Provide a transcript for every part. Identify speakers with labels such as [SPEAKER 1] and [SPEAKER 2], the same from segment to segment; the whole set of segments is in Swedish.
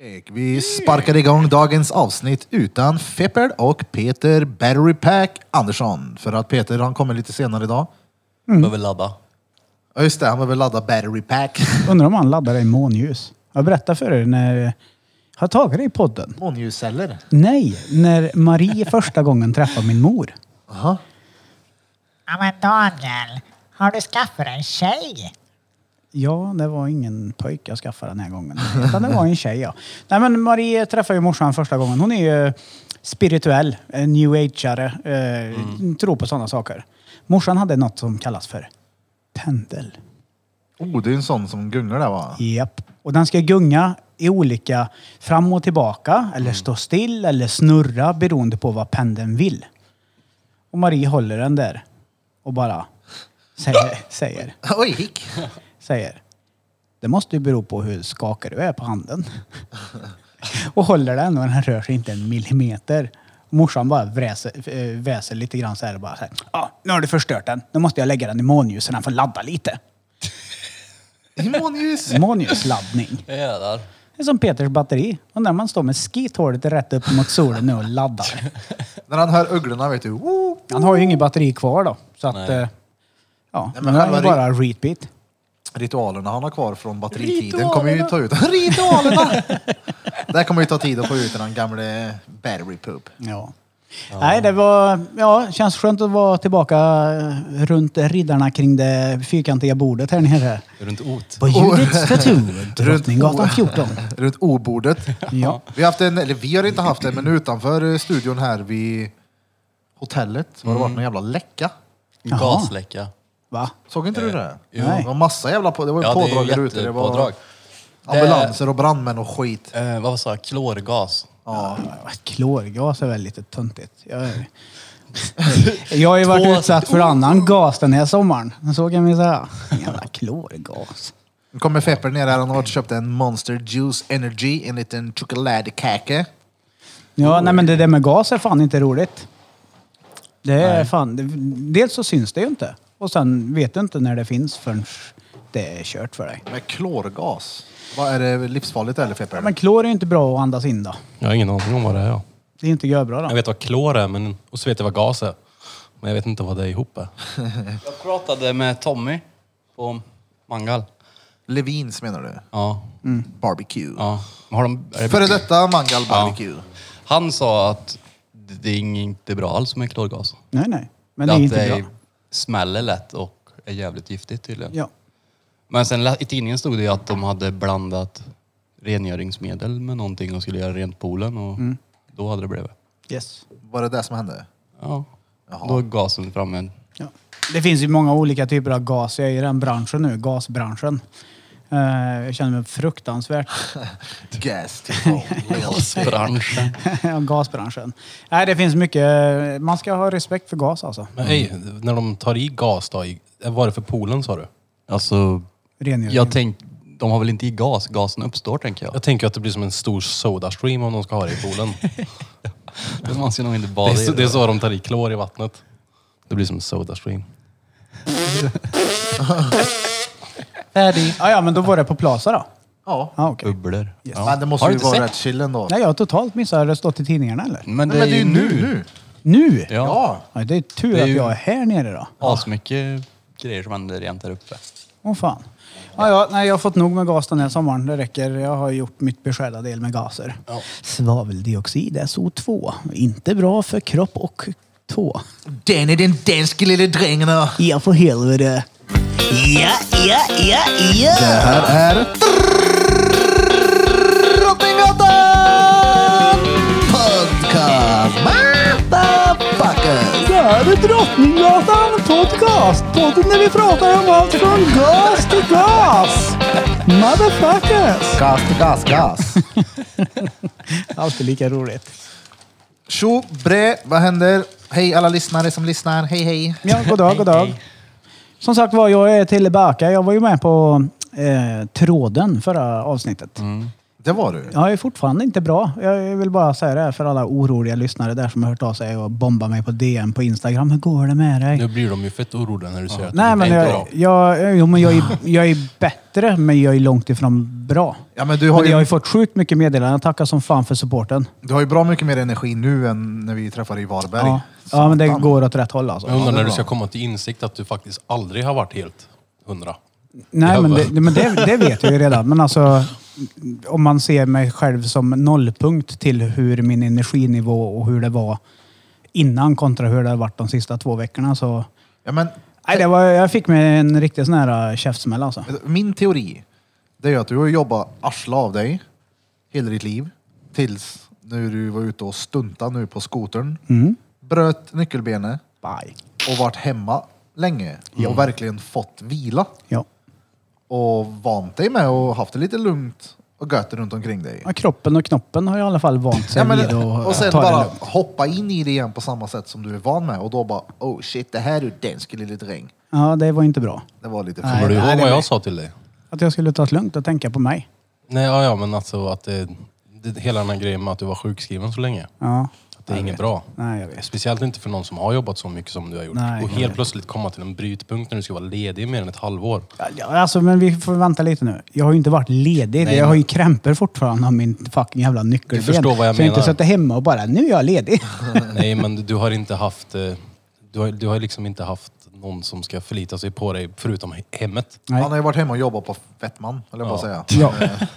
[SPEAKER 1] Ek, Vi sparkar igång dagens avsnitt utan Feppard och Peter Battery Pack Andersson. För att Peter han kommer lite senare idag.
[SPEAKER 2] Behöver ladda.
[SPEAKER 1] Ja just det, han behöver ladda Battery Pack.
[SPEAKER 3] Undrar om han laddar i månljus. Jag berättade för er när... Har jag tagit det i podden?
[SPEAKER 1] Månljusceller.
[SPEAKER 3] Nej, när Marie första gången träffade min mor.
[SPEAKER 1] Jaha.
[SPEAKER 4] Ja men Daniel, har du skaffat en tjej?
[SPEAKER 3] Ja, det var ingen pojk jag skaffade den här gången. Utan det var en tjej, ja. Nej, men Marie träffade ju morsan första gången. Hon är ju spirituell, en new age-are, eh, tror på sådana saker. Morsan hade något som kallas för pendel.
[SPEAKER 1] Oh, det är en sån som gungar där va?
[SPEAKER 3] Japp. Och den ska gunga i olika fram och tillbaka eller stå still eller snurra beroende på vad pendeln vill. Och Marie håller den där och bara säger, säger,
[SPEAKER 1] Oj, hick!
[SPEAKER 3] säger. Det måste ju bero på hur skakig du är på handen. och håller den och den rör sig inte en millimeter. Morsan bara vräser, eh, väser lite grann så här och bara så här. Ja, nu har du förstört den. Nu måste jag lägga den i månljus så den får ladda lite.
[SPEAKER 1] I månljus!
[SPEAKER 3] Månljusladdning.
[SPEAKER 2] Jävlar.
[SPEAKER 3] Det är som Peters batteri. Och när man står med skithålet rätt upp mot solen nu och laddar.
[SPEAKER 1] När han hör ugglorna vet du. Woo!
[SPEAKER 3] Han har ju inget batteri kvar då. Så att...
[SPEAKER 2] Nej.
[SPEAKER 3] eh, Ja,
[SPEAKER 1] Nej, men
[SPEAKER 3] men han
[SPEAKER 1] själva
[SPEAKER 3] är bara repeat.
[SPEAKER 1] Ritualerna han har kvar från batteritiden kommer ju ta ut. Ritualerna! det här kommer ju ta tid att få ut den gamle Battery Poop.
[SPEAKER 3] Ja. Nej, det var... Ja, känns skönt att vara tillbaka eh, runt riddarna kring det fyrkantiga bordet här nere.
[SPEAKER 2] Runt ot.
[SPEAKER 3] På Judits staty, Drottninggatan
[SPEAKER 1] Runt-
[SPEAKER 3] 14.
[SPEAKER 1] Runt obordet.
[SPEAKER 3] Ja.
[SPEAKER 1] Vi har haft en, eller vi har inte haft en, men utanför eh, studion här vid hotellet har det
[SPEAKER 3] Mm.
[SPEAKER 1] varit någon jävla läcka.
[SPEAKER 3] Jaha.
[SPEAKER 2] Gasläcka.
[SPEAKER 3] Va?
[SPEAKER 1] Såg inte du det?
[SPEAKER 2] Eh, jo.
[SPEAKER 1] Det var massa jävla på, det var
[SPEAKER 2] Ja, det är
[SPEAKER 1] pådrag
[SPEAKER 2] ju
[SPEAKER 1] där ute. Det var
[SPEAKER 2] jättepådrag.
[SPEAKER 1] ambulanser och brandmän och skit.
[SPEAKER 2] Eh, vad sa jag? Klorgas.
[SPEAKER 1] Ja.
[SPEAKER 3] Klorgas är väl lite töntigt. Jag, jag har ju
[SPEAKER 2] Två-
[SPEAKER 3] varit utsatt för annan gas den här sommaren. Så kan vi säga. Jävla klorgas.
[SPEAKER 1] Nu kommer Fepper ner här, han har varit och köpt en Monster Juice Energy, en liten chokladkaka.
[SPEAKER 3] Ja, nej men det där med gas är fan inte roligt. Det är fan... det- Dels så syns det ju inte. Och sen vet du inte när det finns förrän det är kört för dig.
[SPEAKER 1] Med klorgas. Vad är det livsfarligt eller Fepper?
[SPEAKER 3] Men klor är ju inte bra att andas in då.
[SPEAKER 5] Jag har ingen aning om vad det är. ja.
[SPEAKER 3] Det är inte görbra då.
[SPEAKER 5] Jag vet vad klor är men, och så vet jag vad gas är. Men jag vet inte vad det är ihop är.
[SPEAKER 2] Jag pratade med Tommy på Mangal.
[SPEAKER 1] Levins menar du?
[SPEAKER 2] Ja.
[SPEAKER 3] Mm.
[SPEAKER 1] Barbecue.
[SPEAKER 2] ja. Har de, är det-
[SPEAKER 1] Före detta mangal barbecue.
[SPEAKER 2] Han sa att det är inte bra alls med klorgas.
[SPEAKER 3] Nej, nej. Men det är
[SPEAKER 2] att
[SPEAKER 3] inte bra.
[SPEAKER 2] smäller lätt och är jävligt giftigt tydligen.
[SPEAKER 3] Ja.
[SPEAKER 2] Men sen lä- i tidningen stod det ju att de hade blandat rengöringsmedel med någonting och skulle göra rent poolen och då hade det blivit.
[SPEAKER 3] Yes.
[SPEAKER 1] Var det det som hände?
[SPEAKER 2] Ja. Då är gasen framme.
[SPEAKER 3] Ja. Det finns ju många olika typer av gas. Jag är i den branschen nu, gasbranschen. Eh, Jag känner mig fruktansvärt.
[SPEAKER 1] Gas till
[SPEAKER 2] Branschen.
[SPEAKER 3] Ja, gasbranschen. Nej, det finns mycket. Man ska ha respekt för gas alltså.
[SPEAKER 5] Men hej, när de tar i gas då? i- Vad är det för poolen sa du?
[SPEAKER 2] Alltså,
[SPEAKER 3] Rengöring.
[SPEAKER 2] jag tänkte, de har väl inte i gas? Gasen uppstår tänker jag.
[SPEAKER 5] Jag tänker att det blir som en stor sodastream om de ska ha det i poolen.
[SPEAKER 2] Det man ska nog inte
[SPEAKER 5] det,
[SPEAKER 2] bada
[SPEAKER 5] är
[SPEAKER 2] i
[SPEAKER 5] så,
[SPEAKER 2] det.
[SPEAKER 5] det är så de tar i klor i vattnet. Det blir som en sodastream.
[SPEAKER 3] Färdig. Ja, ja, men då var det på Plaza då.
[SPEAKER 1] Ja.
[SPEAKER 3] Ja, okej.
[SPEAKER 2] Bubblor. Ja.
[SPEAKER 1] Men det måste
[SPEAKER 2] Har
[SPEAKER 1] ju
[SPEAKER 2] du inte
[SPEAKER 1] vara
[SPEAKER 2] sett?
[SPEAKER 1] rätt chill ändå.
[SPEAKER 3] Nej, jag har totalt missat. Har det stått i tidningarna eller?
[SPEAKER 2] Men det,
[SPEAKER 1] Nej, men det är ju nu.
[SPEAKER 2] nu.
[SPEAKER 1] nu.
[SPEAKER 3] Nu?
[SPEAKER 2] Ja.
[SPEAKER 1] Ja.
[SPEAKER 3] Ja, det är tur
[SPEAKER 2] Det är
[SPEAKER 3] att
[SPEAKER 2] ju-
[SPEAKER 3] jag är här nere då.
[SPEAKER 2] Asmycket grejer som händer rent här uppe.
[SPEAKER 3] Åh fan. Ja, ja, nej, jag har fått nog med gas den här sommaren. Det räcker. Jag har gjort mitt beskärda del med gaser. Svaveldioxid, SO2. Inte bra för kropp och tå.
[SPEAKER 1] Den är den danske lille drängen. Det
[SPEAKER 3] Ja, för helvete.
[SPEAKER 4] Ja, ja, ja, ja!
[SPEAKER 1] här är Drottninggatan Podcast. Motherfuckers.
[SPEAKER 3] Det här är Drottninggatan podcast. Podden där vi pratar om allt från gas till gas. Motherfuckers.
[SPEAKER 1] Gas till gas, gas.
[SPEAKER 3] Alltid lika roligt.
[SPEAKER 1] Tjo, bre, vad händer? Hej alla lyssnare som lyssnar. Hej, hej.
[SPEAKER 3] Ja, god dag, god dag. Som sagt var, jag är tillbaka. Jag var ju med på eh, tråden förra avsnittet.
[SPEAKER 1] Det var du.
[SPEAKER 3] Jag är fortfarande inte bra. Jag vill bara säga det här för alla oroliga lyssnare där som har hört av sig och bombat mig på DM på Instagram. Hur går det med dig?
[SPEAKER 5] Nu blir de ju fett oroliga när du säger att
[SPEAKER 3] Nej,
[SPEAKER 5] de
[SPEAKER 3] men,
[SPEAKER 5] inte är
[SPEAKER 3] jag,
[SPEAKER 5] bra.
[SPEAKER 3] jag, jo, men jag, är, jag är bättre, men jag är långt ifrån bra.
[SPEAKER 1] Ja, men du,
[SPEAKER 3] Men
[SPEAKER 1] har
[SPEAKER 3] jag har ju
[SPEAKER 1] ju,
[SPEAKER 3] fått sjukt mycket meddelanden. Tackar som fan för supporten.
[SPEAKER 1] du har ju bra mycket mer energi nu än när vi träffade i Varberg.
[SPEAKER 3] Ja. ja, men det går åt rätt håll alltså.
[SPEAKER 5] Jag undrar
[SPEAKER 1] det är
[SPEAKER 5] när du
[SPEAKER 1] bra.
[SPEAKER 5] ska komma till insikt att du faktiskt aldrig har varit helt hundra.
[SPEAKER 3] Nej,
[SPEAKER 5] Jag
[SPEAKER 3] men,
[SPEAKER 5] bara-
[SPEAKER 3] det, men det, det vet jag ju redan. Men alltså, om man ser mig själv som nollpunkt till hur min energinivå och hur det var innan kontra hur det har varit de sista två veckorna så...
[SPEAKER 1] Ja, men,
[SPEAKER 3] Nej, det var, jag fick mig en riktig sån här äh, käftsmäll alltså.
[SPEAKER 1] min teori, det är ju att du har jobbat arsla av dig hela ditt liv. Tills nu du var ute och stuntade nu på skotern.
[SPEAKER 3] Mm.
[SPEAKER 1] Bröt nyckelbenet
[SPEAKER 3] Bye.
[SPEAKER 1] och varit hemma länge.
[SPEAKER 3] Mm.
[SPEAKER 1] Och verkligen fått vila.
[SPEAKER 3] Ja.
[SPEAKER 1] Och vant dig med och haft det lite lugnt och gött runt omkring dig.
[SPEAKER 3] Ja, kroppen och knoppen har i alla fall vant sig
[SPEAKER 1] Ja, men,
[SPEAKER 3] vid att
[SPEAKER 1] och sen
[SPEAKER 3] ta det
[SPEAKER 1] bara
[SPEAKER 3] lugnt.
[SPEAKER 1] hoppa in i det igen på samma sätt som du är van med och då bara oh shit det här är den skulle lite dräng.
[SPEAKER 3] Ja, det var inte bra.
[SPEAKER 1] Det var lite
[SPEAKER 3] Nej,
[SPEAKER 5] Kommer du
[SPEAKER 1] fel.
[SPEAKER 5] ihåg
[SPEAKER 3] nej,
[SPEAKER 5] vad
[SPEAKER 3] nej.
[SPEAKER 5] jag sa till dig?
[SPEAKER 3] Att jag skulle ta det lugnt och tänka på mig.
[SPEAKER 5] Nej, ja, ja men alltså att det, det, hela den här grejen med att du var sjukskriven så länge.
[SPEAKER 3] Ja.
[SPEAKER 5] Att det är inget bra.
[SPEAKER 3] Nej, jag vet.
[SPEAKER 5] Speciellt inte för någon som har jobbat så mycket som du har gjort.
[SPEAKER 3] Nej,
[SPEAKER 5] och helt
[SPEAKER 3] nej.
[SPEAKER 5] plötsligt komma till en brytpunkt när du ska vara ledig i mer än ett halvår.
[SPEAKER 3] Ja, ja, Alltså, men vi får vänta lite nu. Jag har ju inte varit ledig.
[SPEAKER 5] Nej,
[SPEAKER 3] jag har
[SPEAKER 5] men-
[SPEAKER 3] ju krämpor fortfarande av min fucking jävla nyckelben.
[SPEAKER 5] Du förstår vad jag
[SPEAKER 3] så jag har inte
[SPEAKER 5] menar.
[SPEAKER 3] suttit hemma och bara, nu är jag ledig.
[SPEAKER 5] Nej, men du har inte haft... eh, Du har, du har liksom inte haft någon som ska förlita sig på dig förutom he- hemmet.
[SPEAKER 3] Nej.
[SPEAKER 1] Han har ju varit hemma och jobbat på Fettman, höll jag på att säga. Eh,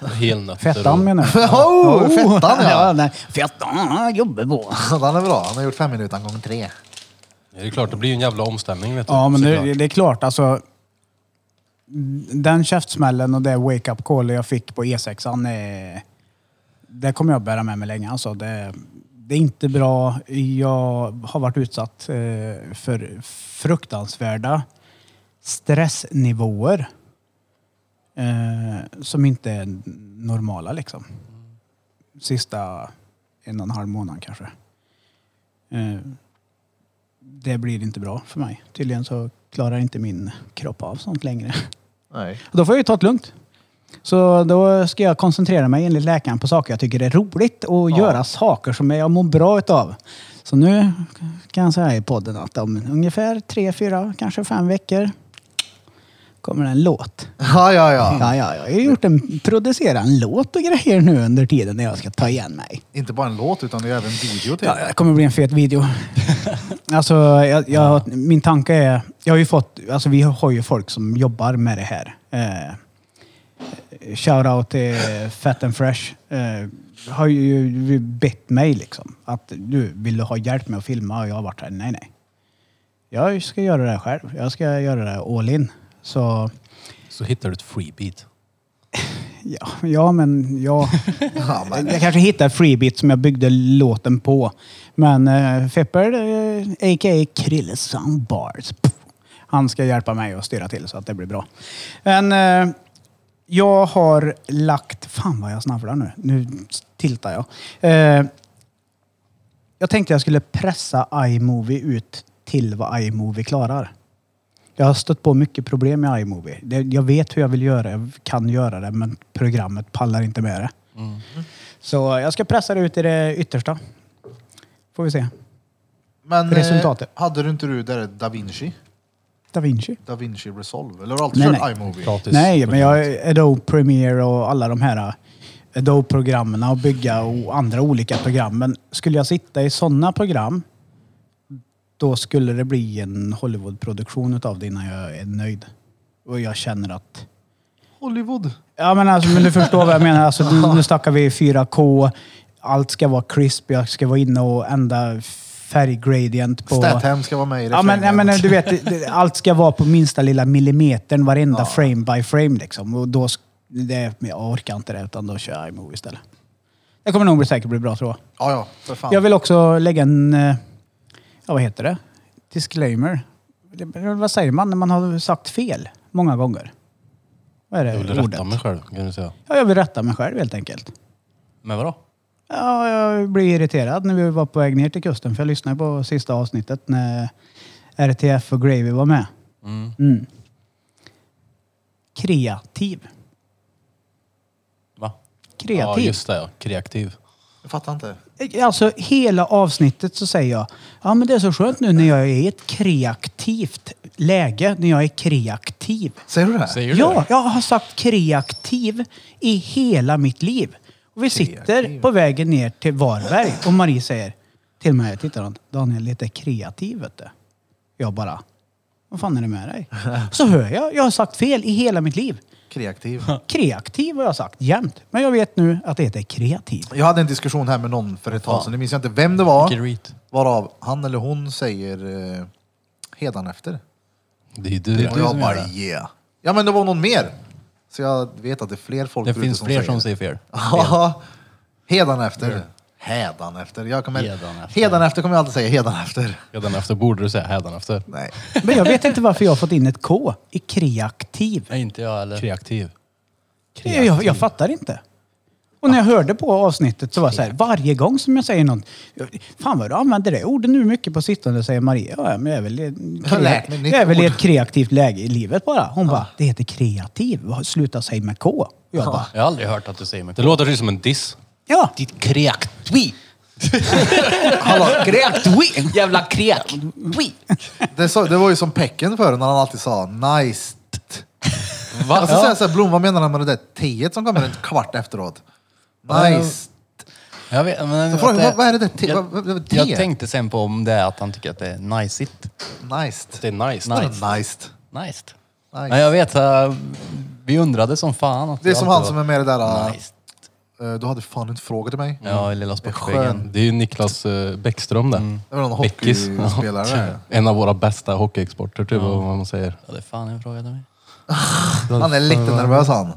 [SPEAKER 3] Ja.
[SPEAKER 5] Helnötter
[SPEAKER 3] Fettan menar jag.
[SPEAKER 1] Oh, Fettan ja!
[SPEAKER 3] nej. Fettan, jobbar på.
[SPEAKER 1] Den är bra, han har gjort fem minuter gånger tre.
[SPEAKER 5] Ja, Det är klart, det blir ju en jävla omställning vet du.
[SPEAKER 3] Ja, men
[SPEAKER 5] Såklart.
[SPEAKER 3] det, det är klart alltså. Den käftsmällen och det wake-up call jag fick på E E6an. eh, Det kommer jag bära med mig länge alltså. Det, det är inte bra. Jag har varit utsatt eh, för fruktansvärda stressnivåer. Eh, som inte är normala liksom. Sista en och en halv månad kanske. Eh, det blir inte bra för mig. Tydligen så klarar inte min kropp av sånt längre.
[SPEAKER 1] Nej.
[SPEAKER 3] Och Då får jag ju ta det lugnt. Så då ska jag koncentrera mig enligt läkaren på saker jag tycker är roligt och göra saker som jag mår bra utav. Så nu kan jag säga i podden att om ungefär tre, fyra, kanske fem veckor kommer det en låt.
[SPEAKER 1] Ja, ja, ja.
[SPEAKER 3] Ja, ja, jag har ju gjort en, producerat en låt och grejer nu under tiden när jag ska ta igen mig.
[SPEAKER 1] Inte bara en låt utan det är även video till.
[SPEAKER 3] Ja, det kommer bli en fet video. alltså, jag, jag, min tanke är... Jag har ju fått, alltså, vi har ju folk som jobbar med det här. Eh, Shoutout till Fat and Fresh. Eh, har ju bett mig liksom. Att du, vill du ha hjälp med att filma? Och jag har varit här, nej nej. Jag ska göra det här själv. Jag ska göra det här all in. Så
[SPEAKER 5] Så hittar du ett freebeat.
[SPEAKER 3] ja, ja men ja.
[SPEAKER 1] Ja, men,
[SPEAKER 3] Jag kanske hittar freebit som jag byggde låten på. Men eh, Fepper, eh, a.k.a. Krille Soundbars. Pff. Han ska hjälpa mig att styra till så att det blir bra. Men eh, jag har lagt... Fan vad jag snabblar nu. Nu tiltar jag. Eh, jag tänkte jag skulle pressa iMovie ut till vad iMovie klarar. Jag har stött på mycket problem med iMovie. Det, jag vet hur jag vill göra, jag kan göra det, men programmet pallar inte med det. Så jag ska pressa det ut i det yttersta. Får vi se.
[SPEAKER 1] men eh,
[SPEAKER 3] Resultatet.
[SPEAKER 1] hade du inte du där Da Vinci?
[SPEAKER 3] Da Vinci.
[SPEAKER 1] Da Vinci Resolve? Eller har du alltid
[SPEAKER 3] Nej,
[SPEAKER 1] kört
[SPEAKER 3] nej.
[SPEAKER 1] iMovie?
[SPEAKER 5] Gratis.
[SPEAKER 3] Nej, men jag Adobe Premiere och alla de här äh, Adobe-programmen och bygga och andra olika program. Men skulle jag sitta i sådana program då skulle det bli en Hollywood-produktion utav det innan jag är nöjd. Och jag känner att
[SPEAKER 1] Hollywood?
[SPEAKER 3] Ja men, alltså, men du förstår vad jag menar. Alltså, nu, nu snackar vi 4K. Allt ska vara crisp. Jag ska vara inne och ändra färggradient på...
[SPEAKER 1] Statham ska vara med i
[SPEAKER 3] Ja men, ja, men du vet, det- det- allt ska vara på minsta lilla millimetern, varenda
[SPEAKER 1] Ja.
[SPEAKER 3] frame by frame liksom. Och då, sk- det, men jag orkar inte det, utan då kör jag iMovie istället. Det kommer nog bli säkert bli bra tror jag.
[SPEAKER 1] Ja, ja, för fan.
[SPEAKER 3] Jag vill också lägga en, eh, ja vad heter det? Disclaimer. Eller Vad säger man när man har sagt fel många gånger? Vad är det
[SPEAKER 5] Jag vill
[SPEAKER 3] ordet?
[SPEAKER 5] rätta mig själv kan du säga.
[SPEAKER 3] Ja, jag vill rätta mig själv helt enkelt.
[SPEAKER 5] Men vadå?
[SPEAKER 3] Ja, jag blev irriterad när vi var på väg ner till kusten för jag lyssnade på sista avsnittet när RTF och Gravy var med. Mm. Kreativ.
[SPEAKER 5] Va? Ja,
[SPEAKER 3] kreativ.
[SPEAKER 5] just det. Ja. Kreativ.
[SPEAKER 1] Jag fattar inte.
[SPEAKER 3] Alltså hela avsnittet så säger jag, ja men det är så skönt nu när jag är i ett kreativt läge, när jag är kreativ.
[SPEAKER 1] Säger du det?
[SPEAKER 2] Säger du
[SPEAKER 3] Ja,
[SPEAKER 2] det?
[SPEAKER 3] jag har sagt kreativ i hela mitt liv. Och vi sitter på vägen ner till Varberg och Marie säger till mig, tittar hon, Daniel lite kreativ vet du. Jag bara, vad fan är det med dig? Så hör jag, jag har sagt fel i hela mitt liv.
[SPEAKER 1] Kreativ.
[SPEAKER 3] Kreativ har jag sagt jämt. Men jag vet nu att det heter kreativ.
[SPEAKER 1] Jag hade en diskussion här med någon för ett tag sedan. Nu minns jag inte vem det var.
[SPEAKER 2] Vilken reet.
[SPEAKER 1] Varav han eller hon säger eh, hädanefter.
[SPEAKER 5] Det är ju du.
[SPEAKER 1] Och
[SPEAKER 5] Det,
[SPEAKER 1] jag bara yeah. Ja men det var någon mer. Så jag vet att det är fler folk
[SPEAKER 2] Det
[SPEAKER 1] där ute
[SPEAKER 2] finns fler som säger fel.
[SPEAKER 1] Ja, hädanefter. Hädanefter. Jag kommer...
[SPEAKER 2] Hädanefter.
[SPEAKER 1] hädanefter. kommer jag alltid säga. Hädanefter.
[SPEAKER 5] Hädanefter borde du säga hädanefter.
[SPEAKER 1] Nej.
[SPEAKER 3] Men jag vet inte varför jag har fått in ett K i kreativ.
[SPEAKER 2] Nej, inte jag heller.
[SPEAKER 5] Kreativ.
[SPEAKER 3] Jag, jag, jag fattar inte. Och när jag hörde på avsnittet så var det så här, varje gång som jag säger något. Fan vad du använder det ordet nu mycket på sistone, säger Maria. Ja, men jag är väl, i-
[SPEAKER 1] Jag har lärt mig nytt
[SPEAKER 3] jag är väl i ett
[SPEAKER 1] ord.
[SPEAKER 3] kreativt läge i livet bara. Hon bara, det heter kreativ. Sluta säga med K. Och Jag bara,
[SPEAKER 2] Jag har aldrig hört att du säger mig.
[SPEAKER 5] Det låter ju som en diss.
[SPEAKER 3] ja.
[SPEAKER 2] Ditt kreaktvi.
[SPEAKER 1] Hallå,
[SPEAKER 2] Kreaktvi. Jävla kreaktvi.
[SPEAKER 1] det, så, det var ju som Pecken förr när han alltid sa nice. Va? Alltså, så här, så här, Blom, vad menar han med det där teet som kommer en kvart efteråt? Nice.
[SPEAKER 2] Jag vet, men,
[SPEAKER 1] Så frågan,
[SPEAKER 2] att det-
[SPEAKER 1] vad- vad är det där te-
[SPEAKER 2] jag,
[SPEAKER 1] vad- vad- vad- te?
[SPEAKER 2] jag tänkte sen på om det är att han tycker att det är najsigt.
[SPEAKER 1] Nice.
[SPEAKER 5] Det är nice.
[SPEAKER 1] Nice. nice.
[SPEAKER 2] Najst. Men jag vet, äh, vi undrade som fan. Att
[SPEAKER 1] Det är som han som är
[SPEAKER 2] alltid
[SPEAKER 1] med i det där...
[SPEAKER 2] var
[SPEAKER 1] äh,
[SPEAKER 2] najst.
[SPEAKER 1] eh, Du hade fan inte frågat till mig.
[SPEAKER 2] Ja, i lilla
[SPEAKER 1] Skön.
[SPEAKER 2] sportspegeln.
[SPEAKER 5] Det är ju Niklas eh, Bäckström det.
[SPEAKER 2] Mm.
[SPEAKER 1] Det var någon
[SPEAKER 5] Bäckis.
[SPEAKER 1] hockeyspelare.
[SPEAKER 5] En av våra bästa hockeyexporter, typ, vad man säger.
[SPEAKER 2] Ja, det är fan en fråga till mig.
[SPEAKER 1] Han är lite nervös han.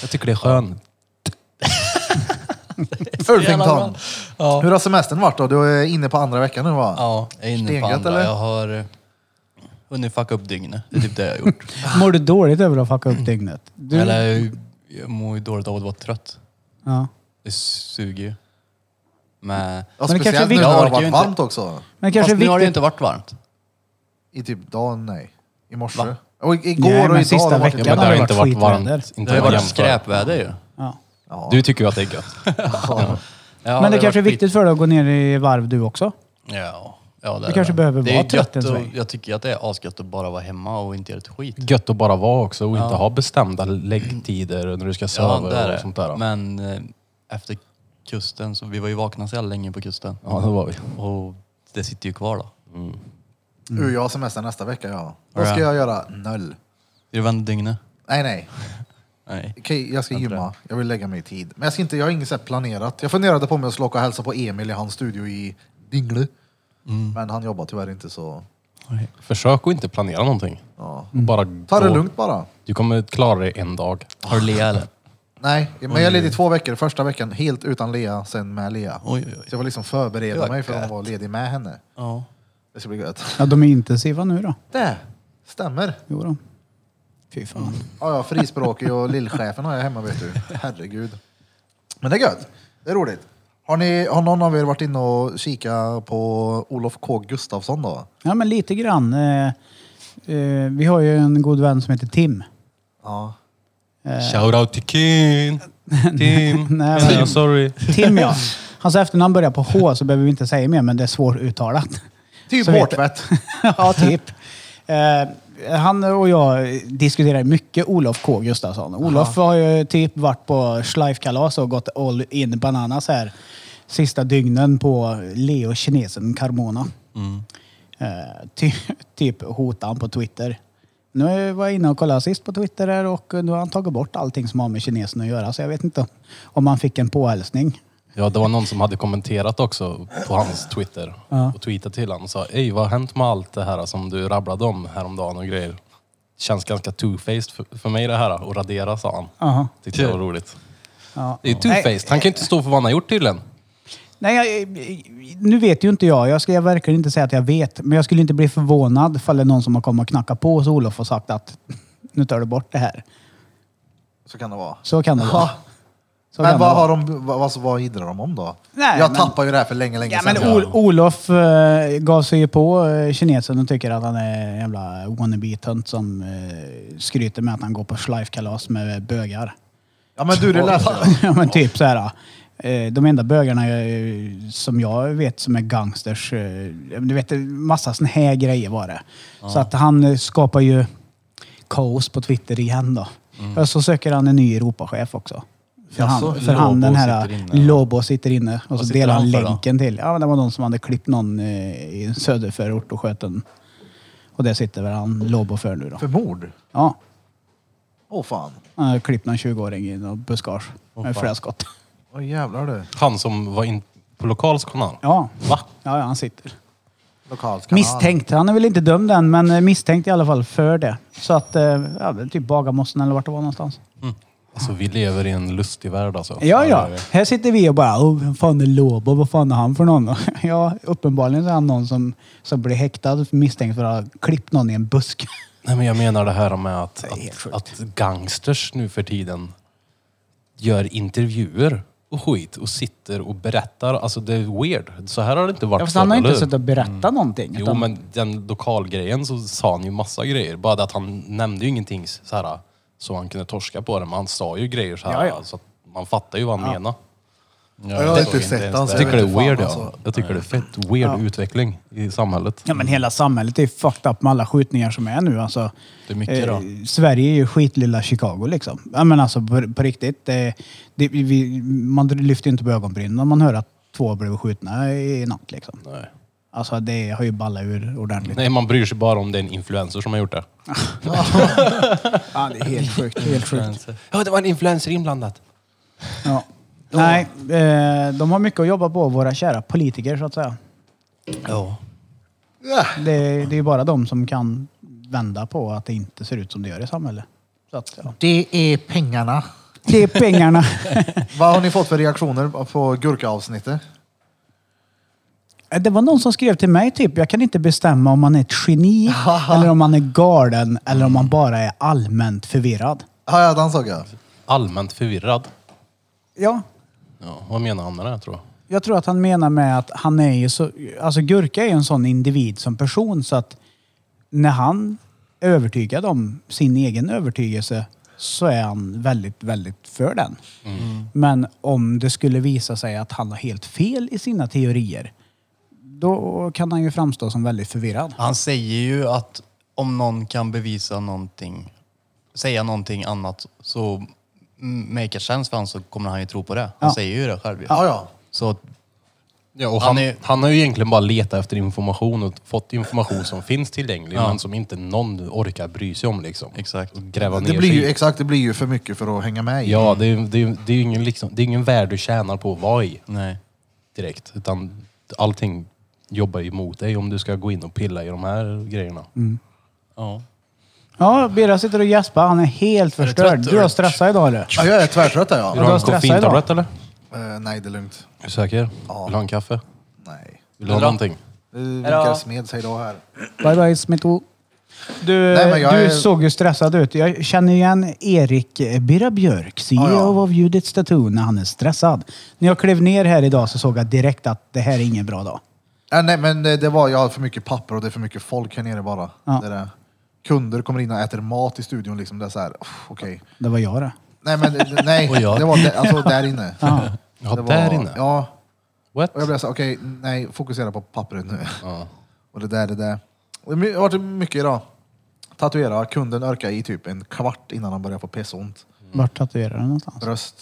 [SPEAKER 5] Jag tycker det är skönt.
[SPEAKER 1] Ulfington.
[SPEAKER 2] Ja.
[SPEAKER 1] Hur har semestern varit då? Du är inne på andra veckan nu va?
[SPEAKER 2] Ja, jag är inne på
[SPEAKER 1] Stengött,
[SPEAKER 2] andra.
[SPEAKER 1] eller?
[SPEAKER 2] Jag har eh, hunnit fucka upp dygnet. Det är typ det jag har gjort.
[SPEAKER 3] Mår du dåligt över att fucka upp dygnet? Du,
[SPEAKER 2] Eller jag mår ju dåligt av att vara trött.
[SPEAKER 3] ja.
[SPEAKER 2] Det suger ju. Men...
[SPEAKER 1] Ja,
[SPEAKER 3] Men det kanske är
[SPEAKER 1] speciellt nu när
[SPEAKER 3] viktigt.
[SPEAKER 1] det
[SPEAKER 2] Jag
[SPEAKER 1] har
[SPEAKER 2] orkar ju
[SPEAKER 1] varit
[SPEAKER 2] inte.
[SPEAKER 1] varmt också.
[SPEAKER 3] Men
[SPEAKER 2] Fast
[SPEAKER 3] kanske
[SPEAKER 2] nu har det ju
[SPEAKER 3] viktigt.
[SPEAKER 2] inte varit varmt.
[SPEAKER 1] I typ dagen, nej. I morse.
[SPEAKER 2] Va?
[SPEAKER 1] Och i- igår
[SPEAKER 3] Nej, men
[SPEAKER 1] och idag.
[SPEAKER 3] sista
[SPEAKER 1] har det varit-
[SPEAKER 5] Ja,
[SPEAKER 3] veckan.
[SPEAKER 5] men det
[SPEAKER 3] har
[SPEAKER 5] har
[SPEAKER 3] det
[SPEAKER 5] inte
[SPEAKER 3] varit
[SPEAKER 5] varit varmt.
[SPEAKER 3] skitväder.
[SPEAKER 5] Inte
[SPEAKER 2] Det har ju
[SPEAKER 5] att
[SPEAKER 2] varit
[SPEAKER 5] jämföra.
[SPEAKER 2] skräpväder ju.
[SPEAKER 3] Ja.
[SPEAKER 1] Ja.
[SPEAKER 5] Du tycker ju att det är gött.
[SPEAKER 2] Ja,
[SPEAKER 3] Men det
[SPEAKER 2] har
[SPEAKER 3] kanske är
[SPEAKER 2] varit skit-
[SPEAKER 3] viktigt för dig att gå ner i varv du också?
[SPEAKER 2] Ja. ja det är
[SPEAKER 3] kanske
[SPEAKER 2] det.
[SPEAKER 3] behöver
[SPEAKER 2] Det är
[SPEAKER 3] vara
[SPEAKER 2] ju
[SPEAKER 3] trött
[SPEAKER 2] gött
[SPEAKER 3] en
[SPEAKER 2] och-
[SPEAKER 3] sväng.
[SPEAKER 2] Jag tycker att det är asgött att bara vara hemma och inte göra ett skit.
[SPEAKER 5] Gött att bara vara också och inte ha bestämda läggtider när du ska
[SPEAKER 2] Ja,
[SPEAKER 5] sova
[SPEAKER 2] det är
[SPEAKER 5] och sånt där.
[SPEAKER 2] det. Men eh, efter kusten, så vi var ju vakna så jävla länge på kusten.
[SPEAKER 5] Ja, det var vi.
[SPEAKER 2] Och det sitter ju kvar då.
[SPEAKER 1] Du, jag har semester nästa vecka ja. Då ska
[SPEAKER 2] Ja.
[SPEAKER 1] jag göra noll.
[SPEAKER 2] Är det vänd dygnet?
[SPEAKER 1] Nej, nej.
[SPEAKER 2] Nej.
[SPEAKER 1] Okej, jag ska gymma. Jag vill lägga mig i tid. Men jag, ska inte, jag har inget så här planerat. Jag funderade på om jag skulle åka och hälsa på Emil i hans studio i Dingle. Men han jobbar tyvärr inte så...
[SPEAKER 5] Försök att inte planera någonting.
[SPEAKER 1] Ja.
[SPEAKER 5] Bara
[SPEAKER 1] Ta det
[SPEAKER 5] gå.
[SPEAKER 1] lugnt bara.
[SPEAKER 5] Du kommer klara det en dag.
[SPEAKER 2] Har du lea eller?
[SPEAKER 1] Nej, men jag är ledig i två veckor. Första veckan helt utan Lea, sen med Lea.
[SPEAKER 2] Oj, oj, oj.
[SPEAKER 1] Så jag får liksom förbereda
[SPEAKER 2] Det var
[SPEAKER 1] mig för att
[SPEAKER 2] gött.
[SPEAKER 1] vara ledig med henne.
[SPEAKER 2] Ja.
[SPEAKER 1] Det ska bli gött.
[SPEAKER 3] Ja, de är intensiva nu då.
[SPEAKER 1] Det stämmer.
[SPEAKER 3] Jo då. Fy fan.
[SPEAKER 1] Ja, ja, frispråkig och lillchefen har jag hemma vet du. Herregud. Men det är gött. Det är roligt. Har, ni, har någon av er varit inne och kika på Olof K Gustafsson då?
[SPEAKER 3] Ja, men lite grann. Eh, eh, vi har ju en god vän som heter Tim.
[SPEAKER 1] Ja.
[SPEAKER 5] Shoutout till Kim! Tim!
[SPEAKER 3] Nej, men-
[SPEAKER 5] I'm sorry.
[SPEAKER 3] Tim ja. Hans efternamn börjar på H så behöver vi inte säga mer men det är svåruttalat.
[SPEAKER 1] Typ
[SPEAKER 3] Så vet-
[SPEAKER 1] hårtvätt.
[SPEAKER 3] ja, typ. Eh, han och jag diskuterar mycket Olof K Gustafsson. Olof har ju typ varit på Schleifkalas och gått all in bananas här sista dygnen på Leo Kinesen Carmona.
[SPEAKER 5] Mm.
[SPEAKER 3] Eh, ty, typ hotade han på Twitter. Nu var jag inne och kollade sist på Twitter här och nu har han tagit bort allting som har med kinesen att göra så jag vet inte om- om han fick en påhälsning.
[SPEAKER 5] Ja, det var någon som hade kommenterat också på hans Twitter och tweetat till honom och sa Ej, vad har hänt med allt det här som du rabblade om häromdagen och grejer? Känns ganska two-faced för, för mig det här och radera, sa han.
[SPEAKER 3] Aha.
[SPEAKER 5] Tyckte det var roligt.
[SPEAKER 3] Ja.
[SPEAKER 5] Det är two-faced. Han kan ju inte stå för vad han har gjort tydligen.
[SPEAKER 3] Nej, jag, nu vet ju inte jag. Jag ska jag verkligen inte säga att jag vet. Men jag skulle inte bli förvånad ifall det är någon som har kommit och knackat på hos Olof och sagt att nu tar du bort det här.
[SPEAKER 1] Så kan det vara.
[SPEAKER 3] Så kan det vara.
[SPEAKER 1] Ja.
[SPEAKER 3] Så
[SPEAKER 1] Men
[SPEAKER 3] kan
[SPEAKER 1] vad,
[SPEAKER 3] det
[SPEAKER 1] har
[SPEAKER 3] vara.
[SPEAKER 1] de, vad, alltså, vad idrar de om då?
[SPEAKER 3] Nej,
[SPEAKER 1] jag
[SPEAKER 3] men-
[SPEAKER 1] tappar ju det här för länge, länge
[SPEAKER 3] Ja, men
[SPEAKER 1] sedan.
[SPEAKER 3] Ol- Olof eh, gav sig ju på eh, kinesen och tycker att han är en jävla wannabe-tönt som eh, skryter med att han går på schleifkalas med bögar.
[SPEAKER 1] Ja men du, det läste jag.
[SPEAKER 3] Ja, men typ så här. eh, De enda bögarna eh, som jag vet som är gangsters, eh, du vet massa såna här grejer var det. Så att han eh, skapar ju kaos på Twitter igen då. Och så söker han en ny Europachef också. För
[SPEAKER 1] Jaså,
[SPEAKER 3] han, för han
[SPEAKER 2] Lobo
[SPEAKER 3] den här
[SPEAKER 2] sitter inne.
[SPEAKER 3] Lobo sitter inne och så
[SPEAKER 5] Vad sitter
[SPEAKER 3] delar han
[SPEAKER 5] han för då?
[SPEAKER 3] länken till. Ja, men det var någon som hade klippt någon eh, i en söderförort och sköt en. Och det sitter väl han Lobo för nu då.
[SPEAKER 1] För mord?
[SPEAKER 3] Ja,
[SPEAKER 1] Åh fan.
[SPEAKER 3] han hade klippt någon 20-åring i något buskage med flera skott.
[SPEAKER 1] Åh jävlar du.
[SPEAKER 5] Han som var in på lokalskolan?
[SPEAKER 3] Ja.
[SPEAKER 5] Va?
[SPEAKER 3] Ja, ja, han sitter.
[SPEAKER 1] Lokalskanal.
[SPEAKER 3] Misstänkt. Han är väl inte dömd än, men eh, misstänkt i alla fall för det. Så att, eh, ja, det är typ Bagarmossen eller vart det var någonstans.
[SPEAKER 5] Alltså vi lever i en lustig värld alltså.
[SPEAKER 3] Ja, ja.
[SPEAKER 5] gör vi.
[SPEAKER 3] Här sitter vi och bara, oh, vem fan är Lobo? Vad fan är han för någon? Ja, uppenbarligen så är han någon som, som blir häktad misstänkt för att ha klippt någon i en buske.
[SPEAKER 5] Nej men jag menar det här med att,
[SPEAKER 3] är helt
[SPEAKER 5] att,
[SPEAKER 3] sjukt.
[SPEAKER 5] att gangsters nu för tiden gör intervjuer och skit och sitter och berättar. Alltså det är weird. Så här har det inte varit
[SPEAKER 3] Ja, fast han har inte
[SPEAKER 5] förr, eller hur? Mm.
[SPEAKER 3] suttit och berättat någonting.
[SPEAKER 5] Jo
[SPEAKER 3] utan-
[SPEAKER 5] men den lokalgrejen så sa han ju massa grejer. Bara det att han nämnde ju ingenting så här så han kunde torska på det. Men han sa ju grejer så här
[SPEAKER 3] Ja, ja.
[SPEAKER 5] så att man fattar ju vad han menar.
[SPEAKER 1] Ja, jag har inte sett han. så
[SPEAKER 5] Jag tycker
[SPEAKER 1] vet
[SPEAKER 5] det är
[SPEAKER 1] inte fan,
[SPEAKER 5] weird ja.
[SPEAKER 1] alltså.
[SPEAKER 5] Jag tycker det är fett weird utveckling i samhället.
[SPEAKER 3] Ja men hela samhället är ju fucked up med alla skjutningar som är nu alltså. Eh,
[SPEAKER 5] Det är mycket då.
[SPEAKER 3] Sverige är ju skitlilla Chicago liksom. Ja men alltså på, på riktigt. Eh, det, vi, man lyfter ju inte på ögonbrynen när man hör att två blev skjutna i natt liksom.
[SPEAKER 5] Nej.
[SPEAKER 3] Alltså det har ju ballat ur ordentligt.
[SPEAKER 5] Nej, man bryr sig bara om det är en influencer som har gjort det.
[SPEAKER 3] Ja, det är helt sjukt. Helt sjukt.
[SPEAKER 5] Ja, det var en influencer inblandad.
[SPEAKER 3] Ja. Nej, eh, de har mycket att jobba på, våra kära politiker så att säga.
[SPEAKER 5] Ja.
[SPEAKER 3] Det, det är ju bara de som kan vända på att det inte ser ut som det gör i samhället. Så att, ja.
[SPEAKER 1] Det är pengarna.
[SPEAKER 3] Det är pengarna.
[SPEAKER 1] Vad har ni fått för reaktioner på gurkaavsnittet?
[SPEAKER 3] Eh, Det var någon som skrev till mig typ, jag kan inte bestämma om man är ett geni eller om man är galen eller om man bara är allmänt förvirrad.
[SPEAKER 1] Ja, ja, den såg jag.
[SPEAKER 5] Allmänt förvirrad.
[SPEAKER 3] Ja.
[SPEAKER 5] Ja, vad menar han med det tror jag?
[SPEAKER 3] Jag tror att han menar med att han är ju så, alltså Gurka är ju en sån individ som person så att när han är övertygad om sin egen övertygelse så är han väldigt, väldigt för den. Men om det skulle visa sig att han har helt fel i sina teorier då kan han ju framstå som väldigt förvirrad.
[SPEAKER 2] Han säger ju att om någon kan bevisa någonting, säga någonting annat så mm, make a sense för han så kommer han ju tro på det. Han
[SPEAKER 3] Ja.
[SPEAKER 2] säger ju det själv ju.
[SPEAKER 1] Ja, ja.
[SPEAKER 2] Så
[SPEAKER 5] Ja, och
[SPEAKER 2] Han
[SPEAKER 5] han,
[SPEAKER 2] är-
[SPEAKER 5] han har ju egentligen bara letat efter information och fått information som finns tillgänglig
[SPEAKER 2] Ja.
[SPEAKER 5] men som inte någon orkar bry sig om liksom.
[SPEAKER 2] Exakt.
[SPEAKER 5] Och gräva ner
[SPEAKER 1] Det blir
[SPEAKER 5] sig
[SPEAKER 1] ju,
[SPEAKER 5] i.
[SPEAKER 1] exakt, det blir ju för mycket för att hänga med i.
[SPEAKER 5] Ja, det är ju det är, det är ju ingen, liksom, det är ingen värld du tjänar på att vara i
[SPEAKER 2] nej.
[SPEAKER 5] direkt. Utan allting jobbar ju emot dig om du ska gå in och pilla i de här grejerna.
[SPEAKER 1] Mm.
[SPEAKER 2] Ja.
[SPEAKER 3] Ja, Birra sitter och gäspar. Han är helt
[SPEAKER 2] Är du
[SPEAKER 3] förstörd.
[SPEAKER 2] trött,
[SPEAKER 3] Du har
[SPEAKER 2] Ulf?
[SPEAKER 3] stressat idag eller?
[SPEAKER 1] Ja, jag är tvärtrött här,
[SPEAKER 5] Vill
[SPEAKER 1] ja.
[SPEAKER 5] du
[SPEAKER 3] du
[SPEAKER 5] ha
[SPEAKER 3] har
[SPEAKER 5] en
[SPEAKER 3] stressat
[SPEAKER 5] koffeintablett eller?
[SPEAKER 1] Eh, nej, det är lugnt.
[SPEAKER 5] Är du säker?
[SPEAKER 1] Ja.
[SPEAKER 5] Vill du ha en kaffe?
[SPEAKER 1] Nej.
[SPEAKER 5] Vill du ha
[SPEAKER 2] Vill du ha?
[SPEAKER 5] någonting?
[SPEAKER 1] Du vinkar smed sig då här.
[SPEAKER 3] Bye bye Smitto. Du,
[SPEAKER 1] Nej, men jag
[SPEAKER 3] du
[SPEAKER 1] är-
[SPEAKER 3] såg ju stressad ut. Jag känner igen Erik eh, Birra Björk, CEO
[SPEAKER 1] Ja, ja.
[SPEAKER 3] av Judith Statue, när han är stressad. När jag klev ner här idag så såg jag direkt att det här är ingen bra dag.
[SPEAKER 1] Ja, Eh, nej, men det, det var, jag har för mycket papper och det är för mycket folk här nere bara.
[SPEAKER 3] Ja.
[SPEAKER 1] Det är det. Kunder kommer in och äter mat i studion liksom. Det är så här, "Uff, okej.
[SPEAKER 3] Det var jag det.
[SPEAKER 1] Nej, men det- nej.
[SPEAKER 5] Och jag.
[SPEAKER 1] Det var där, alltså, där inne.
[SPEAKER 5] Ja,
[SPEAKER 1] Det var-
[SPEAKER 5] där inne?
[SPEAKER 1] Ja.
[SPEAKER 5] What?
[SPEAKER 1] Och jag blev så här, okej, nej, fokusera på pappret nu.
[SPEAKER 5] Ja.
[SPEAKER 1] Och det där, det där. Och det har varit mycket idag. Tatuera, kunden örkade i typ en kvart innan han började få pissont.
[SPEAKER 3] Vart tatuerade du någonstans?
[SPEAKER 1] Bröst.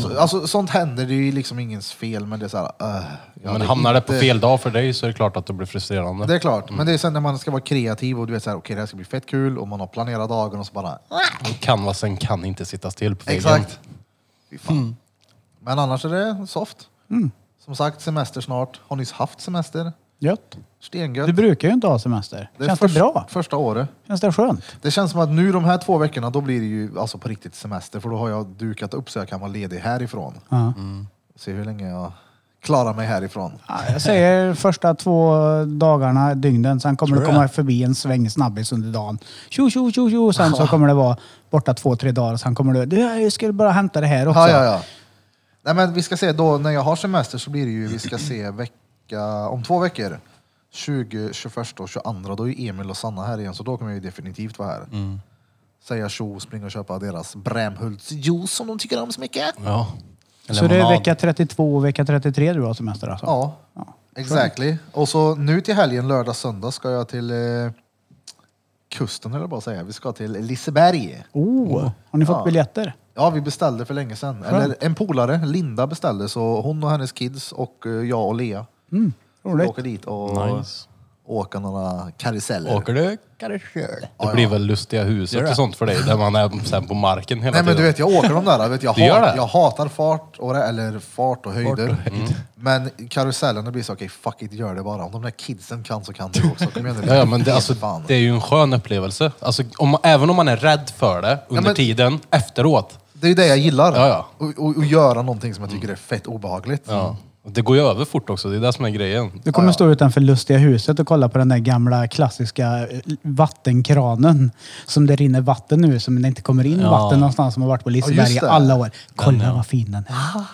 [SPEAKER 1] Så, alltså sånt händer, det är ju liksom ingens fel men det är såhär... Uh,
[SPEAKER 5] men hamnar det på fel Mm. dag för dig så är det klart att det blir frustrerande.
[SPEAKER 1] Det är klart, men det är sen när man ska vara kreativ och du vet såhär, okej det här ska bli fett kul och man har planerat dagen och så bara...
[SPEAKER 5] Och Canvasen kan inte sitta still på väggen.
[SPEAKER 1] Exakt. Fy fan.
[SPEAKER 5] Mm.
[SPEAKER 1] Men annars är det soft.
[SPEAKER 3] Mm.
[SPEAKER 1] Som sagt, semester snart. Har nyss haft semester.
[SPEAKER 3] Gött.
[SPEAKER 1] Stengött.
[SPEAKER 3] Du brukar ju inte ha semester.
[SPEAKER 1] Det är
[SPEAKER 3] Känns
[SPEAKER 1] först-
[SPEAKER 3] det bra?
[SPEAKER 1] Första året.
[SPEAKER 3] Känns det skönt?
[SPEAKER 1] Det känns som att nu de här två veckorna, då blir det ju alltså på riktigt semester. För då har jag dukat upp så jag kan vara ledig härifrån. Mm.
[SPEAKER 3] Ja.
[SPEAKER 1] Se hur länge jag klarar mig härifrån.
[SPEAKER 3] Ja, jag säger första två dagarna, dygnen, sen kommer det komma förbi en sväng snabbis under dagen. Tjo, tjo, tjo, tjo. Sen så kommer det vara borta två, tre dagar. Sen kommer det, du, jag skulle bara hämta det här också.
[SPEAKER 1] Ja, ja, ja. Nej, men vi ska se då, när jag har semester så blir det ju, vi ska se vecka, om två veckor. 20, 21 och 22, då är ju Emil och Sanna här igen, så då kommer jag ju definitivt vara här. säga tjo och springa och köpa deras Brämhultsjuice som de tycker om så mycket.
[SPEAKER 5] Ja.
[SPEAKER 3] Så det är
[SPEAKER 5] Lemonad.
[SPEAKER 3] vecka 32 och vecka 33 du har semester alltså?
[SPEAKER 1] Ja, exactly. Och så nu till helgen, lördag, söndag ska jag till eh, kusten höll jag bara säga. Vi ska till Liseberg.
[SPEAKER 3] Oh, har ni fått
[SPEAKER 1] Ja.
[SPEAKER 3] biljetter?
[SPEAKER 1] Ja, vi beställde för länge sedan. Eller en polare, Linda, beställde. Så hon och hennes kids och eh, jag och Lea
[SPEAKER 3] Mm,
[SPEAKER 1] ska
[SPEAKER 3] roligt.
[SPEAKER 1] åka dit och
[SPEAKER 5] Nice.
[SPEAKER 1] åka några karuseller.
[SPEAKER 5] Åker du? Det blir väl lustiga huset och sånt för dig, där man är sen på marken hela
[SPEAKER 1] Nej men du
[SPEAKER 5] tiden.
[SPEAKER 1] vet, jag åker de där. Vet, jag,
[SPEAKER 5] Du gör
[SPEAKER 1] hat,
[SPEAKER 5] det? Mm.
[SPEAKER 1] jag hatar fart och, det- eller fart och höjder. Men karusellerna blir så, okej fuck it, gör det bara. Om de där kidsen kan så kan du också. Kom igen nu.
[SPEAKER 5] Ja, ja, men det, alltså,
[SPEAKER 1] Fan.
[SPEAKER 5] det är ju en skön upplevelse. Alltså, om, även om man är rädd för det under
[SPEAKER 1] men-
[SPEAKER 5] tiden, efteråt.
[SPEAKER 1] Det är ju det jag gillar.
[SPEAKER 5] Ja, ja.
[SPEAKER 1] Och, och, och göra någonting som jag tycker är fett obehagligt.
[SPEAKER 5] Ja. Och Det går ju över fort också, det är det som är grejen.
[SPEAKER 3] Du kommer stå utanför Lustiga huset och kolla på den där gamla klassiska eh, vattenkranen som det rinner vatten ur, som det inte kommer in
[SPEAKER 5] Ja.
[SPEAKER 3] vatten någonstans som har varit på Liseberg i
[SPEAKER 1] just det.
[SPEAKER 3] alla år. Kolla vad fin den är.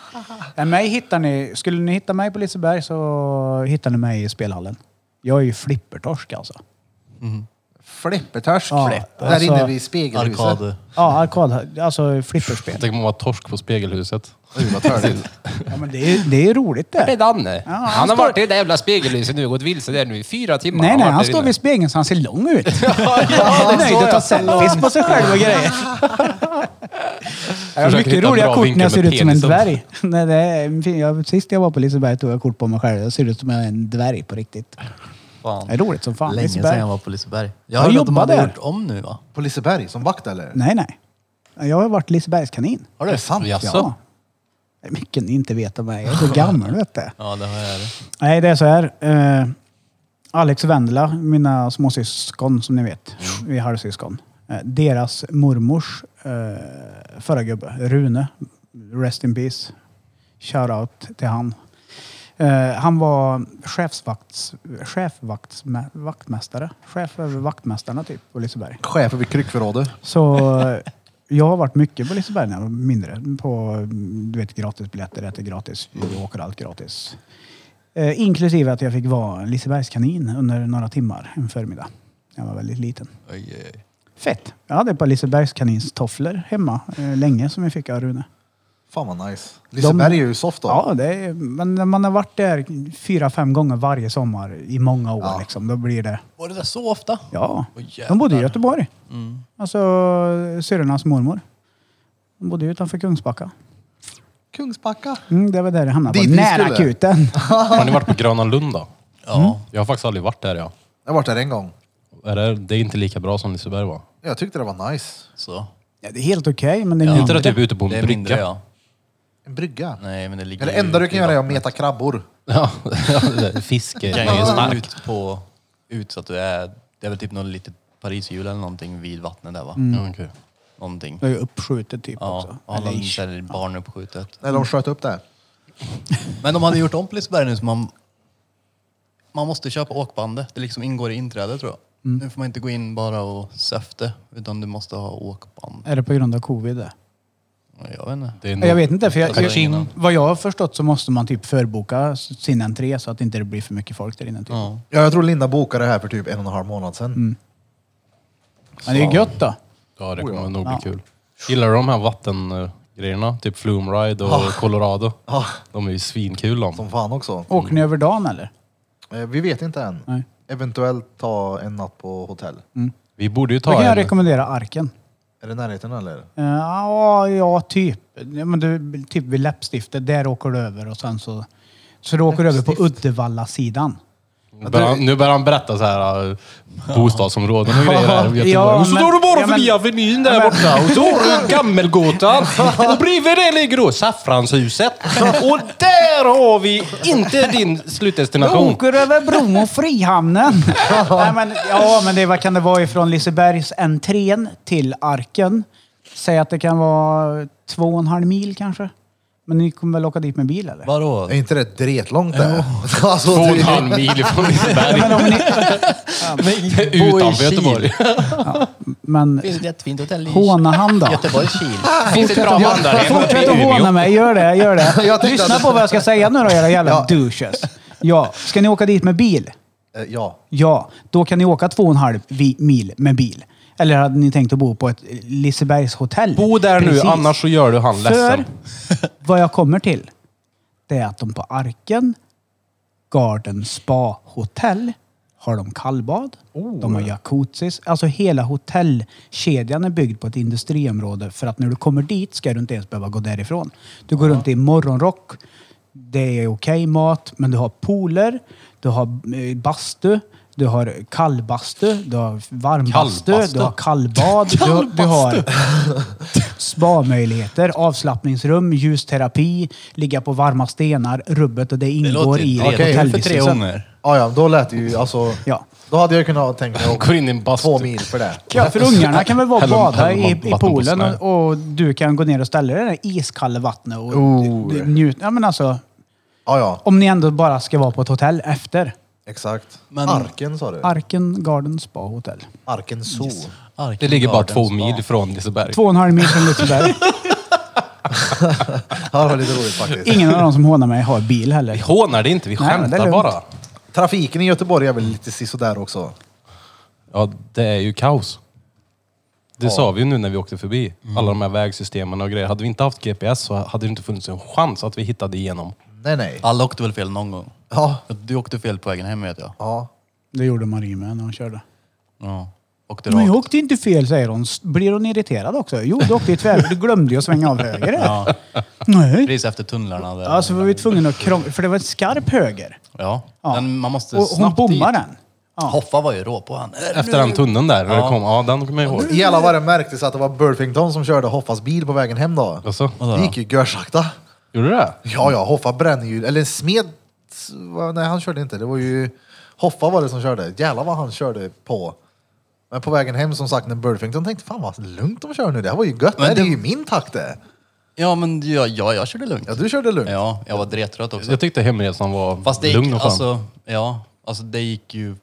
[SPEAKER 3] Nej, mig hittar ni, skulle ni hitta mig på Liseberg så hittar ni mig i spelhallen. Jag är ju flippertorsk alltså.
[SPEAKER 1] Flippertörsk.
[SPEAKER 3] Ja,
[SPEAKER 1] Där
[SPEAKER 3] alltså,
[SPEAKER 1] inne vid spegelhuset.
[SPEAKER 2] Arkad.
[SPEAKER 3] Ja, arkad, alltså flipperspel.
[SPEAKER 5] Tänk om man var torsk på spegelhuset.
[SPEAKER 1] Oj, vad törligt.
[SPEAKER 3] Ja, men det, är, det är roligt det.
[SPEAKER 5] Danne.
[SPEAKER 3] han Han har står- varit
[SPEAKER 5] i det jävla spegelhuset nu och gått vilse där nu i fyra timmar.
[SPEAKER 3] Nej, nej, han står vid spegeln så han ser lång ut. han är nöjd och tar selfies på sig själv och grejer. Jag har
[SPEAKER 5] Försöker
[SPEAKER 3] mycket
[SPEAKER 5] hitta en
[SPEAKER 3] roliga
[SPEAKER 5] bra
[SPEAKER 3] kort när
[SPEAKER 5] vinkel
[SPEAKER 3] jag ser
[SPEAKER 5] med
[SPEAKER 3] ut som en
[SPEAKER 5] penisen.
[SPEAKER 3] dvärg. Nej, det är, jag, sist jag var på Liseberg tog jag kort på mig själv. Jag ser ut som en dvärg på riktigt.
[SPEAKER 2] Fan.
[SPEAKER 3] Det är roligt som fan.
[SPEAKER 2] Länge
[SPEAKER 3] Liseberg.
[SPEAKER 2] sedan jag var på Liseberg. Jag
[SPEAKER 3] Har
[SPEAKER 2] hörde
[SPEAKER 3] du
[SPEAKER 2] att de
[SPEAKER 3] jobbat
[SPEAKER 2] hade
[SPEAKER 3] där?
[SPEAKER 2] gjort om nu va?
[SPEAKER 1] På Liseberg, som vakt eller?
[SPEAKER 3] Nej, nej. Jag har varit Lisebergskanin.
[SPEAKER 1] Har du? Sant.
[SPEAKER 5] Jaså?
[SPEAKER 3] Det är mycket ni inte vet om mig. Jag är så gammal, vet du.
[SPEAKER 2] Ja, det har jag. det.
[SPEAKER 3] Nej, det är så här. Eh, Alex och Vendela, mina småsyskon som ni vet, vi är halvsyskon. Eh, deras mormors eh, förra gubbe, Rune, rest in peace, shoutout till han. Eh, han var chefsvakts, chefvakts, vaktmästare, chef över vaktmästarna typ på Liseberg.
[SPEAKER 1] Chef över kryckförrådet.
[SPEAKER 3] Så eh, jag har varit mycket på Liseberg när jag var mindre. På mm, du vet, gratisbiljetter, äter gratis, vi åker allt gratis. Eh, inklusive att jag fick vara en Lisebergskanin under några timmar en förmiddag. Jag var väldigt liten. Fett! Jag hade ett par Lisebergskaninstofflor hemma eh, länge som vi fick av Rune.
[SPEAKER 1] Fan vad nice. Liseberg är ju soft då.
[SPEAKER 3] Ja, det är, men när man har varit där fyra, fem gånger varje sommar i många år
[SPEAKER 1] Ja.
[SPEAKER 3] liksom, då blir det...
[SPEAKER 2] Var det där så ofta?
[SPEAKER 3] Ja,
[SPEAKER 2] Åh, jävlar.
[SPEAKER 3] de bodde i Göteborg.
[SPEAKER 2] Mm.
[SPEAKER 3] Alltså syrrornas mormor. De bodde ju utanför Kungsbacka.
[SPEAKER 1] Kungsbacka.
[SPEAKER 3] Mm, det var där det hamnade.
[SPEAKER 1] Dit
[SPEAKER 3] Dit
[SPEAKER 1] vi
[SPEAKER 3] nära
[SPEAKER 1] skulle.
[SPEAKER 3] akuten.
[SPEAKER 5] Har ni varit på Gröna Lund då?
[SPEAKER 2] Ja.
[SPEAKER 5] Jag har faktiskt aldrig varit där jag.
[SPEAKER 1] Jag har varit där en gång.
[SPEAKER 5] Är det, det är inte lika bra som Liseberg var.
[SPEAKER 1] Jag tyckte det var nice.
[SPEAKER 2] Så.
[SPEAKER 3] Ja, det är helt okej, men det är
[SPEAKER 5] Är inte
[SPEAKER 3] mindre.
[SPEAKER 5] det typ ute på en
[SPEAKER 2] Det är
[SPEAKER 5] brygga?
[SPEAKER 2] mindre ja.
[SPEAKER 1] En brygga.
[SPEAKER 2] Nej, men det ligger
[SPEAKER 1] Men det enda
[SPEAKER 2] ju
[SPEAKER 1] du kan
[SPEAKER 2] i
[SPEAKER 1] göra är att
[SPEAKER 2] vattnet.
[SPEAKER 1] meta krabbor.
[SPEAKER 5] Ja, det är fiske.
[SPEAKER 2] Du
[SPEAKER 5] Det
[SPEAKER 2] kan
[SPEAKER 5] är
[SPEAKER 2] ju
[SPEAKER 5] ju
[SPEAKER 2] stå
[SPEAKER 5] starkt.
[SPEAKER 2] ut på... Ut så att du är... Det är väl typ något litet pariserhjul eller någonting vid vattnet där va?
[SPEAKER 1] Mm.
[SPEAKER 5] Ja, okej.
[SPEAKER 2] Någonting.
[SPEAKER 3] Det är ju uppskjutet typ
[SPEAKER 2] Ja,
[SPEAKER 3] också.
[SPEAKER 2] ja
[SPEAKER 3] Eller
[SPEAKER 2] någon
[SPEAKER 3] ish.
[SPEAKER 2] sån här barnuppskjutet.
[SPEAKER 1] Eller de sköt upp det.
[SPEAKER 2] Men de hade gjort om på Liseberg nu så man... Man måste köpa åkbandet. Det liksom ingår i inträdet tror jag. Nu får man inte gå in bara och söfte utan du måste ha åkband.
[SPEAKER 3] Är det på grund av covid det?
[SPEAKER 2] Jag vet inte.
[SPEAKER 5] Det är nog-
[SPEAKER 3] Jag vet inte. För jag,
[SPEAKER 2] Jag har ingen
[SPEAKER 3] jag,
[SPEAKER 2] aning.
[SPEAKER 3] vad jag har förstått så måste man typ förboka sin entré så att inte det blir för mycket folk där inne. Typ.
[SPEAKER 2] Ja.
[SPEAKER 1] Ja, jag tror Linda bokade det här för typ en och en halv månad sedan.
[SPEAKER 3] Men det är ju gött då.
[SPEAKER 5] Ja, det
[SPEAKER 1] Oh, ja.
[SPEAKER 5] kommer nog bli kul. Gillar du de här vattengrejerna? Typ Flume Ride och
[SPEAKER 3] Ah.
[SPEAKER 5] Colorado?
[SPEAKER 1] Ja,
[SPEAKER 5] De är ju svinkul de.
[SPEAKER 1] som fan också.
[SPEAKER 3] Åker ni över dagen eller?
[SPEAKER 1] Eh, Vi vet inte än.
[SPEAKER 3] Nej.
[SPEAKER 1] Eventuellt ta en natt på hotell.
[SPEAKER 5] Vi borde ju
[SPEAKER 3] Då kan
[SPEAKER 5] ta
[SPEAKER 3] jag
[SPEAKER 5] en...
[SPEAKER 3] rekommendera Arken.
[SPEAKER 1] Är det närheten eller?
[SPEAKER 3] Eh, Ja, ja typ. Ja, men du, typ vid läppstiftet, där åker du över och sen så... Så du åker över på Uddevalla-sidan.
[SPEAKER 5] Nu börjar han- Nu börjar han berätta så här äh, bostadsområden och grejer här i Göteborg.
[SPEAKER 3] Ja,
[SPEAKER 5] och så
[SPEAKER 3] men-
[SPEAKER 5] tar du bara
[SPEAKER 3] ja, men-
[SPEAKER 5] förbi Avenyn där borta och så har du Gammelgatan. Och bredvid det ligger då Saffranshuset. Och där har vi inte din
[SPEAKER 3] Jag
[SPEAKER 5] slutdestination.
[SPEAKER 3] åker över bron och Frihamnen. Nej, men, ja, men det, vad kan det vara ifrån Lisebergs entrén till Arken? Säg att det kan vara två och en halv mil kanske. Men ni kommer väl åka dit med bil eller?
[SPEAKER 2] Vadå?
[SPEAKER 1] Är inte det dretlångt det? alltså,
[SPEAKER 5] Alltså. Två och en
[SPEAKER 1] det-
[SPEAKER 5] halv mil ifrån Liseberg.
[SPEAKER 3] Men, om ni,
[SPEAKER 5] Utanför Göteborg.
[SPEAKER 3] men
[SPEAKER 2] Finns det ett fint hotell i
[SPEAKER 3] Hånahamn då?
[SPEAKER 2] Göteborg, Kil?
[SPEAKER 5] Finns ett bra vandrarhem uppe i
[SPEAKER 3] Fortsätt att
[SPEAKER 5] Umeå.
[SPEAKER 3] håna mig, gör det,
[SPEAKER 1] Jag
[SPEAKER 3] gör det.
[SPEAKER 1] tänkte
[SPEAKER 3] Lyssna
[SPEAKER 1] att-
[SPEAKER 3] på vad jag ska säga nu då era jävla
[SPEAKER 1] Ja.
[SPEAKER 3] douches. Ja, ska ni åka dit med bil?
[SPEAKER 1] Eh, Ja.
[SPEAKER 3] Ja, då kan ni åka två och en halv vi- mil med bil. Eller hade ni tänkt att bo på ett Lisebergshotell?
[SPEAKER 5] Bo där
[SPEAKER 3] Precis.
[SPEAKER 5] nu, annars så gör du han
[SPEAKER 3] För
[SPEAKER 5] ledsen.
[SPEAKER 3] vad jag kommer till, det är att de på Arken Garden Spa Hotel har de kallbad, de
[SPEAKER 5] Oh.
[SPEAKER 3] har jacuzzis. Alltså hela hotellkedjan är byggd på ett industriområde för att när du kommer dit ska du inte ens behöva gå därifrån. Du går runt i morgonrock, det är okej mat, men du har pooler, du har eh, bastu, du har kallbastu, du har varmbastu,
[SPEAKER 5] Kallbastu?
[SPEAKER 3] du har kallbad, du, du har spa-möjligheter, avslappningsrum, ljusterapi, ligga på varma stenar, rubbet och det ingår
[SPEAKER 2] låter
[SPEAKER 3] i
[SPEAKER 2] redo
[SPEAKER 1] Okej.
[SPEAKER 2] för tre
[SPEAKER 3] hotellvistelsen.
[SPEAKER 2] gånger.
[SPEAKER 1] Ah, Ja, ja, då lät det ju alltså...
[SPEAKER 3] Ja.
[SPEAKER 1] Då hade jag kunnat tänka mig
[SPEAKER 5] Går in i
[SPEAKER 1] åka
[SPEAKER 5] en bastu.
[SPEAKER 1] två mil för det.
[SPEAKER 3] Ja, för ungarna kan väl vara och
[SPEAKER 5] Häller-
[SPEAKER 3] bada
[SPEAKER 5] häller
[SPEAKER 3] i,
[SPEAKER 5] man
[SPEAKER 3] i
[SPEAKER 5] vatten på
[SPEAKER 3] poolen
[SPEAKER 5] snö?
[SPEAKER 3] och, och du kan gå ner och ställa dig i det där iskalla vattnet och
[SPEAKER 1] Oh.
[SPEAKER 3] d- d- njuta. Ja, men alltså,
[SPEAKER 1] Ja, Ah, ja.
[SPEAKER 3] om ni ändå bara ska vara på ett hotell efter.
[SPEAKER 1] Exakt.
[SPEAKER 2] Men-
[SPEAKER 1] Arken sa du?
[SPEAKER 3] Arken Garden Spa Hotel.
[SPEAKER 1] Arken Zoo.
[SPEAKER 5] Det ligger bara
[SPEAKER 2] Arkengardens
[SPEAKER 5] två
[SPEAKER 2] spa.
[SPEAKER 5] mil från Liseberg.
[SPEAKER 3] Två och en halv mil från Liseberg.
[SPEAKER 1] Ja, det var lite roligt faktiskt.
[SPEAKER 3] Ingen av de som hånar mig har bil heller.
[SPEAKER 5] Vi hånar det inte, vi
[SPEAKER 3] Nej, men det är
[SPEAKER 5] skämtar
[SPEAKER 3] lugnt.
[SPEAKER 5] bara.
[SPEAKER 1] Trafiken i Göteborg är väl lite sisådär också.
[SPEAKER 5] Ja, det är ju kaos. Det sa vi ju nu när vi åkte förbi. Alla de här vägsystemen och grejer. Hade vi inte haft GPS så hade det inte funnits en chans att vi hittade igenom.
[SPEAKER 1] Nej, nej.
[SPEAKER 2] Alla åkte väl fel någon gång?
[SPEAKER 1] Ja.
[SPEAKER 2] Du åkte fel på vägen hem vet jag.
[SPEAKER 1] Ja.
[SPEAKER 3] Det gjorde Marie med när hon körde.
[SPEAKER 2] Ja. Åkte
[SPEAKER 3] Men
[SPEAKER 2] rakt.
[SPEAKER 3] jag åkte inte fel, säger hon. S- Blir hon irriterad också? Jo, du åkte i tvär, du glömde ju att svänga av höger.
[SPEAKER 2] Ja,
[SPEAKER 3] Nej.
[SPEAKER 2] precis efter tunnlarna. Där.
[SPEAKER 3] Alltså var vi tvungna att krångla, för det var en skarp höger.
[SPEAKER 2] ja.
[SPEAKER 3] Ja.
[SPEAKER 2] Men man måste
[SPEAKER 3] Och hon
[SPEAKER 2] snabbt
[SPEAKER 3] bommade
[SPEAKER 2] dit.
[SPEAKER 3] den. Ja.
[SPEAKER 2] Hoffa var ju rå på han.
[SPEAKER 5] Efter den tunneln där, när
[SPEAKER 2] Ja.
[SPEAKER 5] det kom. Ja, den kommer jag ihåg.
[SPEAKER 1] I alla fall märktes att det var Burfington som körde Hoffas bil på vägen hem då.
[SPEAKER 5] Alltså,
[SPEAKER 1] Det gick ju görsakta.
[SPEAKER 5] gjorde du det?
[SPEAKER 1] Ja, ja, Hoffa bränner ju. Eller Smed... va, Nej, han körde inte. Det var ju... Hoffa var det som körde. Jävlar vad han körde på. Men på vägen hem som sagt när Burfington tänkte fan vad lugnt de kör nu. Det här var ju gött.
[SPEAKER 2] Men
[SPEAKER 1] Nej, det...
[SPEAKER 2] det-
[SPEAKER 1] är ju min takt det.
[SPEAKER 2] Ja, men ja, ja, jag körde lugnt.
[SPEAKER 1] Ja, du körde lugnt.
[SPEAKER 2] Ja, jag var drettrött också.
[SPEAKER 5] Jag tyckte hemresan var
[SPEAKER 2] Fast det
[SPEAKER 5] lugn
[SPEAKER 2] gick,
[SPEAKER 5] och skön.
[SPEAKER 2] alltså, ja, alltså det gick ju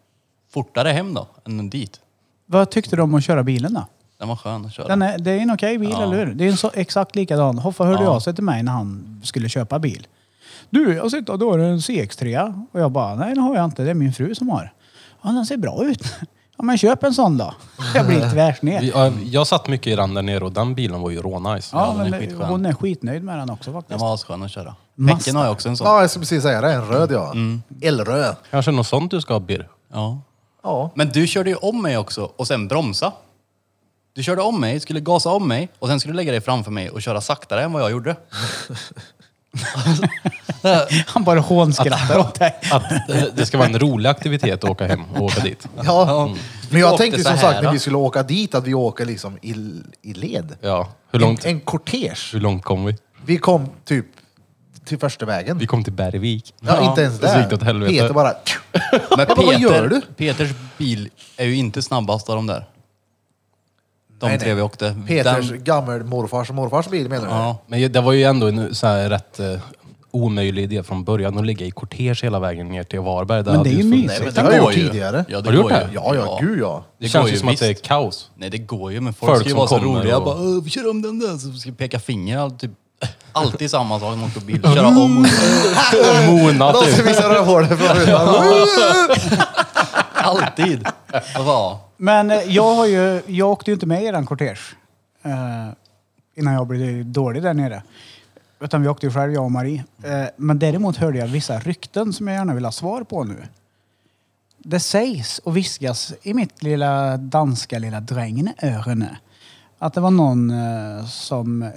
[SPEAKER 2] fortare hem då, än dit.
[SPEAKER 3] Vad tyckte du om att köra bilen då?
[SPEAKER 2] Den var skön att köra.
[SPEAKER 3] Den är, det är en okej bil,
[SPEAKER 2] Ja.
[SPEAKER 3] eller hur? Det är en så exakt likadan. Hoffa hörde
[SPEAKER 2] Ja.
[SPEAKER 3] av sig till mig när han skulle köpa bil. Du, jag sitter och då har du en CX3. Och jag bara, nej det har jag inte. Det är min fru som har. Ja, den ser bra ut. Ja, men köp en sån då. Jag blir tvärsned.
[SPEAKER 5] Vi- ja, Jag satt mycket i den där nere och den bilen var ju rånice.
[SPEAKER 3] Ja,
[SPEAKER 2] Ja, den är
[SPEAKER 3] men
[SPEAKER 2] skitskön.
[SPEAKER 3] hon är skitnöjd med den också faktiskt.
[SPEAKER 2] Den var asskön att köra.
[SPEAKER 3] Mazda.
[SPEAKER 2] Häcken har jag också en sån.
[SPEAKER 1] Ja, jag skulle precis säga det. En röd ja. Elröd.
[SPEAKER 5] Kanske något sånt du ska ha, Bir?
[SPEAKER 2] Ja.
[SPEAKER 1] Ja.
[SPEAKER 2] Men du körde ju om mig också och sen bromsa. Du körde om mig, skulle gasa om mig och sen skulle du lägga dig framför mig och köra saktare än vad jag gjorde.
[SPEAKER 3] Han bara hånskrattar åt dig.
[SPEAKER 5] Att eh, det ska vara en rolig aktivitet att åka hem och åka dit.
[SPEAKER 1] Ja. Men
[SPEAKER 2] Vi
[SPEAKER 1] jag
[SPEAKER 2] åkte
[SPEAKER 1] tänkte
[SPEAKER 2] så
[SPEAKER 1] som
[SPEAKER 2] här,
[SPEAKER 1] sagt när
[SPEAKER 2] då.
[SPEAKER 1] vi skulle åka dit att vi åker liksom i, i led.
[SPEAKER 5] Ja. Hur långt,
[SPEAKER 1] En, en kortege.
[SPEAKER 5] hur långt kom vi?
[SPEAKER 1] Vi kom typ till första vägen.
[SPEAKER 5] Vi kom till Bergvik.
[SPEAKER 1] Ja, inte ens
[SPEAKER 5] Så
[SPEAKER 1] där.
[SPEAKER 5] gick det åt helvete.
[SPEAKER 1] Peter bara...
[SPEAKER 2] Men
[SPEAKER 1] Ja, men vad gör du?
[SPEAKER 2] Peters bil är ju inte snabbast av de där. De
[SPEAKER 1] Nej, nej.
[SPEAKER 2] tre vi åkte.
[SPEAKER 1] Peters
[SPEAKER 2] Den,
[SPEAKER 1] gammelmorfars och morfars bil menar du?
[SPEAKER 2] ja,
[SPEAKER 5] Men ju- det var ju ändå en så här rätt eh, omöjlig idé från början att ligga i kortege hela vägen ner till Varberg.
[SPEAKER 3] Men
[SPEAKER 5] hade
[SPEAKER 3] det är ju
[SPEAKER 5] funnits-
[SPEAKER 3] mysigt.
[SPEAKER 1] Nej, men det
[SPEAKER 2] Det
[SPEAKER 1] har jag
[SPEAKER 2] går
[SPEAKER 1] gjort
[SPEAKER 2] ju.
[SPEAKER 1] tidigare.
[SPEAKER 2] Ja, det
[SPEAKER 5] Har du gjort
[SPEAKER 2] går
[SPEAKER 5] det?
[SPEAKER 2] ju.
[SPEAKER 1] Ja, ja, gud ja.
[SPEAKER 5] Det,
[SPEAKER 2] går
[SPEAKER 5] känns ju
[SPEAKER 2] ju,
[SPEAKER 5] som att det är
[SPEAKER 2] visst.
[SPEAKER 5] kaos.
[SPEAKER 2] Nej, det går ju, men folk, ska ju
[SPEAKER 5] som
[SPEAKER 2] vara så
[SPEAKER 5] kommer
[SPEAKER 2] roliga.
[SPEAKER 5] och-
[SPEAKER 2] Och... Bara, "Åh, vi kör om den där, så ska jag peka finger. allt Typ. Alltid samma sak, någon på bil. Köra om och...
[SPEAKER 5] Mona
[SPEAKER 1] De ska
[SPEAKER 5] typ.
[SPEAKER 1] visa rövhålet från rutan.
[SPEAKER 2] Alltid. Vad var?
[SPEAKER 3] Men eh, jag, har ju, jag åkte ju inte med i den kortege. Eh, innan jag blev dålig där nere. Utan vi åkte ju själv, jag och Marie. Eh, men däremot hörde jag vissa rykten som jag gärna vill ha svar på nu. Det sägs och viskas i mitt lilla danska lilla drängnöron att det var någon eh, som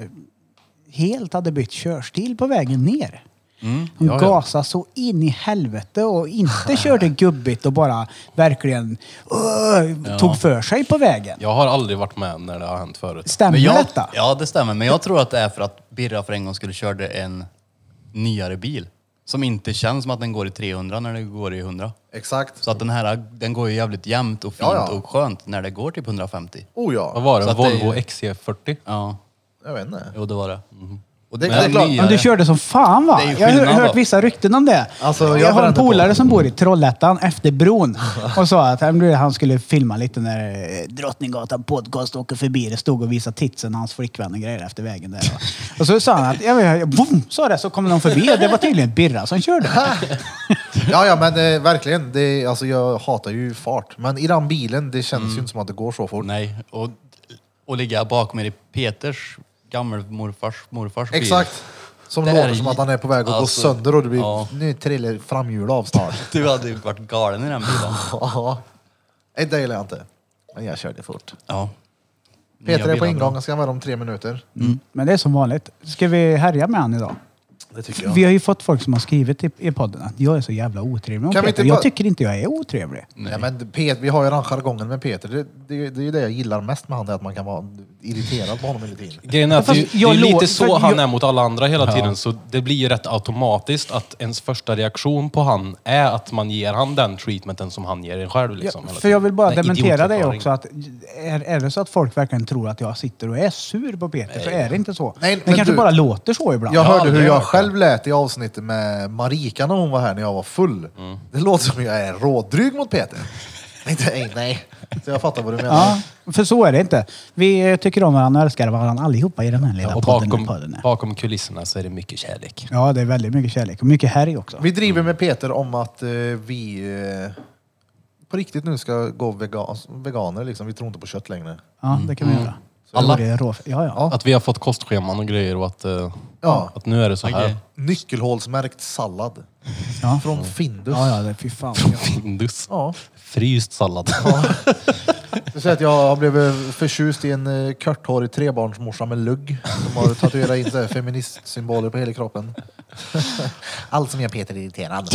[SPEAKER 3] helt hade bytt körstil på vägen ner. De
[SPEAKER 5] ja, ja.
[SPEAKER 3] gasade så in i helvete och inte körde gubbigt och bara verkligen "Åh", tog för sig på vägen.
[SPEAKER 5] Jag har aldrig varit med när det har hänt förut.
[SPEAKER 3] Stämmer
[SPEAKER 2] jag,
[SPEAKER 3] detta?
[SPEAKER 2] Ja, det stämmer. Men jag tror att det är för att Birra för en gång skulle körde en nyare bil. Som inte känns som att den går i 300 när det går i 100.
[SPEAKER 1] Exakt.
[SPEAKER 2] Så att den här, den går ju jävligt jämnt och fint
[SPEAKER 1] Ja, ja.
[SPEAKER 2] och skönt när det går typ 150.
[SPEAKER 1] Oh
[SPEAKER 5] Vad
[SPEAKER 1] ja.
[SPEAKER 5] var
[SPEAKER 2] Så
[SPEAKER 5] det? E
[SPEAKER 2] att det är ju-
[SPEAKER 5] Volvo XC40?
[SPEAKER 2] Ja,
[SPEAKER 1] Jag vet inte.
[SPEAKER 2] jo det Mhm. var det.
[SPEAKER 1] Och det, det
[SPEAKER 5] Men
[SPEAKER 1] är klart.
[SPEAKER 5] nya-
[SPEAKER 3] Men du körde som fan va?
[SPEAKER 2] Det är ju
[SPEAKER 3] Jag har
[SPEAKER 2] skillnad,
[SPEAKER 3] hört
[SPEAKER 2] va?
[SPEAKER 3] vissa rykten om det.
[SPEAKER 1] Alltså,
[SPEAKER 3] jag,
[SPEAKER 1] jag
[SPEAKER 3] har en
[SPEAKER 1] brände på.
[SPEAKER 3] polare som bor i Trollhättan efter bron och sa att han blev- han skulle filma lite när eh, Drottninggatan podcast åker förbi. Det stod och visade titsen hans flickvän och grejer efter vägen där. va. Och så sa han att, jag vet, boom, sa det, så kom de förbi och det var tydligen Birra som körde.
[SPEAKER 1] Ja, ja, men eh, verkligen. Det, alltså, jag hatar ju fart. Men i den bilen, det känns ju inte som att det går så fort.
[SPEAKER 2] Mm. Nej, och, och ligga bakom er i Peters gammelmorfars morfars bil.
[SPEAKER 1] Exakt. Som
[SPEAKER 2] Det är
[SPEAKER 1] låter
[SPEAKER 2] ju-
[SPEAKER 1] som att han är på väg att
[SPEAKER 2] Alltså,
[SPEAKER 1] gå sönder och det blir,
[SPEAKER 2] ja.
[SPEAKER 1] nu trillar framhjul av snart.
[SPEAKER 2] Du hade ju varit galen i den bilen.
[SPEAKER 1] Ja. Nej, det gillar jag inte. Men jag körde fort.
[SPEAKER 2] Ja.
[SPEAKER 1] Peter
[SPEAKER 2] Nya
[SPEAKER 1] är på
[SPEAKER 2] bilar,
[SPEAKER 1] ingång, jag ska vara om tre minuter.
[SPEAKER 3] Mm. Men det är som vanligt. Ska vi härja med han idag?
[SPEAKER 1] Det tycker
[SPEAKER 3] Vi har ju fått folk som har skrivit i, i podden att jag är så jävla otrevlig mot
[SPEAKER 1] Kan vi
[SPEAKER 3] Peter.
[SPEAKER 1] inte
[SPEAKER 3] Jag
[SPEAKER 1] bara-
[SPEAKER 3] tycker inte jag är otrevlig.
[SPEAKER 1] Nej, men Pet, vi har ju den jargongen med Peter. Det, det, det är ju det jag gillar mest med han, det är att man kan vara irriterad på honom hela tiden.
[SPEAKER 5] Grejen är att
[SPEAKER 3] Fast
[SPEAKER 5] det, det
[SPEAKER 3] jag
[SPEAKER 5] är
[SPEAKER 3] lo-
[SPEAKER 5] lite
[SPEAKER 3] för
[SPEAKER 5] så han
[SPEAKER 3] jag-
[SPEAKER 5] är mot alla andra hela tiden. Så det blir ju rätt automatiskt att ens första reaktion på han är att man ger han den treatmenten som han ger en själv. Liksom,
[SPEAKER 3] Ja,
[SPEAKER 5] hela
[SPEAKER 3] för jag
[SPEAKER 5] tiden.
[SPEAKER 3] vill bara
[SPEAKER 5] Den
[SPEAKER 3] dementera dig
[SPEAKER 5] idiotförklaringen.
[SPEAKER 3] också. Att är, är det så att folk verkligen tror att jag sitter och är sur på Peter så är det inte så.
[SPEAKER 1] Nej,
[SPEAKER 3] det
[SPEAKER 1] men
[SPEAKER 3] kanske
[SPEAKER 1] du-
[SPEAKER 3] bara låter så ibland.
[SPEAKER 1] Jag
[SPEAKER 5] Ja,
[SPEAKER 1] hörde
[SPEAKER 5] det
[SPEAKER 1] hur
[SPEAKER 5] är
[SPEAKER 1] jag
[SPEAKER 5] verkligen.
[SPEAKER 1] själv lät i avsnittet med Marika när hon var här när jag var full.
[SPEAKER 5] Mm.
[SPEAKER 1] Det låter som jag är rådryg mot Peter. Inte, nej, nej. Så jag fattar vad du menar.
[SPEAKER 3] Ja, för så är det inte. Vi eh, tycker om varandra och älskar varandra allihopa i den här lilla
[SPEAKER 5] Och
[SPEAKER 3] podden.
[SPEAKER 5] bakom,
[SPEAKER 3] podden är.
[SPEAKER 5] bakom kulisserna så är det mycket kärlek.
[SPEAKER 3] Ja, det är väldigt mycket kärlek och mycket härj också.
[SPEAKER 1] Vi driver med Peter om att eh, vi eh, på riktigt nu ska gå vegan, veganer liksom. Vi tror inte på kött längre.
[SPEAKER 3] Ja, det kan vi göra.
[SPEAKER 5] Alla.
[SPEAKER 3] Det är rå- Ja, ja.
[SPEAKER 5] Att vi har fått kostscheman och grejer och att, eh,
[SPEAKER 1] Ja.
[SPEAKER 5] att nu är det så här.
[SPEAKER 2] Okej.
[SPEAKER 1] Nyckelhålsmärkt sallad.
[SPEAKER 3] Ja.
[SPEAKER 5] Mm.
[SPEAKER 1] Från Findus.
[SPEAKER 3] Ja,
[SPEAKER 1] Ja,
[SPEAKER 3] ja, det, fy fan.
[SPEAKER 5] Findus.
[SPEAKER 1] ja.
[SPEAKER 5] Fryst sallad.
[SPEAKER 1] Du säger att jag har blivit förtjust i en eh, korthårig trebarnsmorsa med lugg. Som har tatuerat in så här feministsymboler på hela kroppen. Allt som gör Peter irriterad.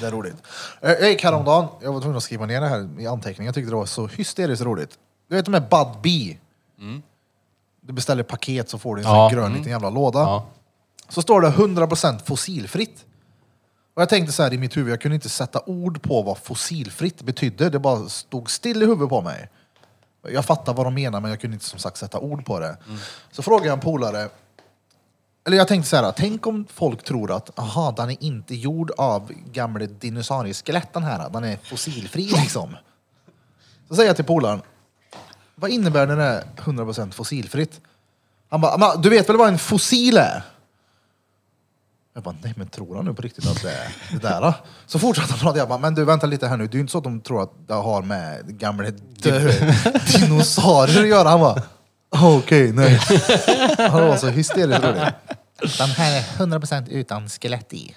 [SPEAKER 1] Det är roligt. Eh, Jag gick häromdagen, jag var tvungen att skriva ner det här i anteckningen. Jag tyckte det var så hysteriskt roligt. Du vet de här Bud Bee? Du beställer paket så får du en sån här
[SPEAKER 5] Mm. Ja. Mm.
[SPEAKER 1] grön liten jävla låda.
[SPEAKER 5] ja.
[SPEAKER 1] Så står det 100% fossilfritt. Och jag tänkte så här i mitt huvud, jag kunde inte sätta ord på vad fossilfritt betydde. Det bara stod still i huvudet på mig. Jag fattar vad de menar men jag kunde inte som sagt sätta ord på det.
[SPEAKER 5] Mm.
[SPEAKER 1] Så frågade jag en polare, eller jag tänkte så här, tänk om folk tror att aha, den är inte gjord av gamla dinosaurieskelett den här, den är fossilfri liksom. Så säger jag till polaren, vad innebär den här 100% fossilfritt? Han bara, "Men du vet väl vad en fossil är? Jag bara, nej men tror han nu på riktigt att det är det där? då?" Så fortsatte han prata, jag bara, men du vänta lite här nu, det är ju inte så att de tror att det har med gamla dö- dinosaurier att göra. Han bara, okej, nej. Han var så hysteriskt rolig. Den här är 100% utan skelett i.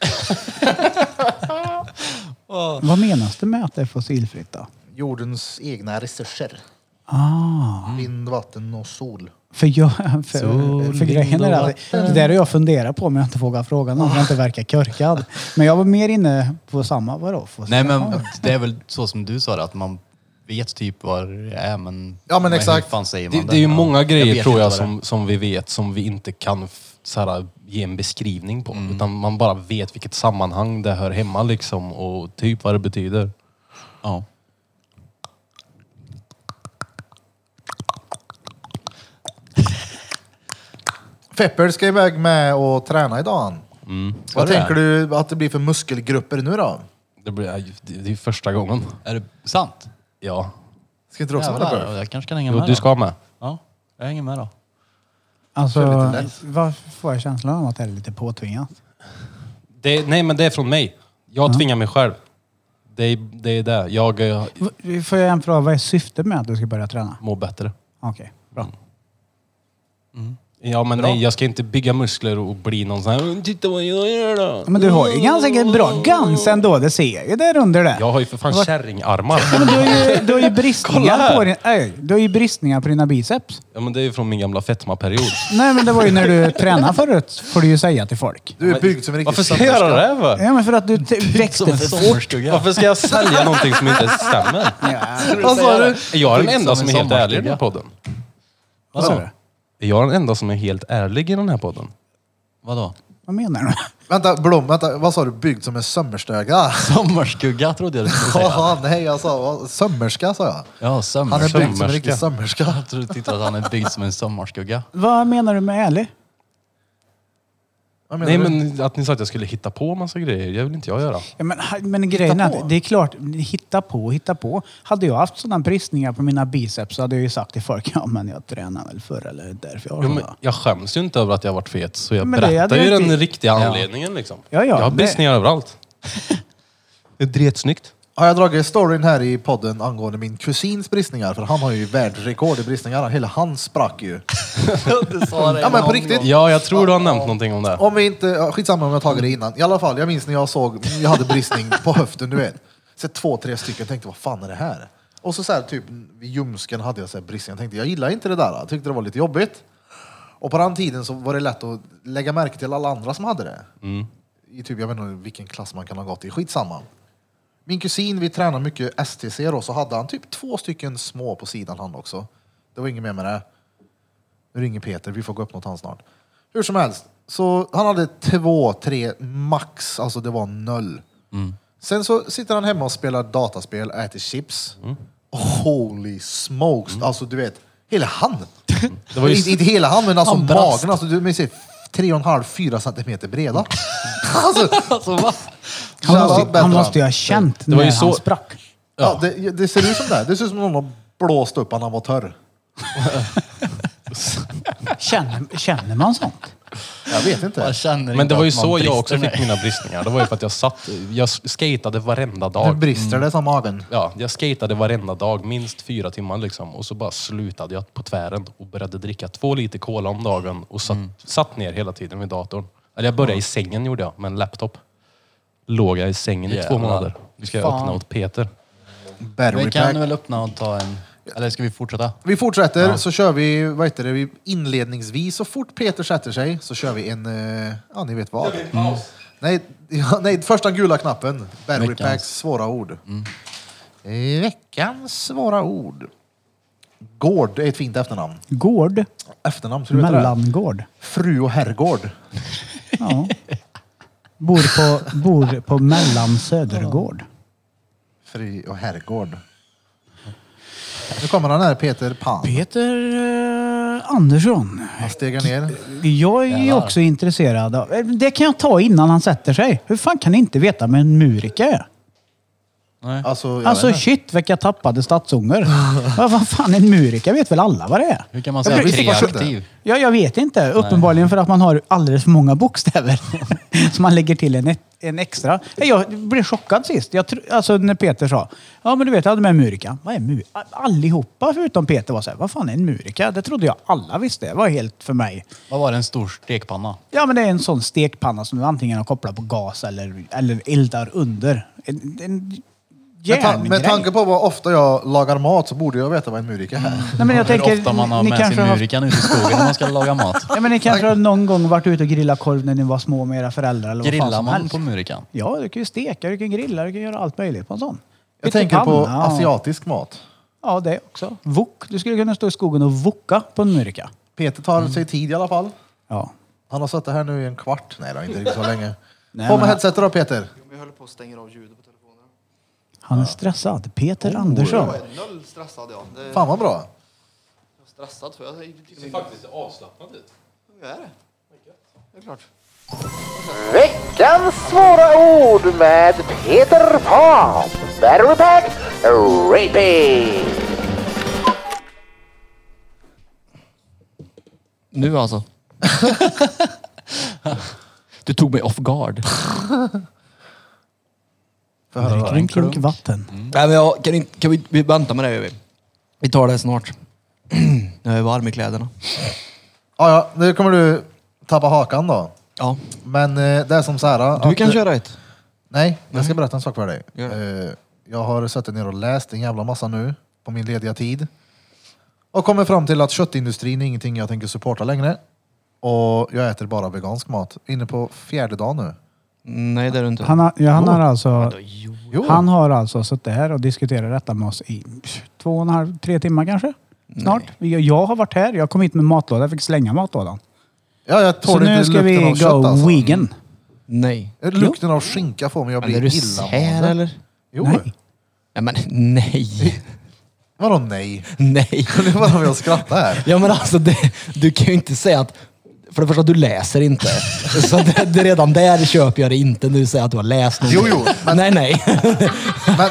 [SPEAKER 3] Vad menas det med att det är fossilfritt då?
[SPEAKER 1] Jordens egna resurser.
[SPEAKER 3] Ah.
[SPEAKER 1] Vind, vatten och sol.
[SPEAKER 3] För, jag, för, för grejen är att det där har jag funderat på men jag har inte vågat fråga någon. Jag inte verkar korkad. Men jag var mer inne på samma. Vadå? Få
[SPEAKER 2] Nej
[SPEAKER 3] se.
[SPEAKER 2] men det är väl så som du sa det, att man vet typ vad det är men...
[SPEAKER 1] Ja, men
[SPEAKER 2] hur
[SPEAKER 1] exakt.
[SPEAKER 2] fan säger man
[SPEAKER 5] Det, det är ju
[SPEAKER 2] Ja.
[SPEAKER 5] många grejer
[SPEAKER 2] vet
[SPEAKER 5] tror
[SPEAKER 2] inte
[SPEAKER 5] jag
[SPEAKER 2] vad det är.
[SPEAKER 5] som, som vi vet som vi inte kan f- så här, ge en beskrivning på. Utan man bara vet vilket sammanhang det hör hemma liksom och typ vad det betyder.
[SPEAKER 2] Ja.
[SPEAKER 1] Fepper ska iväg med och träna idag. han. Vad
[SPEAKER 2] du
[SPEAKER 1] tänker du att det blir för muskelgrupper nu då?
[SPEAKER 5] Det, blir, det, det är första gången.
[SPEAKER 2] Är det sant?
[SPEAKER 5] Ja.
[SPEAKER 1] Ska inte du också vara där?
[SPEAKER 2] Jävlar,
[SPEAKER 1] Börje?
[SPEAKER 2] jag kanske kan hänga
[SPEAKER 5] Jo,
[SPEAKER 2] med
[SPEAKER 5] du
[SPEAKER 2] då.
[SPEAKER 5] ska med.
[SPEAKER 2] Ja, jag hänger med då.
[SPEAKER 3] Alltså,
[SPEAKER 1] Kör lite lätt.
[SPEAKER 3] varför får jag känslan av att det är lite påtvingat?
[SPEAKER 5] Det, nej men det är från mig. Jag tvingar mig själv. Det, är- det är det. Jag eh,
[SPEAKER 3] V- Får jag en fråga, vad är syftet med att du ska börja träna?
[SPEAKER 5] mår bättre.
[SPEAKER 3] Okej, bra.
[SPEAKER 5] Ja men nej, jag ska inte bygga muskler och bli någon sån här "Åh, Titta vad jag gör då.
[SPEAKER 3] Men du har ju ganska bra guns ändå, det ser jag ju där under det.
[SPEAKER 5] Jag har ju för fan kärringarmar.
[SPEAKER 3] Ja, Men du, har ju, du har ju bristningar
[SPEAKER 5] här.
[SPEAKER 3] på din, nej, du har ju bristningar på dina biceps.
[SPEAKER 5] Ja men det är ju från min gamla fetmaperiod.
[SPEAKER 3] Nej men det var ju när du tränade förut, får du ju säga till folk.
[SPEAKER 1] Du är byggd som en riktig
[SPEAKER 5] Varför ska jag göra det för?
[SPEAKER 3] Ja men för att du t- växte för fort.
[SPEAKER 5] Varför ska jag sälja någonting som inte stämmer? Vad sa du? Är jag den enda som är helt ärlig i den här podden?
[SPEAKER 3] Vad sa du?
[SPEAKER 5] Är jag den enda som är helt ärlig i den här podden?
[SPEAKER 2] Vadå?
[SPEAKER 3] Vad menar du?
[SPEAKER 1] Vänta, Blom, vänta, vad sa du? Byggd som en sömmerstuga?
[SPEAKER 2] Sommarskugga trodde jag du skulle säga.
[SPEAKER 1] Ja, nej, jag sa vad- sömmerska sa jag.
[SPEAKER 2] Ja,
[SPEAKER 1] Han är
[SPEAKER 2] sömmarskugga.
[SPEAKER 1] byggd som en riktig sömmerska.
[SPEAKER 2] Jag tror du tyckte att han är byggd som en sommarskugga.
[SPEAKER 3] Vad menar du med ärlig?
[SPEAKER 1] Vad menar
[SPEAKER 5] Nej
[SPEAKER 1] du?
[SPEAKER 5] men att ni sa att jag skulle hitta på massa grejer, det vill inte jag göra.
[SPEAKER 3] Ja, men, ha- men grejen är
[SPEAKER 1] på.
[SPEAKER 3] att det är klart, hitta på, hitta på. Hade jag haft sådana bristningar på mina biceps så hade jag ju sagt till folk, ja men jag tränar väl förr eller därför jag har
[SPEAKER 5] Jo, men
[SPEAKER 3] såna."
[SPEAKER 5] jag skäms ju inte över att jag har varit fet, så jag
[SPEAKER 3] Men det hade
[SPEAKER 5] berättar ju
[SPEAKER 3] du
[SPEAKER 5] den
[SPEAKER 3] inte-
[SPEAKER 5] riktiga anledningen. Liksom.
[SPEAKER 3] Ja, ja,
[SPEAKER 5] jag har
[SPEAKER 3] det-
[SPEAKER 5] bristningar överallt. det är dretsnyggt.
[SPEAKER 1] Har jag dragit storyn här i podden angående min kusins bristningar? För han har ju världsrekord i bristningar. Hela han sprack ju.
[SPEAKER 2] du sa det
[SPEAKER 1] Ja, men på
[SPEAKER 2] någon
[SPEAKER 1] riktigt.
[SPEAKER 2] gång.
[SPEAKER 5] Ja, jag tror du har nämnt någonting om det.
[SPEAKER 1] Om vi inte, ja, skitsamma om jag tagit det innan. I alla fall, jag minns när jag såg, jag hade bristning på höften, du vet. Så två, tre stycken, tänkte vad fan är det här? Och så, så här, typ vid ljumsken hade jag så här bristning. Jag tänkte jag gillar inte det där, jag tyckte det var lite jobbigt. Och på den tiden så var det lätt att lägga märke till alla andra som hade det. I typ, jag vet inte vilken klass man kan ha gått i, skitsamma. Min kusin, vi tränar mycket STC då, så hade han typ två stycken små på sidan han också. Det var inget mer med det. Nu ringer Peter, vi får gå upp mot han snart. Hur som helst, så han hade två, tre max, alltså det var noll.
[SPEAKER 2] Mm.
[SPEAKER 1] Sen så sitter han hemma och spelar dataspel och äter chips.
[SPEAKER 2] Mm.
[SPEAKER 1] Holy smokes! Alltså du vet, hela han!
[SPEAKER 5] Det var ju-
[SPEAKER 1] inte, inte hela han, men alltså
[SPEAKER 2] Han brast.
[SPEAKER 1] magen. Alltså, du men, se, tre och en halv, fyra centimeter breda. alltså,
[SPEAKER 2] Alltså, va?
[SPEAKER 3] Han
[SPEAKER 1] Shoutout
[SPEAKER 3] måste,
[SPEAKER 1] Bertrand.
[SPEAKER 3] han måste ju ha känt
[SPEAKER 5] Det var
[SPEAKER 3] när
[SPEAKER 5] ju så-
[SPEAKER 3] han sprack.
[SPEAKER 1] Ja, det, det ser ut som det. Det ser ut som någon har blåst upp han när han var törr.
[SPEAKER 3] Känner, känner man sånt?
[SPEAKER 1] Jag vet inte.
[SPEAKER 2] Jag känner
[SPEAKER 5] Men
[SPEAKER 2] inte
[SPEAKER 5] det var ju
[SPEAKER 2] att man
[SPEAKER 5] så jag
[SPEAKER 2] brister,
[SPEAKER 5] också
[SPEAKER 2] nej.
[SPEAKER 5] fick mina bristningar. Det var ju för att jag satt, jag skatade varenda
[SPEAKER 1] Nu
[SPEAKER 5] dag.
[SPEAKER 2] Mm.
[SPEAKER 1] brister det som magen.
[SPEAKER 5] Ja, jag skatade varenda dag, minst fyra timmar liksom. Och så bara slutade jag på tvären och började dricka två liter cola om dagen och satt,
[SPEAKER 2] Mm.
[SPEAKER 5] satt ner hela tiden vid datorn. Eller jag började i sängen gjorde jag, med en laptop. Låg jag i sängen i två
[SPEAKER 2] Jävlar.
[SPEAKER 5] månader. Nu ska jag
[SPEAKER 2] Fan.
[SPEAKER 5] öppna åt Peter.
[SPEAKER 1] Battery
[SPEAKER 2] Vi kan
[SPEAKER 1] pack.
[SPEAKER 2] väl öppna och ta en... Eller ska vi fortsätta?
[SPEAKER 1] Vi fortsätter så kör vi, vad heter det, vi- inledningsvis så fort Peter sätter sig så kör vi en, eh, ja ni vet vad. Mm. Nej, ja, nej, första gula knappen. Battery
[SPEAKER 2] Veckans.
[SPEAKER 1] packs svåra ord.
[SPEAKER 3] Mm.
[SPEAKER 1] Eh, Veckans svåra ord. Gård är ett fint efternamn.
[SPEAKER 3] Gård?
[SPEAKER 1] Efternamn, skulle du veta det?
[SPEAKER 3] Mellangård?
[SPEAKER 1] Fru och herrgård.
[SPEAKER 3] Ja. Bor på, bor på mellan Södergård.
[SPEAKER 1] Fru och herrgård. Nu kommer han här, Peter Pan.
[SPEAKER 3] Peter eh, Andersson.
[SPEAKER 1] Han stegar ner.
[SPEAKER 3] Jag är ju också intresserad av... eh, Det kan jag ta innan han sätter sig. Hur fan kan ni inte veta vem en murika är?
[SPEAKER 1] Alltså, jag
[SPEAKER 3] Alltså
[SPEAKER 1] vet inte.
[SPEAKER 3] shit vilka tappade stadsånger. Vad vad fan en murika vet väl alla vad det är?
[SPEAKER 2] Hur kan man
[SPEAKER 1] Jag
[SPEAKER 2] säga
[SPEAKER 1] blir- jag försökte.
[SPEAKER 2] kreativ?
[SPEAKER 3] Ja, jag vet inte. Uppenbarligen för att man har alldeles för många bokstäver. så man lägger till en, en extra. Nej, Jag blev chockad sist. Jag, tro- alltså när Peter sa, ja men du vet jag hade med murika. Vad är murika? Allihopa förutom Peter var så här, vad fan är en murika? Det trodde jag alla visste. Det var helt för mig.
[SPEAKER 2] Vad var det? En stor stekpanna?
[SPEAKER 3] Ja men det är en sån stekpanna som du antingen har kopplat på gas eller, eller eldar under. En, en
[SPEAKER 1] Med, ta-
[SPEAKER 3] järngrej.
[SPEAKER 1] med tanke på vad ofta jag lagar mat så borde jag veta vad en murika är.
[SPEAKER 3] Nej, men jag tänker,
[SPEAKER 2] Hur ofta man har
[SPEAKER 3] ni
[SPEAKER 2] med
[SPEAKER 3] kanske
[SPEAKER 2] sig
[SPEAKER 3] har
[SPEAKER 2] murikan ute i skogen när man ska laga mat?
[SPEAKER 3] Ja, men ni kanske har någon gång varit ute och grillat korv när ni var små med era föräldrar eller vad fan
[SPEAKER 2] Grillar
[SPEAKER 3] som
[SPEAKER 2] man
[SPEAKER 3] helst.
[SPEAKER 2] på murikan?
[SPEAKER 3] Ja, du kan ju steka, du kan grilla, du kan göra allt möjligt på en sån.
[SPEAKER 1] Jag tänker på
[SPEAKER 3] Pyttipanna och-
[SPEAKER 1] asiatisk mat.
[SPEAKER 3] Ja, det också. Wok. Du skulle kunna stå i skogen och woka på en murka.
[SPEAKER 1] Peter tar
[SPEAKER 3] Mm.
[SPEAKER 1] sig tid i alla fall.
[SPEAKER 3] Ja.
[SPEAKER 1] Han har suttit här nu i en kvart. Nej då, inte riktigt så länge.
[SPEAKER 3] Nej,
[SPEAKER 1] På med
[SPEAKER 3] men-
[SPEAKER 1] headsetet då Peter.
[SPEAKER 6] Jo, men Jag håller på att stänga av ljudet på telefonen.
[SPEAKER 3] Han är stressad. Peter Andersson.
[SPEAKER 6] Jag är noll stressad ja. Det är
[SPEAKER 1] Fan vad bra.
[SPEAKER 6] jag är stressad för jag är inte tycker
[SPEAKER 5] Faktiskt avslappnad ut.
[SPEAKER 6] jag är det. Det är klart.
[SPEAKER 7] Veckans svåra ord med Peter Pan. Battery Pack Repeat.
[SPEAKER 6] Nu alltså. du tog mig off guard.
[SPEAKER 1] Får jag höra Mm. då.
[SPEAKER 3] Dricker en klunk vatten.
[SPEAKER 6] Mm. Nej men jag kan inte, kan vi, vi vänta med det vi. Vi tar det snart. jag är varm i kläderna.
[SPEAKER 1] Ja, ja, nu kommer du tappa hakan då.
[SPEAKER 6] Ja.
[SPEAKER 1] Men eh, det är som så här.
[SPEAKER 6] Du
[SPEAKER 1] att-
[SPEAKER 6] kan köra ett.
[SPEAKER 1] Nej, jag ska berätta en sak för dig.
[SPEAKER 6] Gör
[SPEAKER 1] Eh, Jag har suttit ner och läst en jävla massa nu på min lediga tid. Och kommer fram till att köttindustrin är ingenting jag tänker supporta längre. Och jag äter bara vegansk mat. Inne på fjärde dagen nu.
[SPEAKER 6] Nej det är du inte.
[SPEAKER 3] Han har, ja,
[SPEAKER 2] Oh.
[SPEAKER 3] han har alltså...
[SPEAKER 1] Jo.
[SPEAKER 3] Han har alltså suttit här och diskuterat detta med oss i pff, två och en halv, tre timmar kanske. Snart. Jag, jag har varit här. Jag kom hit med matlåda. Jag fick slänga matlådan.
[SPEAKER 1] Ja, jag tål
[SPEAKER 3] Så
[SPEAKER 1] inte
[SPEAKER 3] nu ska
[SPEAKER 1] lukten
[SPEAKER 3] vi
[SPEAKER 1] av
[SPEAKER 3] go
[SPEAKER 1] kött alltså.
[SPEAKER 3] vegan.
[SPEAKER 6] Nej.
[SPEAKER 1] Eh, Lukten av skinka får mig att
[SPEAKER 6] Men
[SPEAKER 1] bli
[SPEAKER 6] är du sär
[SPEAKER 1] illamående.
[SPEAKER 6] eller?
[SPEAKER 1] Jo.
[SPEAKER 3] Nej.
[SPEAKER 6] Nej men nej.
[SPEAKER 1] Vadå nej?
[SPEAKER 6] nej.
[SPEAKER 1] Det är bara om jag skrattar här.
[SPEAKER 6] Ja men alltså det, du kan ju inte säga att För det första, du läser inte. Så det, det, redan där köper jag det inte när du säger att du har läst någonting.
[SPEAKER 1] Jo, jo,
[SPEAKER 6] Nej, nej.
[SPEAKER 1] Men,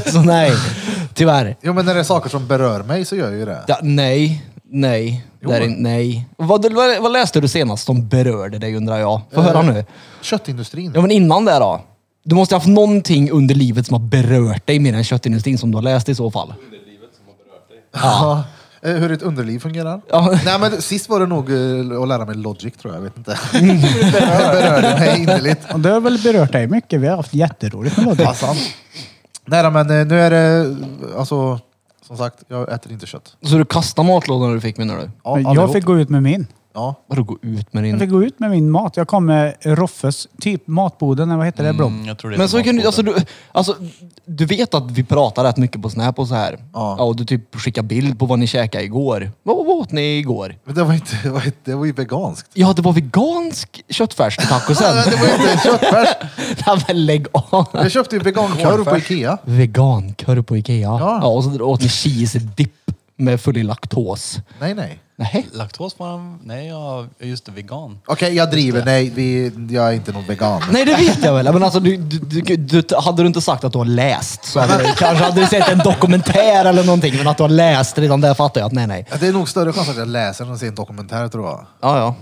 [SPEAKER 6] Så nej. Tyvärr.
[SPEAKER 1] jo, men när det är saker som berör mig så gör jag ju det.
[SPEAKER 6] Ja, nej, nej. Där är, nej. Vad, vad, vad läste du senast som berörde dig undrar jag? Få
[SPEAKER 1] Eh,
[SPEAKER 6] höra nu.
[SPEAKER 1] Köttindustrin.
[SPEAKER 6] Ja, men innan det då? Du måste ha haft någonting under livet som har berört dig mer än köttindustrin som du har läst i så fall.
[SPEAKER 1] Ja. Eh, Hur ett underliv fungerar.
[SPEAKER 6] Ja.
[SPEAKER 1] Nej, men sist var det nog eh, att lära mig Logic tror jag. Jag vet inte. det berörde mig innerligt.
[SPEAKER 3] Och det har väl berört dig mycket. Vi har haft jätteroligt med Loddy.
[SPEAKER 1] Ja, sant. Nej då, men eh, nu är det... Alltså, som sagt, jag äter inte kött.
[SPEAKER 6] Så du kastade matlådan när du fick menar du?
[SPEAKER 1] Ja,
[SPEAKER 3] jag
[SPEAKER 1] allihop.
[SPEAKER 3] fick gå ut med min.
[SPEAKER 1] Ja.
[SPEAKER 6] Vadå gå ut med
[SPEAKER 3] Jag
[SPEAKER 6] din...
[SPEAKER 3] fick gå ut med min mat. Jag kom med Roffes, typ matboden, eller vad heter det? Blom?
[SPEAKER 2] Mm, jag tror det är
[SPEAKER 6] Men så kan du,
[SPEAKER 2] tomatboden.
[SPEAKER 6] alltså, du, alltså, du vet att vi pratar rätt mycket på Snap och så här.
[SPEAKER 1] Ja.
[SPEAKER 6] och du typ skickar bild på vad ni käkade igår. Vad, vad åt ni igår?
[SPEAKER 1] Men det var, inte, det, var inte, det var ju veganskt.
[SPEAKER 6] Ja, det var vegansk köttfärs till tacosen.
[SPEAKER 1] Det var ju inte köttfärs.
[SPEAKER 6] Nej men lägg av!
[SPEAKER 1] Jag köpte ju vegankorv på Ikea.
[SPEAKER 6] Vegankorv på Ikea. Ja.
[SPEAKER 1] Ja.
[SPEAKER 6] och så åt ni cheese-dipp med full i laktos.
[SPEAKER 1] Nej, nej.
[SPEAKER 6] Nej.
[SPEAKER 2] Laktos var han... Nej, jag jag är just det, vegan.
[SPEAKER 1] Okej, jag driver. Nej, vi, jag är inte någon vegan.
[SPEAKER 6] Nej, det vet jag väl. Men alltså, du, du, du, du, hade du inte sagt att du har läst så hade du, kanske hade du sett en dokumentär eller någonting. Men att du har läst redan där fattar jag att nej, nej.
[SPEAKER 1] Ja, Det är nog större chans att jag läser än att se en dokumentär tror jag.
[SPEAKER 6] Ja, ja.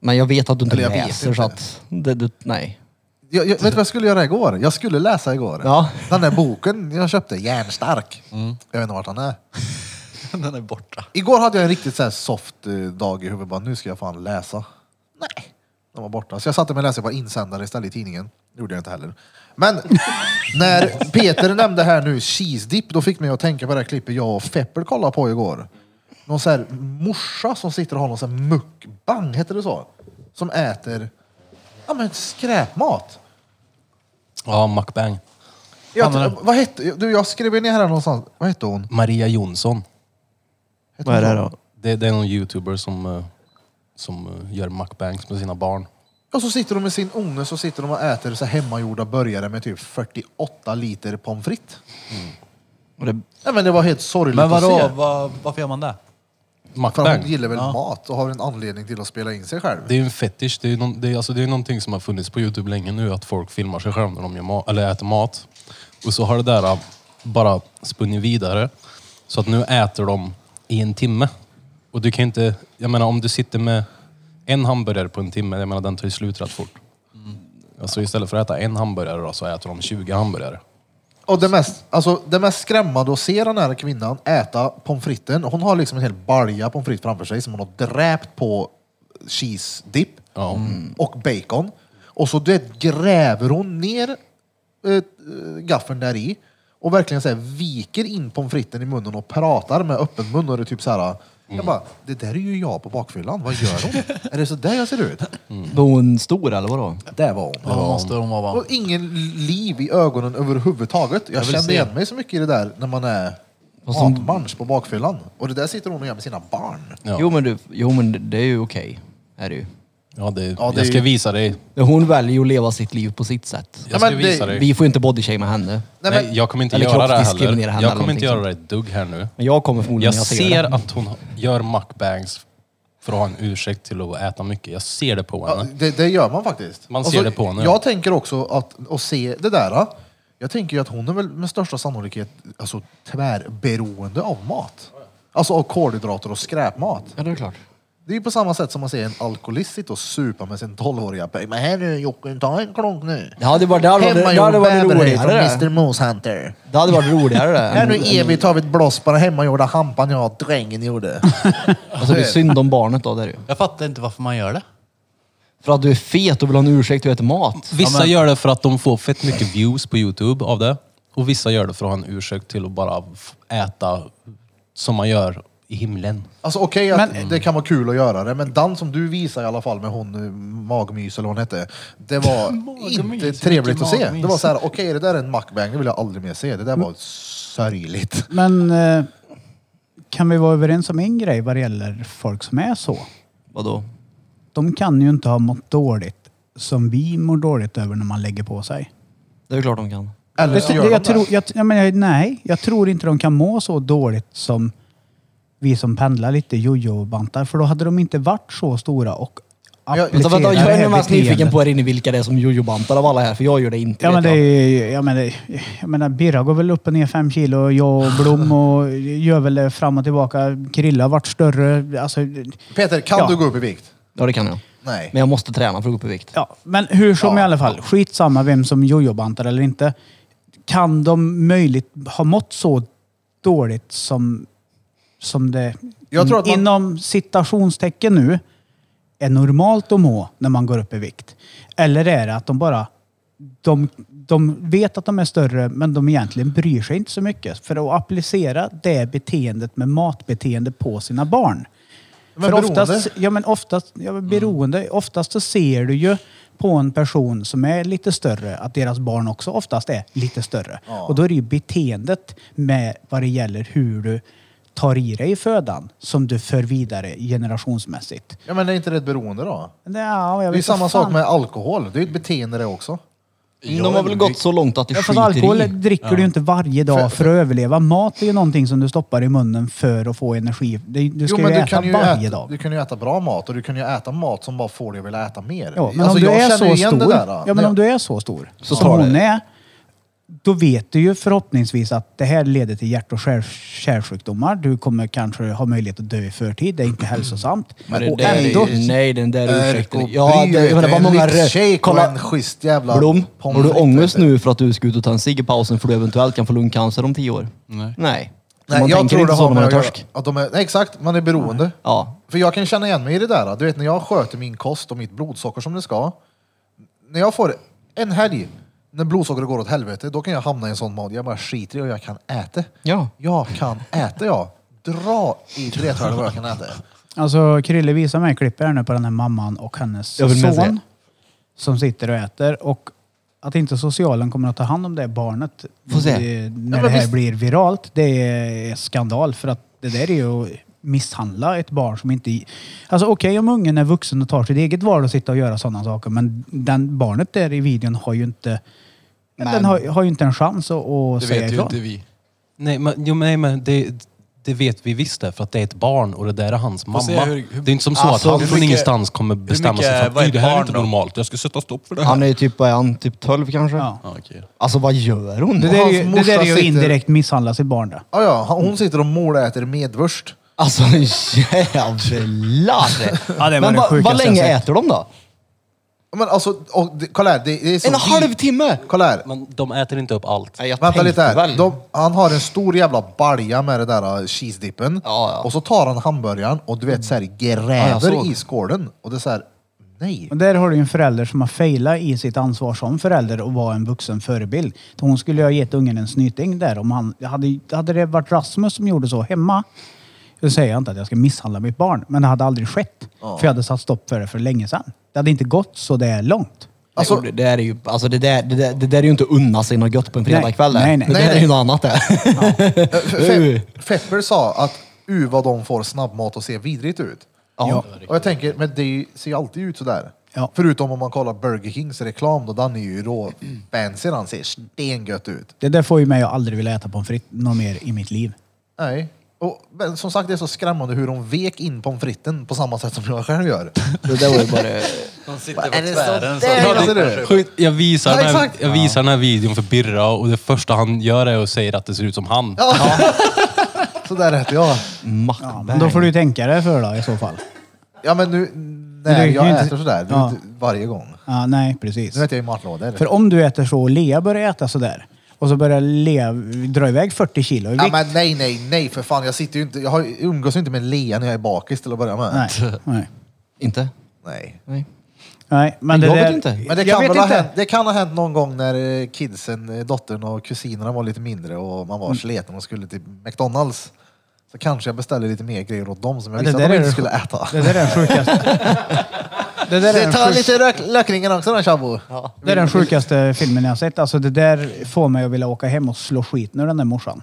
[SPEAKER 6] Men jag vet att du inte
[SPEAKER 1] Eller jag vet
[SPEAKER 6] läser
[SPEAKER 1] inte.
[SPEAKER 6] så att... Det, det, nej.
[SPEAKER 1] Jag, jag, vet du vad jag skulle göra igår? Jag skulle läsa igår.
[SPEAKER 6] Ja.
[SPEAKER 1] Den där boken jag köpte, Järnstark. Jag vet inte vart han är.
[SPEAKER 2] Mm. Den är borta.
[SPEAKER 1] Igår hade jag en riktigt så här soft eh, dag i huvudet. Bara, nu ska jag fan läsa. Nej. De var borta. Så jag satte mig och läste på insändare istället i tidningen. Det gjorde jag inte heller. Men när Peter nämnde här nu cheese dip, då fick mig att tänka på det här klippet jag och Feppel kollade på igår. Någon så här morsa som sitter och har någon så här mukbang, heter det så? Som äter ja, men skräpmat.
[SPEAKER 5] Ja, Macbang.
[SPEAKER 1] Jag, vad hette, du, jag skrev ner här någonstans. Vad hette hon?
[SPEAKER 5] Maria Jonsson.
[SPEAKER 1] Hette
[SPEAKER 6] Vad
[SPEAKER 1] hon
[SPEAKER 6] är det
[SPEAKER 1] så?
[SPEAKER 6] då?
[SPEAKER 5] Det, det är någon youtuber som, eh, som eh, gör mukbangs med sina barn.
[SPEAKER 1] Och så sitter de med sin unge så sitter de och äter så här hemmagjorda burgare med typ 48 liter pommes frites.
[SPEAKER 6] Och det,
[SPEAKER 1] Nej men det var helt sorgligt
[SPEAKER 2] Men
[SPEAKER 1] att
[SPEAKER 2] vadå,
[SPEAKER 1] se.
[SPEAKER 2] vad, varför gör man det?
[SPEAKER 1] För
[SPEAKER 5] Mukbang.
[SPEAKER 1] hon gillar väl mat och har en anledning till att spela in sig själv.
[SPEAKER 5] Det är ju en fetisch. Det är, någon, det, är, alltså, det är någonting som har funnits på Youtube länge nu, att folk filmar sig själva när de gör ma- eller äter mat. Och så har det där ah, bara spunnit vidare. Så att nu äter de i en timme. Och du kan ju inte, jag menar om du sitter med en hamburgare på en timme, jag menar den tar ju slut rätt fort. Alltså istället för att äta en hamburgare då, så äter de 20 hamburgare.
[SPEAKER 1] Och det mest, alltså, det mest skrämmande att se den här kvinnan äta pommes fritesen. Hon har liksom en hel balja pommes frites framför sig som hon har dräpt på cheese dip
[SPEAKER 5] Ja.
[SPEAKER 1] och bacon. Och så du vet, gräver hon ner eh, eh, gaffeln där i och verkligen så här, viker in pommes fritesen i munnen och pratar med öppen mun. Och det är typ så här, jag bara, det där är ju jag på bakfyllan. Vad gör hon? är det så där jag ser ut?
[SPEAKER 5] Mm.
[SPEAKER 6] var hon stor eller vadå?
[SPEAKER 1] Där var hon.
[SPEAKER 2] Ja, måste de vara.
[SPEAKER 1] Och ingen liv i ögonen överhuvudtaget. Jag,
[SPEAKER 2] vill
[SPEAKER 1] kände
[SPEAKER 2] se.
[SPEAKER 1] igen mig så mycket i det där när man är
[SPEAKER 6] Fast de-
[SPEAKER 1] matmansch på bakfyllan. Och det där sitter hon och gör med sina barn.
[SPEAKER 5] Ja.
[SPEAKER 6] Jo, men du, jo, men det- det är ju okej. Är det ju.
[SPEAKER 5] Ja, det,
[SPEAKER 1] Ja, det är
[SPEAKER 5] jag ska
[SPEAKER 1] ju-
[SPEAKER 5] visa dig.
[SPEAKER 6] Hon väljer ju att leva sitt liv på sitt sätt.
[SPEAKER 5] Jag
[SPEAKER 1] Ja,
[SPEAKER 5] ska
[SPEAKER 1] men det-
[SPEAKER 5] visa dig.
[SPEAKER 6] Vi får ju inte bodyshamea henne.
[SPEAKER 1] Nej, men,
[SPEAKER 5] Nej, jag kommer inte
[SPEAKER 6] Eller
[SPEAKER 5] göra det
[SPEAKER 6] kroppsdiskriminera
[SPEAKER 5] heller.
[SPEAKER 6] henne
[SPEAKER 5] Jag
[SPEAKER 6] eller
[SPEAKER 5] kommer inte göra
[SPEAKER 6] någonting
[SPEAKER 5] det ett dugg här nu.
[SPEAKER 6] Men jag kommer förmodligen
[SPEAKER 5] Jag
[SPEAKER 6] när jag ser,
[SPEAKER 5] ser
[SPEAKER 6] det.
[SPEAKER 5] att hon gör mukbangs för att ha en ursäkt till att äta mycket. Jag ser det på
[SPEAKER 1] ja,
[SPEAKER 5] henne.
[SPEAKER 1] det, det gör man faktiskt.
[SPEAKER 5] Man ser det på henne, ja.
[SPEAKER 1] Jag tänker också att, att se det där. ah, Jag tänker ju att hon är väl med största sannolikhet alltså, tvärberoende av mat. Alltså av kolhydrater och skräpmat.
[SPEAKER 6] Ja, det är klart.
[SPEAKER 1] Det är ju på samma sätt som man ser en alkoholist sitta och supa med sin 12-åriga pojk. Men här nu Jocke, ta en klunk nu.
[SPEAKER 6] Ja, det var där var det, där
[SPEAKER 1] Hemmagjord
[SPEAKER 6] det var det
[SPEAKER 1] bäverhöjd från
[SPEAKER 6] roligare.
[SPEAKER 1] Mr Moosehunter.
[SPEAKER 6] Det hade varit roligare det.
[SPEAKER 1] Här nu
[SPEAKER 6] än-
[SPEAKER 1] evigt har vi ett blås på den hemmagjorda hampan jag och drängen gjorde.
[SPEAKER 6] Alltså det är synd om barnet då, det är det ju.
[SPEAKER 2] Jag fattar inte varför man gör det.
[SPEAKER 6] För att du är fet och vill ha en ursäkt till att äta mat.
[SPEAKER 5] Vissa gör det för att de får fett mycket views på Youtube av det. Och vissa gör det för att ha en ursäkt till att bara f- äta som man gör i himlen.
[SPEAKER 1] Alltså okej att det kan vara kul att göra det, men den som du visar i alla fall med hon eh, Magmys eller vad hon hette. Det var inte trevligt att se.
[SPEAKER 2] Magmys.
[SPEAKER 1] Det var så här, okej det där är en mukbang, det vill jag aldrig mer se. Det där var sörjligt.
[SPEAKER 3] Men eh, kan vi vara överens om en grej vad det gäller folk som är så?
[SPEAKER 6] Vadå?
[SPEAKER 3] De kan ju inte ha mått dåligt som vi mår dåligt över när man lägger på sig.
[SPEAKER 6] Det är ju klart de kan.
[SPEAKER 1] Eller
[SPEAKER 3] Jag,
[SPEAKER 1] så
[SPEAKER 3] tror-
[SPEAKER 1] gör
[SPEAKER 3] jag,
[SPEAKER 1] de det.
[SPEAKER 3] tror, jag, jag menar, nej, jag tror inte de kan må så dåligt som vi som pendlar lite jojo-bantar. För då hade de inte varit så stora och
[SPEAKER 1] Men jag-
[SPEAKER 6] Vänta,
[SPEAKER 3] applicerat
[SPEAKER 6] vänta, jag
[SPEAKER 3] det
[SPEAKER 6] är
[SPEAKER 3] här
[SPEAKER 6] nu mest nyfiken
[SPEAKER 3] beteendet.
[SPEAKER 6] på er inne vilka det är som jojobantar av alla här, för jag gör det inte.
[SPEAKER 3] Ja
[SPEAKER 6] vet
[SPEAKER 3] men det är
[SPEAKER 6] jag.
[SPEAKER 3] ju, jag menar, jag menar Birra går väl upp och ner fem kilo och jag och Blom och gör väl det fram och tillbaka. Krilla har varit större. Alltså,
[SPEAKER 1] Peter, kan
[SPEAKER 3] Ja.
[SPEAKER 1] du gå upp i vikt?
[SPEAKER 6] Ja, det kan jag.
[SPEAKER 1] Nej.
[SPEAKER 6] Men jag måste träna för att gå upp i vikt.
[SPEAKER 3] ja, men hur som i alla fall, skitsamma vem som jojobantar eller inte. Kan de möjligt ha mått så dåligt som, som det
[SPEAKER 1] Jag tror att man-
[SPEAKER 3] inom citationstecken nu är normalt att må när man går upp i vikt? Eller är det att de bara de, de vet att de är större men de egentligen bryr sig inte så mycket. För att applicera det beteendet med matbeteende på sina barn.
[SPEAKER 1] Men
[SPEAKER 3] För
[SPEAKER 1] beroende?
[SPEAKER 3] oftast, ja, men oftast, ja, men beroende,
[SPEAKER 1] Mm.
[SPEAKER 3] oftast så ser du ju på en person som är lite större att deras barn också oftast är lite större. Och då är det ju beteendet med vad det gäller hur du tar i dig födan som du för vidare generationsmässigt.
[SPEAKER 1] Ja, men är inte det ett beroende då?
[SPEAKER 3] Det, ja, jag
[SPEAKER 1] Det är ju
[SPEAKER 3] vet
[SPEAKER 1] samma
[SPEAKER 3] inte
[SPEAKER 1] sak
[SPEAKER 3] fan.
[SPEAKER 1] med alkohol. Det är ju ett beteende det också.
[SPEAKER 6] De har väl gått så långt att det
[SPEAKER 3] Ja, fast
[SPEAKER 6] skiter
[SPEAKER 3] alkohol
[SPEAKER 6] i.
[SPEAKER 3] dricker du ju inte varje dag för, att överleva. Mat är ju någonting som du stoppar i munnen för att få energi. Du, du ska
[SPEAKER 1] jo, men
[SPEAKER 3] ju
[SPEAKER 1] du
[SPEAKER 3] äta
[SPEAKER 1] kan ju,
[SPEAKER 3] varje
[SPEAKER 1] äta,
[SPEAKER 3] dag.
[SPEAKER 1] du kan ju äta bra mat och du kan ju äta mat som bara får dig att vilja äta mer.
[SPEAKER 3] Ja, men
[SPEAKER 1] Alltså,
[SPEAKER 3] om du
[SPEAKER 1] jag
[SPEAKER 3] är
[SPEAKER 1] känner
[SPEAKER 3] så
[SPEAKER 1] igen
[SPEAKER 3] stor,
[SPEAKER 1] det där. då.
[SPEAKER 3] ja, men
[SPEAKER 1] Det-
[SPEAKER 3] om du är så stor
[SPEAKER 6] Så
[SPEAKER 3] som
[SPEAKER 6] tar det.
[SPEAKER 3] hon är, då vet du ju förhoppningsvis att det här leder till hjärt och kärl- kärlsjukdomar. Du kommer kanske ha möjlighet att dö i förtid. Det är inte hälsosamt.
[SPEAKER 6] Men det
[SPEAKER 3] och
[SPEAKER 6] där är
[SPEAKER 3] ändå,
[SPEAKER 6] ju- Nej, den där ursäkten.
[SPEAKER 1] Erk
[SPEAKER 6] Ja,
[SPEAKER 1] och
[SPEAKER 6] det, jag menar, vad många...
[SPEAKER 1] en
[SPEAKER 6] rö-
[SPEAKER 1] milkshake och
[SPEAKER 6] Kolla,
[SPEAKER 1] en schysst jävla
[SPEAKER 6] Blom,
[SPEAKER 1] pommes
[SPEAKER 6] har du
[SPEAKER 1] frites,
[SPEAKER 6] ångest
[SPEAKER 1] vet du.
[SPEAKER 6] nu för att du ska ut och ta en cigg i pausen för du eventuellt kan få lungcancer om tio år?
[SPEAKER 2] Nej.
[SPEAKER 6] Nej.
[SPEAKER 1] Nej,
[SPEAKER 6] man
[SPEAKER 1] jag
[SPEAKER 6] tänker
[SPEAKER 1] tror
[SPEAKER 6] inte
[SPEAKER 1] det
[SPEAKER 6] så
[SPEAKER 1] har
[SPEAKER 6] när man är
[SPEAKER 1] med att
[SPEAKER 6] törsk.
[SPEAKER 1] göra. Att de är, nej, exakt, man är beroende.
[SPEAKER 6] Ja.
[SPEAKER 1] För jag kan känna igen mig i det där. Du vet när jag sköter min kost och mitt blodsocker som det ska. När jag får en helg när blodsockret går åt helvete, då kan jag hamna i en sån mod. Jag bara skiter i och jag kan äta.
[SPEAKER 6] Ja.
[SPEAKER 1] Jag kan äta, ja. Dra i trätörnen vad jag kan äta.
[SPEAKER 3] alltså, Krille visar mig klippet här nu på den här mamman och hennes
[SPEAKER 6] Jag vill med
[SPEAKER 3] son som sitter och äter. Och att inte socialen kommer att ta hand om det barnet
[SPEAKER 6] Får se.
[SPEAKER 3] eh, när det här
[SPEAKER 1] visst-
[SPEAKER 3] blir viralt, det är skandal. För att det där är ju att misshandla ett barn som inte... Alltså okej om ungen är vuxen och tar sitt eget val och sitter och göra sådana saker, men den barnet där i videon har ju inte... Den har, har ju inte en chans att, att
[SPEAKER 2] Det
[SPEAKER 3] säga
[SPEAKER 2] vet ju
[SPEAKER 3] ifrån.
[SPEAKER 2] inte vi.
[SPEAKER 5] Nej, men, jo, nej, men det, det vet vi visst det, för att det är ett barn och det där är hans mamma.
[SPEAKER 2] se hur- hur-
[SPEAKER 5] det är inte som så
[SPEAKER 6] Alltså,
[SPEAKER 5] att han
[SPEAKER 6] hur
[SPEAKER 5] från
[SPEAKER 2] mycket-
[SPEAKER 5] ingenstans kommer bestämma sig för
[SPEAKER 2] mycket
[SPEAKER 5] att
[SPEAKER 2] var
[SPEAKER 5] "Oj,
[SPEAKER 2] ett
[SPEAKER 5] det här är
[SPEAKER 2] barn
[SPEAKER 5] inte
[SPEAKER 2] då?"
[SPEAKER 5] normalt, jag ska sätta stopp för det här.
[SPEAKER 6] Han är ju typ, vad är han, typ 12 kanske?
[SPEAKER 3] Ja.
[SPEAKER 2] Ja, okej.
[SPEAKER 6] Alltså vad gör hon?
[SPEAKER 3] Det där är ju,
[SPEAKER 1] Hans
[SPEAKER 3] det där är
[SPEAKER 1] morsa
[SPEAKER 3] ju
[SPEAKER 1] sitter-
[SPEAKER 3] indirekt misshandla sitt barn det.
[SPEAKER 1] Ja, ja, hon sitter och måläter medvurst.
[SPEAKER 6] Alltså jävlar!
[SPEAKER 3] Ja, det var det
[SPEAKER 6] Men va- vad
[SPEAKER 3] sjukaste jag
[SPEAKER 6] länge
[SPEAKER 3] sett.
[SPEAKER 6] äter de då?
[SPEAKER 1] Ja, Men alltså, och, det, kolla här. Det, det är så
[SPEAKER 6] En
[SPEAKER 1] vi-
[SPEAKER 6] halvtimme!
[SPEAKER 1] Kolla här.
[SPEAKER 5] Men de äter inte upp allt.
[SPEAKER 6] Nej, jag
[SPEAKER 1] Vänta
[SPEAKER 6] tänkte
[SPEAKER 1] lite här.
[SPEAKER 6] väl.
[SPEAKER 1] De, han har en stor jävla balja med det där uh, cheesedippen.
[SPEAKER 6] Ja, ja.
[SPEAKER 1] Och så tar han hamburgaren och du vet såhär
[SPEAKER 6] Ja, jag
[SPEAKER 1] gräver
[SPEAKER 6] såg.
[SPEAKER 1] i skålen. Och det är såhär, nej.
[SPEAKER 3] Och där har du ju en förälder som har failat i sitt ansvar som förälder och vara en vuxen förebild. Så Hon skulle ju ha gett ungen en snyting där. Om han, hade, hade det varit Rasmus som gjorde så hemma, då säger jag inte att jag ska misshandla mitt barn, men det hade aldrig skett. För jag hade satt stopp för det för länge sedan. Det hade inte gått så det är långt.
[SPEAKER 1] Alltså-
[SPEAKER 6] Nej, och det, där är ju, alltså det, där, det, där, det där är ju inte unna sig något gött på en fredagkväll.
[SPEAKER 3] Nej,
[SPEAKER 6] där.
[SPEAKER 3] nej, nej.
[SPEAKER 6] Det där
[SPEAKER 1] Nej,
[SPEAKER 6] är
[SPEAKER 1] nej.
[SPEAKER 6] ju något annat det.
[SPEAKER 1] eh, Fe- Fepper sa att u vad de får snabbmat att se vidrigt ut.
[SPEAKER 6] Ja.
[SPEAKER 1] Och jag tänker, men det ser ju alltid ut sådär.
[SPEAKER 3] Ja.
[SPEAKER 1] Förutom om man kollar Burger Kings reklam då, den är ju rå fancy, den ser stengött ut.
[SPEAKER 3] Det där får ju mig att aldrig vilja äta pommes frites något mer i mitt liv.
[SPEAKER 1] Nej. Och, men som sagt, det är så skrämmande hur de vek in pommes fritesen på samma sätt som jag själv gör.
[SPEAKER 6] Det där var ju bara...
[SPEAKER 2] De sitter på
[SPEAKER 1] Är det så
[SPEAKER 2] tvären. Så
[SPEAKER 1] där,
[SPEAKER 2] att de-
[SPEAKER 1] ser du?
[SPEAKER 5] Sjukt, Jag visar,
[SPEAKER 1] Ja,
[SPEAKER 5] den här,
[SPEAKER 1] exakt.
[SPEAKER 5] jag visar den här videon för Birra och det första han gör är att säga att det ser ut som han.
[SPEAKER 1] Så där äter jag.
[SPEAKER 3] Ja,
[SPEAKER 6] Mackberg.
[SPEAKER 3] men då får du ju tänka dig för då i så fall.
[SPEAKER 1] Ja men nu,
[SPEAKER 3] det
[SPEAKER 1] nej
[SPEAKER 3] är
[SPEAKER 1] jag
[SPEAKER 3] ju inte-
[SPEAKER 1] äter sådär. Det är
[SPEAKER 3] Ja.
[SPEAKER 1] inte varje gång.
[SPEAKER 3] Ja, nej, precis.
[SPEAKER 1] Nu äter jag ju matlådor.
[SPEAKER 3] För om du äter så och Lea börjar äta sådär och så börjar Lea dra iväg 40 kilo i vikt.
[SPEAKER 1] Ja, men nej, nej, nej för fan. Jag, sitter ju inte, jag har, umgås ju inte med Lea när jag är bakis till att börja med.
[SPEAKER 3] Nej, nej.
[SPEAKER 6] Inte?
[SPEAKER 1] Nej.
[SPEAKER 6] Nej.
[SPEAKER 3] nej men det
[SPEAKER 6] jag
[SPEAKER 3] där,
[SPEAKER 6] vet inte.
[SPEAKER 1] Men det
[SPEAKER 3] jag
[SPEAKER 1] kan,
[SPEAKER 3] vet
[SPEAKER 1] väl ha
[SPEAKER 3] inte.
[SPEAKER 1] hänt, det kan ha hänt någon gång när eh, kidsen, eh, dottern och kusinerna var lite mindre och man var
[SPEAKER 3] Mm.
[SPEAKER 1] sleten och skulle till McDonalds. Så kanske jag beställer lite mer grejer åt dem som jag
[SPEAKER 3] Ja, det
[SPEAKER 1] visste
[SPEAKER 3] där
[SPEAKER 1] att de inte
[SPEAKER 3] är det
[SPEAKER 1] skulle
[SPEAKER 3] sjuk-
[SPEAKER 1] äta.
[SPEAKER 3] Det där är den sjukaste. Det där är
[SPEAKER 1] Det
[SPEAKER 3] den
[SPEAKER 1] tar
[SPEAKER 3] sjuk-
[SPEAKER 1] lite rök, lökringen också då tjabbo. Ja.
[SPEAKER 3] det är den sjukaste filmen jag har sett. Alltså det där får mig att vilja åka hem och slå skit nu den där morsan.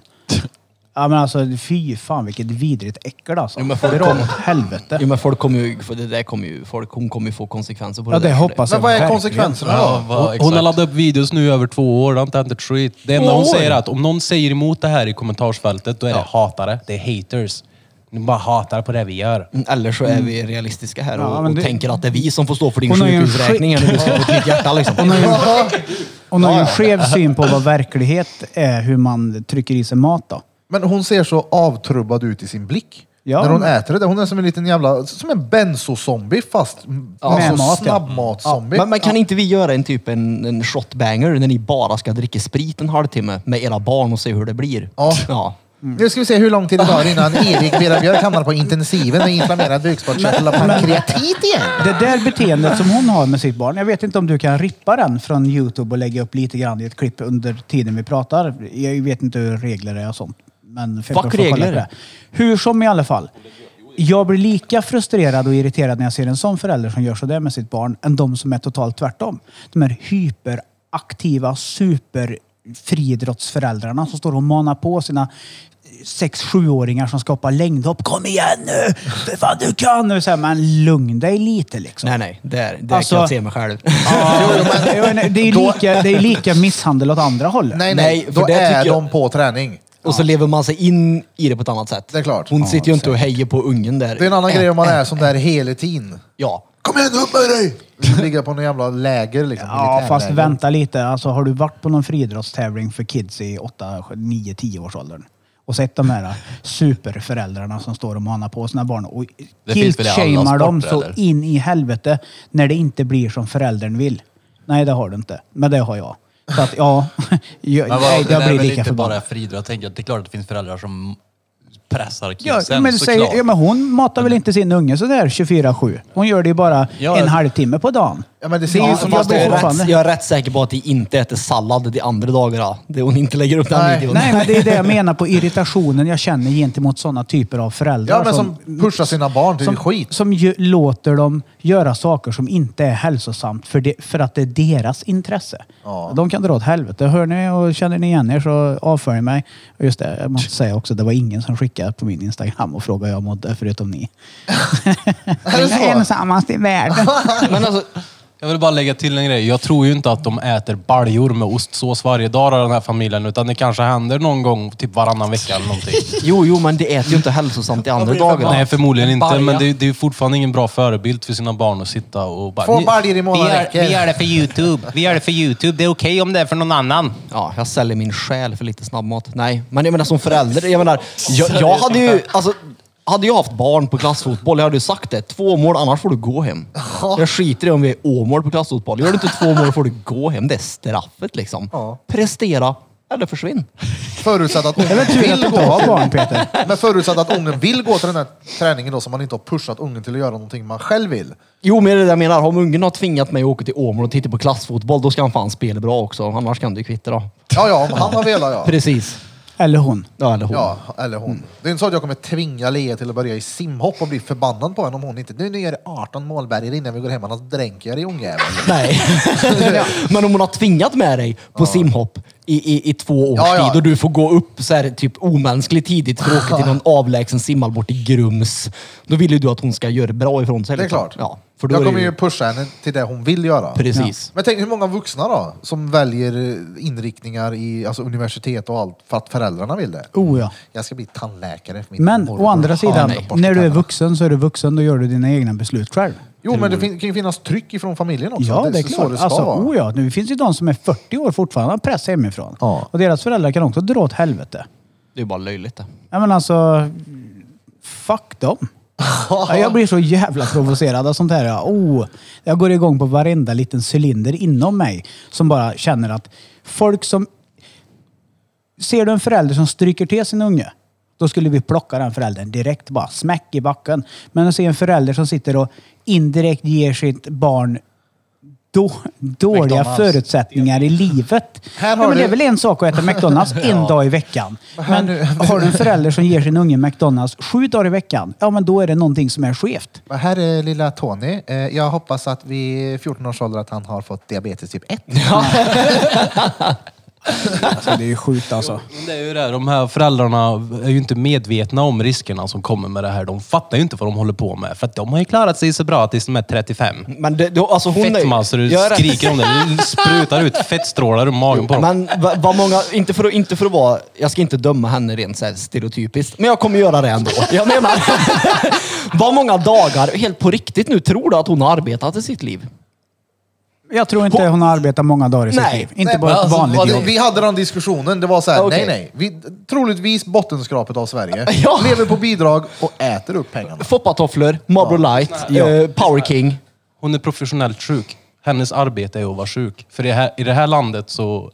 [SPEAKER 3] Ja men alltså fy fan vilket vidrigt äckel alltså.
[SPEAKER 6] Jo, men folk
[SPEAKER 3] Dra åt
[SPEAKER 6] kommer-
[SPEAKER 3] helvete.
[SPEAKER 6] Jo, men folk kommer ju... För det där kommer ju... Folk hon kommer ju få konsekvenser på det
[SPEAKER 3] Ja det
[SPEAKER 6] där.
[SPEAKER 3] hoppas jag
[SPEAKER 1] Men vad är
[SPEAKER 3] alltså, verkligen.
[SPEAKER 1] konsekvenserna då?
[SPEAKER 2] Ja, vad-
[SPEAKER 5] Hon har
[SPEAKER 2] exakt.
[SPEAKER 5] laddat upp videos nu i över två år, det har inte hänt ett skit. Det enda
[SPEAKER 6] Två
[SPEAKER 5] hon säger
[SPEAKER 6] år?
[SPEAKER 5] är att om någon säger emot det här i kommentarsfältet, då är det hatare. Det är haters. Ni bara hatar på det vi gör.
[SPEAKER 6] Eller Mm, så är vi realistiska här och,
[SPEAKER 3] Mm. Ja, men
[SPEAKER 6] och
[SPEAKER 3] det-
[SPEAKER 6] tänker att det är vi som får stå för din
[SPEAKER 3] Hon har ju en
[SPEAKER 6] sjukhusräkning när du ska få ett nytt hjärta. Liksom.
[SPEAKER 3] Hon har ju en skev syn på vad verklighet är, hur man trycker i sig mat då.
[SPEAKER 1] Men hon ser så avtrubbad ut i sin blick.
[SPEAKER 3] Ja,
[SPEAKER 1] när hon
[SPEAKER 3] men-
[SPEAKER 1] äter det där. Hon är som en liten jävla, som en benzo-zombie fast
[SPEAKER 3] Med mat,
[SPEAKER 1] alltså,
[SPEAKER 3] ja.
[SPEAKER 1] snabbmat-zombie.
[SPEAKER 6] Men, men kan inte vi göra en typ en, en shotbanger när ni bara ska dricka sprit en halvtimme med era barn och se hur det blir?
[SPEAKER 1] Ja.
[SPEAKER 6] ja.
[SPEAKER 1] Nu ska vi se hur lång tid det tar innan Erik Vera Björk hamnar på intensiven med inflammerad bukspottkörtel och pankreatit igen.
[SPEAKER 3] Det där beteendet som hon har med sitt barn. Jag vet inte om du kan rippa den från Youtube och lägga upp lite grann i ett klipp under tiden vi pratar. Jag vet inte hur regler är och sånt. Men Fuck
[SPEAKER 6] regler.
[SPEAKER 3] Hur som i alla fall. Jag blir lika frustrerad och irriterad när jag ser en sån förälder som gör sådär med sitt barn än de som är totalt tvärtom. De här hyperaktiva, superfriidrottsföräldrarna som står och manar på sina sex sjuåringar som ska hoppa längdhopp. Kom igen nu! För fan du kan! nu! Så här, men lugn dig lite liksom.
[SPEAKER 6] Nej, nej. Där, där
[SPEAKER 3] Alltså-
[SPEAKER 6] kan jag se mig själv.
[SPEAKER 3] Jo, nej, det är ju lika, det är lika misshandel åt andra hållet.
[SPEAKER 1] Nej, nej,
[SPEAKER 6] Nej, för
[SPEAKER 1] då
[SPEAKER 6] det
[SPEAKER 1] är
[SPEAKER 6] tycker jag-
[SPEAKER 1] de på träning.
[SPEAKER 6] Och så lever man sig in i det på ett annat sätt.
[SPEAKER 1] Det är klart.
[SPEAKER 6] Hon sitter ju inte och hejar på ungen där.
[SPEAKER 1] Det är en annan grej om man är sån där hela tiden.
[SPEAKER 6] Ja.
[SPEAKER 1] Kom igen, upp med dig! Ligga på någon jävla läger liksom.
[SPEAKER 3] Ja, fast
[SPEAKER 1] militärläger.
[SPEAKER 3] vänta lite. Alltså, har du varit på någon friidrottstävling för kids i 8, 9, 10 års åldern? och sett de här superföräldrarna som står och manar på sina barn och
[SPEAKER 2] Det finns väl i alla
[SPEAKER 3] guilt-shamear dem
[SPEAKER 2] sporter,
[SPEAKER 3] så
[SPEAKER 2] eller?
[SPEAKER 3] in i helvete när det inte blir som föräldern vill. Nej, det har du inte. Men det har jag. Så att ja, jag,
[SPEAKER 2] Men vadå,
[SPEAKER 3] nej,
[SPEAKER 2] det
[SPEAKER 3] jag
[SPEAKER 2] är
[SPEAKER 3] blir
[SPEAKER 2] väl
[SPEAKER 3] lika
[SPEAKER 2] inte bara
[SPEAKER 3] förbannad.
[SPEAKER 2] friidrott? Jag tänker att det är klart att det finns föräldrar som pressar
[SPEAKER 3] Ja,
[SPEAKER 2] kidsen
[SPEAKER 3] men,
[SPEAKER 2] såklart.
[SPEAKER 3] säg, ja, men hon matar väl inte sin unge sådär 24-7? Hon gör det ju bara
[SPEAKER 2] Ja,
[SPEAKER 3] en
[SPEAKER 2] jag-
[SPEAKER 3] halvtimme på dagen.
[SPEAKER 1] Ja, men det ser
[SPEAKER 3] Ja,
[SPEAKER 1] ut som
[SPEAKER 3] jag
[SPEAKER 1] att
[SPEAKER 3] blir
[SPEAKER 1] det är
[SPEAKER 3] chockad.
[SPEAKER 1] rätt.
[SPEAKER 3] fortfarande.
[SPEAKER 6] Rätt, jag är rätt säker på att de inte äter sallad de andra dagarna. Det hon inte lägger upp den
[SPEAKER 1] Nej.
[SPEAKER 6] videon.
[SPEAKER 3] Nej, men det är det jag menar på irritationen jag känner gentemot sådana typer av föräldrar.
[SPEAKER 1] Ja, men som pushar sina barn till
[SPEAKER 3] som,
[SPEAKER 1] skit.
[SPEAKER 3] Som ju, låter dem göra saker som inte är hälsosamt för, det, för att det är deras intresse.
[SPEAKER 1] Ja.
[SPEAKER 3] De kan dra åt helvete. Hör ni och känner ni igen er så avfölj mig. Och just det, jag måste säga också, det var ingen som skickade på min Instagram och frågade hur jag mådde förutom ni.
[SPEAKER 1] Är det
[SPEAKER 3] Jag är
[SPEAKER 1] så?
[SPEAKER 3] ensammast i världen.
[SPEAKER 6] Men alltså,
[SPEAKER 5] Jag vill bara lägga till en grej. Jag tror ju inte att de äter baljor med ostsås varje dag av den här familjen. Utan det kanske händer någon gång, typ varannan vecka eller någonting.
[SPEAKER 6] jo, jo, men det äter ju inte hälsosamt de andra dagarna.
[SPEAKER 5] Nej, förmodligen inte.
[SPEAKER 2] Balja.
[SPEAKER 5] Men det, det är ju fortfarande ingen bra förebild för sina barn att sitta och bara...
[SPEAKER 1] Två
[SPEAKER 5] "Ni-
[SPEAKER 1] baljor i månaden
[SPEAKER 5] vi gör-
[SPEAKER 1] räcker."
[SPEAKER 5] Vi gör det för YouTube. Vi gör det för YouTube. Det är okej om det är för någon annan.
[SPEAKER 6] Ja, jag säljer min själ för lite snabbmat. Nej, men jag menar som förälder. Jag menar, jag, jag hade ju... Alltså, hade jag haft barn på klassfotboll, jag hade ju sagt det. Två mål, annars får du gå hem. Jag skiter i om vi är Åmål på klassfotboll. Gör du inte två mål får du gå hem. Det är straffet liksom.
[SPEAKER 1] Ja.
[SPEAKER 6] Prestera eller försvinn.
[SPEAKER 1] Förutsatt att
[SPEAKER 3] Det är
[SPEAKER 1] ungen
[SPEAKER 3] väl tur att du
[SPEAKER 1] vill
[SPEAKER 3] inte
[SPEAKER 1] gå.
[SPEAKER 3] har barn Peter.
[SPEAKER 1] Men förutsatt att ungen vill gå till den här träningen då, så man inte har pushat ungen till att göra någonting man själv vill.
[SPEAKER 6] Jo, men det är det jag menar. Om ungen har tvingat mig att åka till Åmål och titta på klassfotboll, då ska han fan spela bra också. Annars kan du ju kvitta då.
[SPEAKER 1] Ja, ja, om han har velat ja.
[SPEAKER 6] Precis.
[SPEAKER 3] Eller hon.
[SPEAKER 6] Ja, eller hon.
[SPEAKER 1] Ja, eller hon. Det är inte så att jag kommer tvinga Lea till att börja i simhopp och bli förbannad på henne om hon inte... Nu, nu gör det 18 målbergare innan vi går hem, annars dränker jag dig ungjävel.
[SPEAKER 6] Nej. Men om hon har tvingat med dig på simhopp i, i, i två års
[SPEAKER 1] Ja, ja.
[SPEAKER 6] tid och du får gå upp så här, typ omänskligt tidigt för att åka till någon avlägsen simhall bort i Grums. Då vill ju du att hon ska göra bra ifrån sig.
[SPEAKER 1] Det är
[SPEAKER 6] liksom.
[SPEAKER 1] klart.
[SPEAKER 6] Ja, för då
[SPEAKER 1] jag
[SPEAKER 6] är
[SPEAKER 1] kommer
[SPEAKER 6] det
[SPEAKER 1] ju pusha henne till det hon vill göra.
[SPEAKER 6] Precis.
[SPEAKER 1] Men tänk hur många vuxna då, som väljer eh, inriktningar i alltså universitet och allt för att föräldrarna vill det.
[SPEAKER 3] Oh ja.
[SPEAKER 1] Jag ska bli tandläkare. För mitt
[SPEAKER 3] Men
[SPEAKER 1] morbror
[SPEAKER 3] å andra
[SPEAKER 1] hatar
[SPEAKER 3] sidan,
[SPEAKER 1] att borsta
[SPEAKER 3] när du är
[SPEAKER 1] tänderna.
[SPEAKER 3] vuxen så är du vuxen. Då gör du dina egna beslut själv.
[SPEAKER 1] Jo, men det fin- kan ju finnas tryck ifrån familjen också.
[SPEAKER 3] Ja, det är
[SPEAKER 1] så
[SPEAKER 3] klart.
[SPEAKER 1] det ska
[SPEAKER 3] Alltså,
[SPEAKER 1] vara.
[SPEAKER 3] oh ja, nu finns ju de som är 40 år fortfarande och pressar hemifrån.
[SPEAKER 1] Ja.
[SPEAKER 3] Och deras föräldrar kan också dra åt helvete.
[SPEAKER 6] Det är ju bara löjligt det.
[SPEAKER 3] Ja, men alltså, fuck dem. Ja, jag blir så jävla provocerad av sånt här. Ja. Oh, jag går igång på varenda liten cylinder inom mig som bara känner att folk som... Ser du en förälder som stryker till sin unge, då skulle vi plocka den föräldern direkt. Bara smäck i backen. Men att se en förälder som sitter och indirekt ger sitt barn då, dåliga
[SPEAKER 1] McDonald's.
[SPEAKER 3] förutsättningar i livet.
[SPEAKER 1] Här har
[SPEAKER 3] ja, men det är
[SPEAKER 1] du-
[SPEAKER 3] väl en sak att äta McDonalds en dag i veckan.
[SPEAKER 1] här
[SPEAKER 3] Men
[SPEAKER 1] nu-
[SPEAKER 3] har du en förälder som ger sin unge McDonalds sju dagar i veckan, ja men då är det någonting som är skevt.
[SPEAKER 1] Men Här är lilla Tony. Eh, Jag hoppas att vid 14 års ålder att han har fått diabetes typ 1.
[SPEAKER 3] Alltså, det är ju sjukt alltså.
[SPEAKER 5] Men det är ju det, de här föräldrarna är ju inte medvetna om riskerna som kommer med det här. De fattar ju inte vad de håller på med. För att de har ju klarat sig så bra tills de är 35.
[SPEAKER 6] Men det, då, alltså hon
[SPEAKER 5] Fetma så du
[SPEAKER 6] Jag är rätt-
[SPEAKER 5] skriker om det. Du sprutar ut fettstrålar ur magen på dem.
[SPEAKER 6] Men va- vad många, inte för, att- inte för att vara, jag ska inte döma henne rent så här stereotypiskt, men jag kommer göra det ändå. Jag menar, vad många dagar, helt på riktigt nu, tror du att hon har arbetat i sitt liv?
[SPEAKER 3] Jag tror inte
[SPEAKER 6] Hon-
[SPEAKER 3] hon har arbetat många dagar i sitt
[SPEAKER 6] Nej.
[SPEAKER 3] liv. Inte
[SPEAKER 1] Nej,
[SPEAKER 3] bara
[SPEAKER 1] men
[SPEAKER 3] ett
[SPEAKER 1] alltså,
[SPEAKER 3] vanligt
[SPEAKER 1] vad-
[SPEAKER 3] jobb.
[SPEAKER 1] Vi hade den diskussionen. Det var så här,
[SPEAKER 6] Okej.
[SPEAKER 1] nej, nej. Vi, troligtvis bottenskrapet av Sverige.
[SPEAKER 6] Ja.
[SPEAKER 1] Lever på bidrag och äter upp pengarna.
[SPEAKER 6] Foppatofflor, Marlboro Light, eh, Power King.
[SPEAKER 5] Hon är professionellt sjuk. Hennes arbete är att vara sjuk. För det här, i det här landet så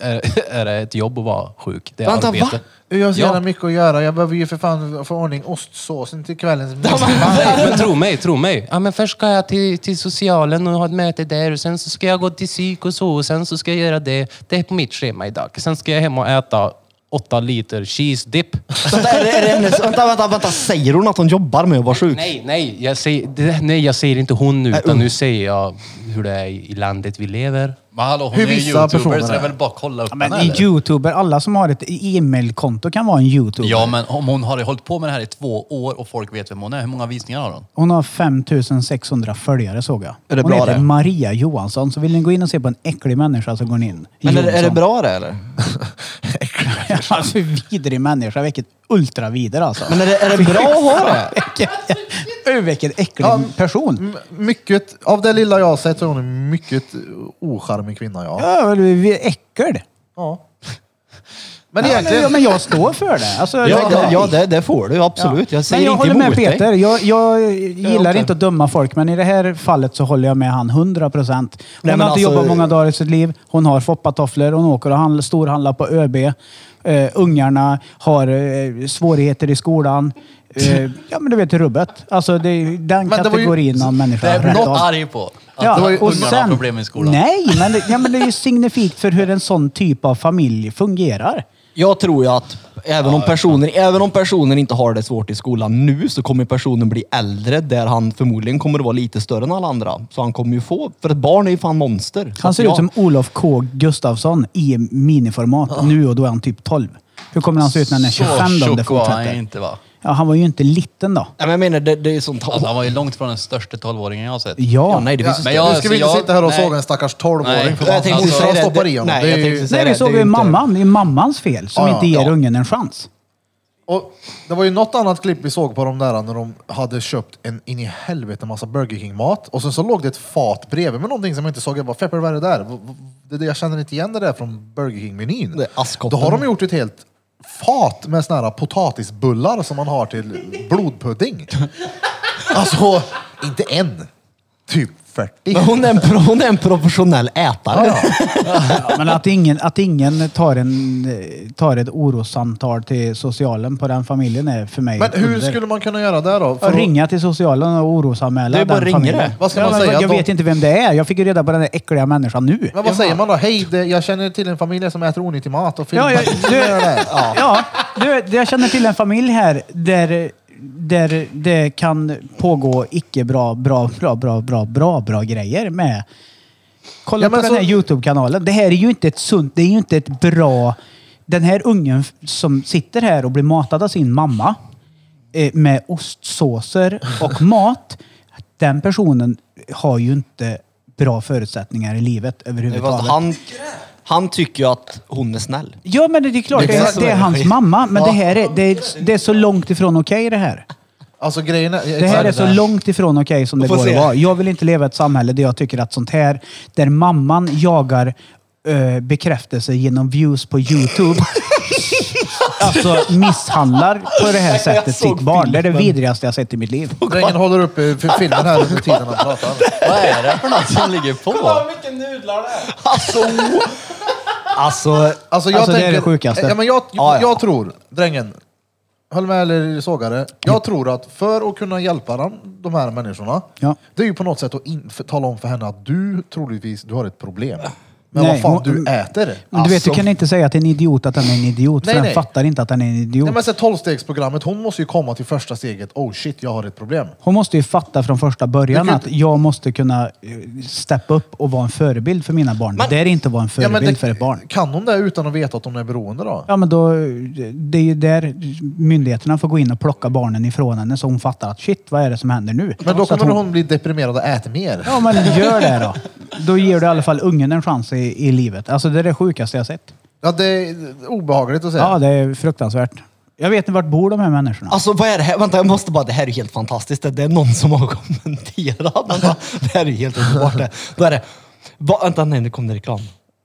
[SPEAKER 5] är, är det ett jobb att vara sjuk. Det är
[SPEAKER 6] Vänta,
[SPEAKER 5] arbete.
[SPEAKER 6] va?
[SPEAKER 1] Jag har så
[SPEAKER 5] Ja.
[SPEAKER 1] jävla mycket att göra. Jag behöver ju för fan få ordning ostsåsen till kvällens middag.
[SPEAKER 5] Nej, men tro mig, tro mig. Ja, men först ska jag till, till socialen och ha ett möte där och sen så ska jag gå till psyk och så och sen så ska jag göra det. Det är på mitt schema idag. Sen ska jag hem och äta åtta liter cheese dip.
[SPEAKER 6] Vänta, är det, är det hennes, vänta, vänta, vänta, säger hon att hon jobbar med att vara sjuk?
[SPEAKER 5] Nej, nej, jag säger, det, nej, jag säger inte hon nu utan nu säger jag hur det är i landet vi lever.
[SPEAKER 2] Men hallå, hon
[SPEAKER 1] Hur
[SPEAKER 2] är ju
[SPEAKER 1] vissa
[SPEAKER 2] youtuber
[SPEAKER 1] personer
[SPEAKER 2] så det är
[SPEAKER 1] är.
[SPEAKER 2] väl bara att kolla upp
[SPEAKER 3] Ja, men
[SPEAKER 2] henne.
[SPEAKER 3] en
[SPEAKER 2] eller?
[SPEAKER 3] youtuber, alla som har ett e-mailkonto kan vara en youtuber.
[SPEAKER 2] Ja, men om hon har hållit på med det här i två år och folk vet vem hon är, hur många visningar har hon?
[SPEAKER 3] Hon har 5600 följare såg jag.
[SPEAKER 6] Är det
[SPEAKER 3] hon
[SPEAKER 6] bra
[SPEAKER 3] heter
[SPEAKER 6] det?
[SPEAKER 3] Maria Johansson, så vill ni gå in och se på en äcklig människa så går ni in.
[SPEAKER 6] Men är, det- är det
[SPEAKER 3] Johansson.
[SPEAKER 6] bra det eller?
[SPEAKER 3] alltså vidrig människa, vilket ultravider alltså.
[SPEAKER 6] Men är det, är det bra att ha det?
[SPEAKER 3] Vilken- Oj, Vilken äcklig
[SPEAKER 1] Ja,
[SPEAKER 3] person.
[SPEAKER 1] M- Mycket, av det lilla jag har sett så är hon en mycket eh, ocharmig kvinna, ja.
[SPEAKER 3] Ja, väl, vi är äckel.
[SPEAKER 1] ja. Men
[SPEAKER 3] Ja, men, ja,
[SPEAKER 1] egentligen...
[SPEAKER 3] men jag står för det. Alltså,
[SPEAKER 6] Ja,
[SPEAKER 3] det-
[SPEAKER 6] det, ja det, det får du absolut. Jag säger
[SPEAKER 3] men jag
[SPEAKER 6] inte
[SPEAKER 3] håller
[SPEAKER 6] emot
[SPEAKER 3] med Peter.
[SPEAKER 6] dig.
[SPEAKER 3] Jag, jag gillar
[SPEAKER 6] inte.
[SPEAKER 3] inte att döma folk, men i det här fallet så håller jag med han 100 procent. Hon
[SPEAKER 6] Nej, men
[SPEAKER 3] har inte
[SPEAKER 6] alltså-
[SPEAKER 3] jobbat många dagar i sitt liv. Hon har foppatofflor, hon åker och handlar, storhandlar på ÖB. Eh, ungarna har eh, svårigheter i skolan. Eh, ja, men du vet rubbet. Alltså, det är den
[SPEAKER 1] det var ju-
[SPEAKER 3] kategorin av människor.
[SPEAKER 2] Det är
[SPEAKER 3] har rätt av.
[SPEAKER 2] något arg på. Att
[SPEAKER 3] Ja,
[SPEAKER 1] det var ju
[SPEAKER 2] ungarna
[SPEAKER 3] och
[SPEAKER 2] har
[SPEAKER 3] sen-
[SPEAKER 2] problem i skolan.
[SPEAKER 3] Nej, men det, ja, men det är ju signifikt för hur en sån typ av familj fungerar.
[SPEAKER 6] Jag tror ju att även om, personen, även om personen inte har det svårt i skolan nu så kommer personen bli äldre där han förmodligen kommer att vara lite större än alla andra. Så han kommer ju få, för ett barn är ju fan monster. Så
[SPEAKER 3] Han
[SPEAKER 6] att
[SPEAKER 3] ser
[SPEAKER 6] jag-
[SPEAKER 3] ut som Olof K Gustafsson i miniformat nu och då är han typ 12. Hur kommer han se ut när han är 25 då om det
[SPEAKER 2] Så tjock var han
[SPEAKER 3] fortsätter?
[SPEAKER 2] inte va?
[SPEAKER 3] Ja, han var ju inte liten då.
[SPEAKER 6] Nej, men jag menar, det, det är sånt...
[SPEAKER 2] Alltså, han var ju långt från den största tolvåringen jag har sett.
[SPEAKER 6] Ja,
[SPEAKER 3] Ja.
[SPEAKER 6] nej, det
[SPEAKER 1] Ja,
[SPEAKER 6] finns ju
[SPEAKER 2] men
[SPEAKER 1] men
[SPEAKER 2] jag-
[SPEAKER 1] nu ska vi
[SPEAKER 2] så
[SPEAKER 1] inte
[SPEAKER 2] jag-
[SPEAKER 1] sitta här och
[SPEAKER 2] nej.
[SPEAKER 1] såga en stackars
[SPEAKER 2] Nej,
[SPEAKER 1] tolvåring för
[SPEAKER 2] jag
[SPEAKER 1] vad
[SPEAKER 2] tänkte
[SPEAKER 1] han
[SPEAKER 2] säga
[SPEAKER 1] morsan
[SPEAKER 6] det-
[SPEAKER 1] stoppar i honom.
[SPEAKER 6] nej,
[SPEAKER 1] Det är
[SPEAKER 6] jag
[SPEAKER 1] ju-
[SPEAKER 6] tänkte säga-
[SPEAKER 3] Nej,
[SPEAKER 6] det-
[SPEAKER 3] vi såg
[SPEAKER 6] det är
[SPEAKER 3] ju
[SPEAKER 6] inte-
[SPEAKER 3] mamman. Det är mammans fel som
[SPEAKER 1] Ja, ja,
[SPEAKER 3] inte ger
[SPEAKER 1] ja.
[SPEAKER 3] ungen en chans.
[SPEAKER 1] Och det var ju något annat klipp vi såg på de där när de hade köpt en in i helvete massa Burger King-mat och sen så låg det ett fat bredvid med någonting som jag inte såg. Jag bara, Fepper, vad är det där? V- v- Det, det, jag känner inte igen det där från Burger King-menyn.
[SPEAKER 6] Det är askkoppen.
[SPEAKER 1] Då har de gjort ett helt fat med såna här potatisbullar som man har till blodpudding. Alltså, inte en. Typ 40.
[SPEAKER 6] Men hon är en, pro- hon är en professionell ätare.
[SPEAKER 3] Ja, men att ingen, att ingen tar, en, eh, tar ett orossamtal till socialen på den familjen är för mig
[SPEAKER 1] Men
[SPEAKER 3] ett
[SPEAKER 1] hur
[SPEAKER 3] under.
[SPEAKER 1] skulle man kunna göra där då? För
[SPEAKER 3] Ja,
[SPEAKER 1] att-
[SPEAKER 3] ringa till socialen och orosanmäla
[SPEAKER 6] Det är bara
[SPEAKER 3] den
[SPEAKER 6] att ringa
[SPEAKER 3] familjen.
[SPEAKER 6] det.
[SPEAKER 1] Vad ska
[SPEAKER 3] Ja,
[SPEAKER 1] man
[SPEAKER 3] men
[SPEAKER 1] säga?
[SPEAKER 3] Jag
[SPEAKER 1] De-
[SPEAKER 3] vet inte vem det är. Jag fick ju reda på den där äckliga människan nu.
[SPEAKER 1] Men vad säger man då? Hej, det, jag känner till en familj som äter onyttig mat och filmar.
[SPEAKER 3] Ja, jag, du,
[SPEAKER 1] det.
[SPEAKER 3] ja du, jag känner till en familj här där, där det kan pågå icke bra, bra, bra, bra, bra, bra, bra grejer med... Kolla
[SPEAKER 1] Ja,
[SPEAKER 3] på
[SPEAKER 1] men
[SPEAKER 3] den här
[SPEAKER 1] så-
[SPEAKER 3] Youtube-kanalen. Det här är ju inte ett sunt, det är ju inte ett bra... Den här ungen f- som sitter här och blir matad av sin mamma eh, med ostsåser och mat. Den personen har ju inte bra förutsättningar i livet överhuvudtaget.
[SPEAKER 6] Fast han, han tycker ju att hon är snäll.
[SPEAKER 3] Ja, men det är klart. Det
[SPEAKER 6] Exakt.
[SPEAKER 3] är, det är hans mamma. Men det här är, det är, det är så långt ifrån okej det här.
[SPEAKER 1] Alltså grejerna...
[SPEAKER 3] Det här är så långt ifrån okej som det
[SPEAKER 6] Vi får
[SPEAKER 3] går
[SPEAKER 6] se.
[SPEAKER 3] att vara. Jag vill inte leva i ett samhälle där jag tycker att sånt här, där mamman jagar eh, bekräftelse genom views på Youtube. alltså misshandlar på det här sättet
[SPEAKER 6] såg
[SPEAKER 3] sitt barn. Det är det
[SPEAKER 6] filmen.
[SPEAKER 3] vidrigaste jag sett i mitt liv.
[SPEAKER 1] Drängen håller upp eh, f- filmen här under tiden han pratar.
[SPEAKER 2] Vad är det för något som ligger på?
[SPEAKER 6] Alltså! alltså,
[SPEAKER 1] Alltså, jag
[SPEAKER 3] Alltså, det är
[SPEAKER 1] tänker,
[SPEAKER 3] det sjukaste.
[SPEAKER 1] Ja, men jag,
[SPEAKER 6] Ja, ja.
[SPEAKER 1] jag tror, drängen, håll med eller sågare. Jag tror att för att kunna hjälpa den, de här människorna,
[SPEAKER 3] Ja.
[SPEAKER 1] det är ju på något sätt att in, för, tala om för henne att du troligtvis du har ett problem. Men
[SPEAKER 3] Nej,
[SPEAKER 1] vad fan du
[SPEAKER 3] hon- Mm.
[SPEAKER 1] äter?
[SPEAKER 3] Men du vet, du kan inte säga att en idiot att den är en idiot,
[SPEAKER 1] Nej,
[SPEAKER 3] för
[SPEAKER 1] nej.
[SPEAKER 3] den fattar inte att den är en idiot.
[SPEAKER 1] Nej, men så här, tolvstegsprogrammet, hon måste ju komma till första steget. Oh shit, jag har ett problem.
[SPEAKER 3] Hon måste ju fatta från första
[SPEAKER 1] Du
[SPEAKER 3] början
[SPEAKER 1] kan
[SPEAKER 3] att jag måste kunna eh, steppa upp och vara en förebild för mina barn. det är inte att vara en
[SPEAKER 1] Ja,
[SPEAKER 3] förebild
[SPEAKER 1] men det-
[SPEAKER 3] för ett barn.
[SPEAKER 1] Kan hon det utan att veta att hon är beroende då?
[SPEAKER 3] Ja, men då, det är ju där myndigheterna får gå in och plocka barnen ifrån henne så hon fattar att shit, vad är det som händer nu?
[SPEAKER 1] Men då
[SPEAKER 3] Så alltså, att
[SPEAKER 1] kommer hon bli deprimerad och äta mer.
[SPEAKER 3] Ja, men gör det då. Då ger du i alla fall ungen en chans i, i livet. Alltså det är det sjukaste jag sett.
[SPEAKER 1] Ja, det är obehagligt att säga.
[SPEAKER 3] Ja, det är fruktansvärt. Jag vet inte vart bor de här människorna?
[SPEAKER 6] Alltså vad är det här? Vänta, jag måste bara, det här är helt fantastiskt. Det, det är någon som har kommenterat. Vänta, det här är helt underbart. Det. Då är det, va, vänta, nej nu kom det reklam.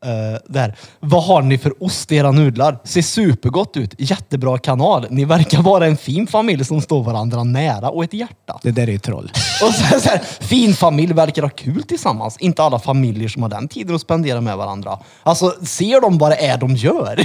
[SPEAKER 6] Uh, där. Vad har ni för ost i era nudlar? Ser supergott ut. Jättebra kanal. Ni verkar vara en fin familj som står varandra nära och ett hjärta.
[SPEAKER 3] Det där är ju troll.
[SPEAKER 6] Och sen så här, fin familj verkar ha kul tillsammans. Inte alla familjer som har den tiden att spendera med varandra. Alltså, ser de vad det är de gör?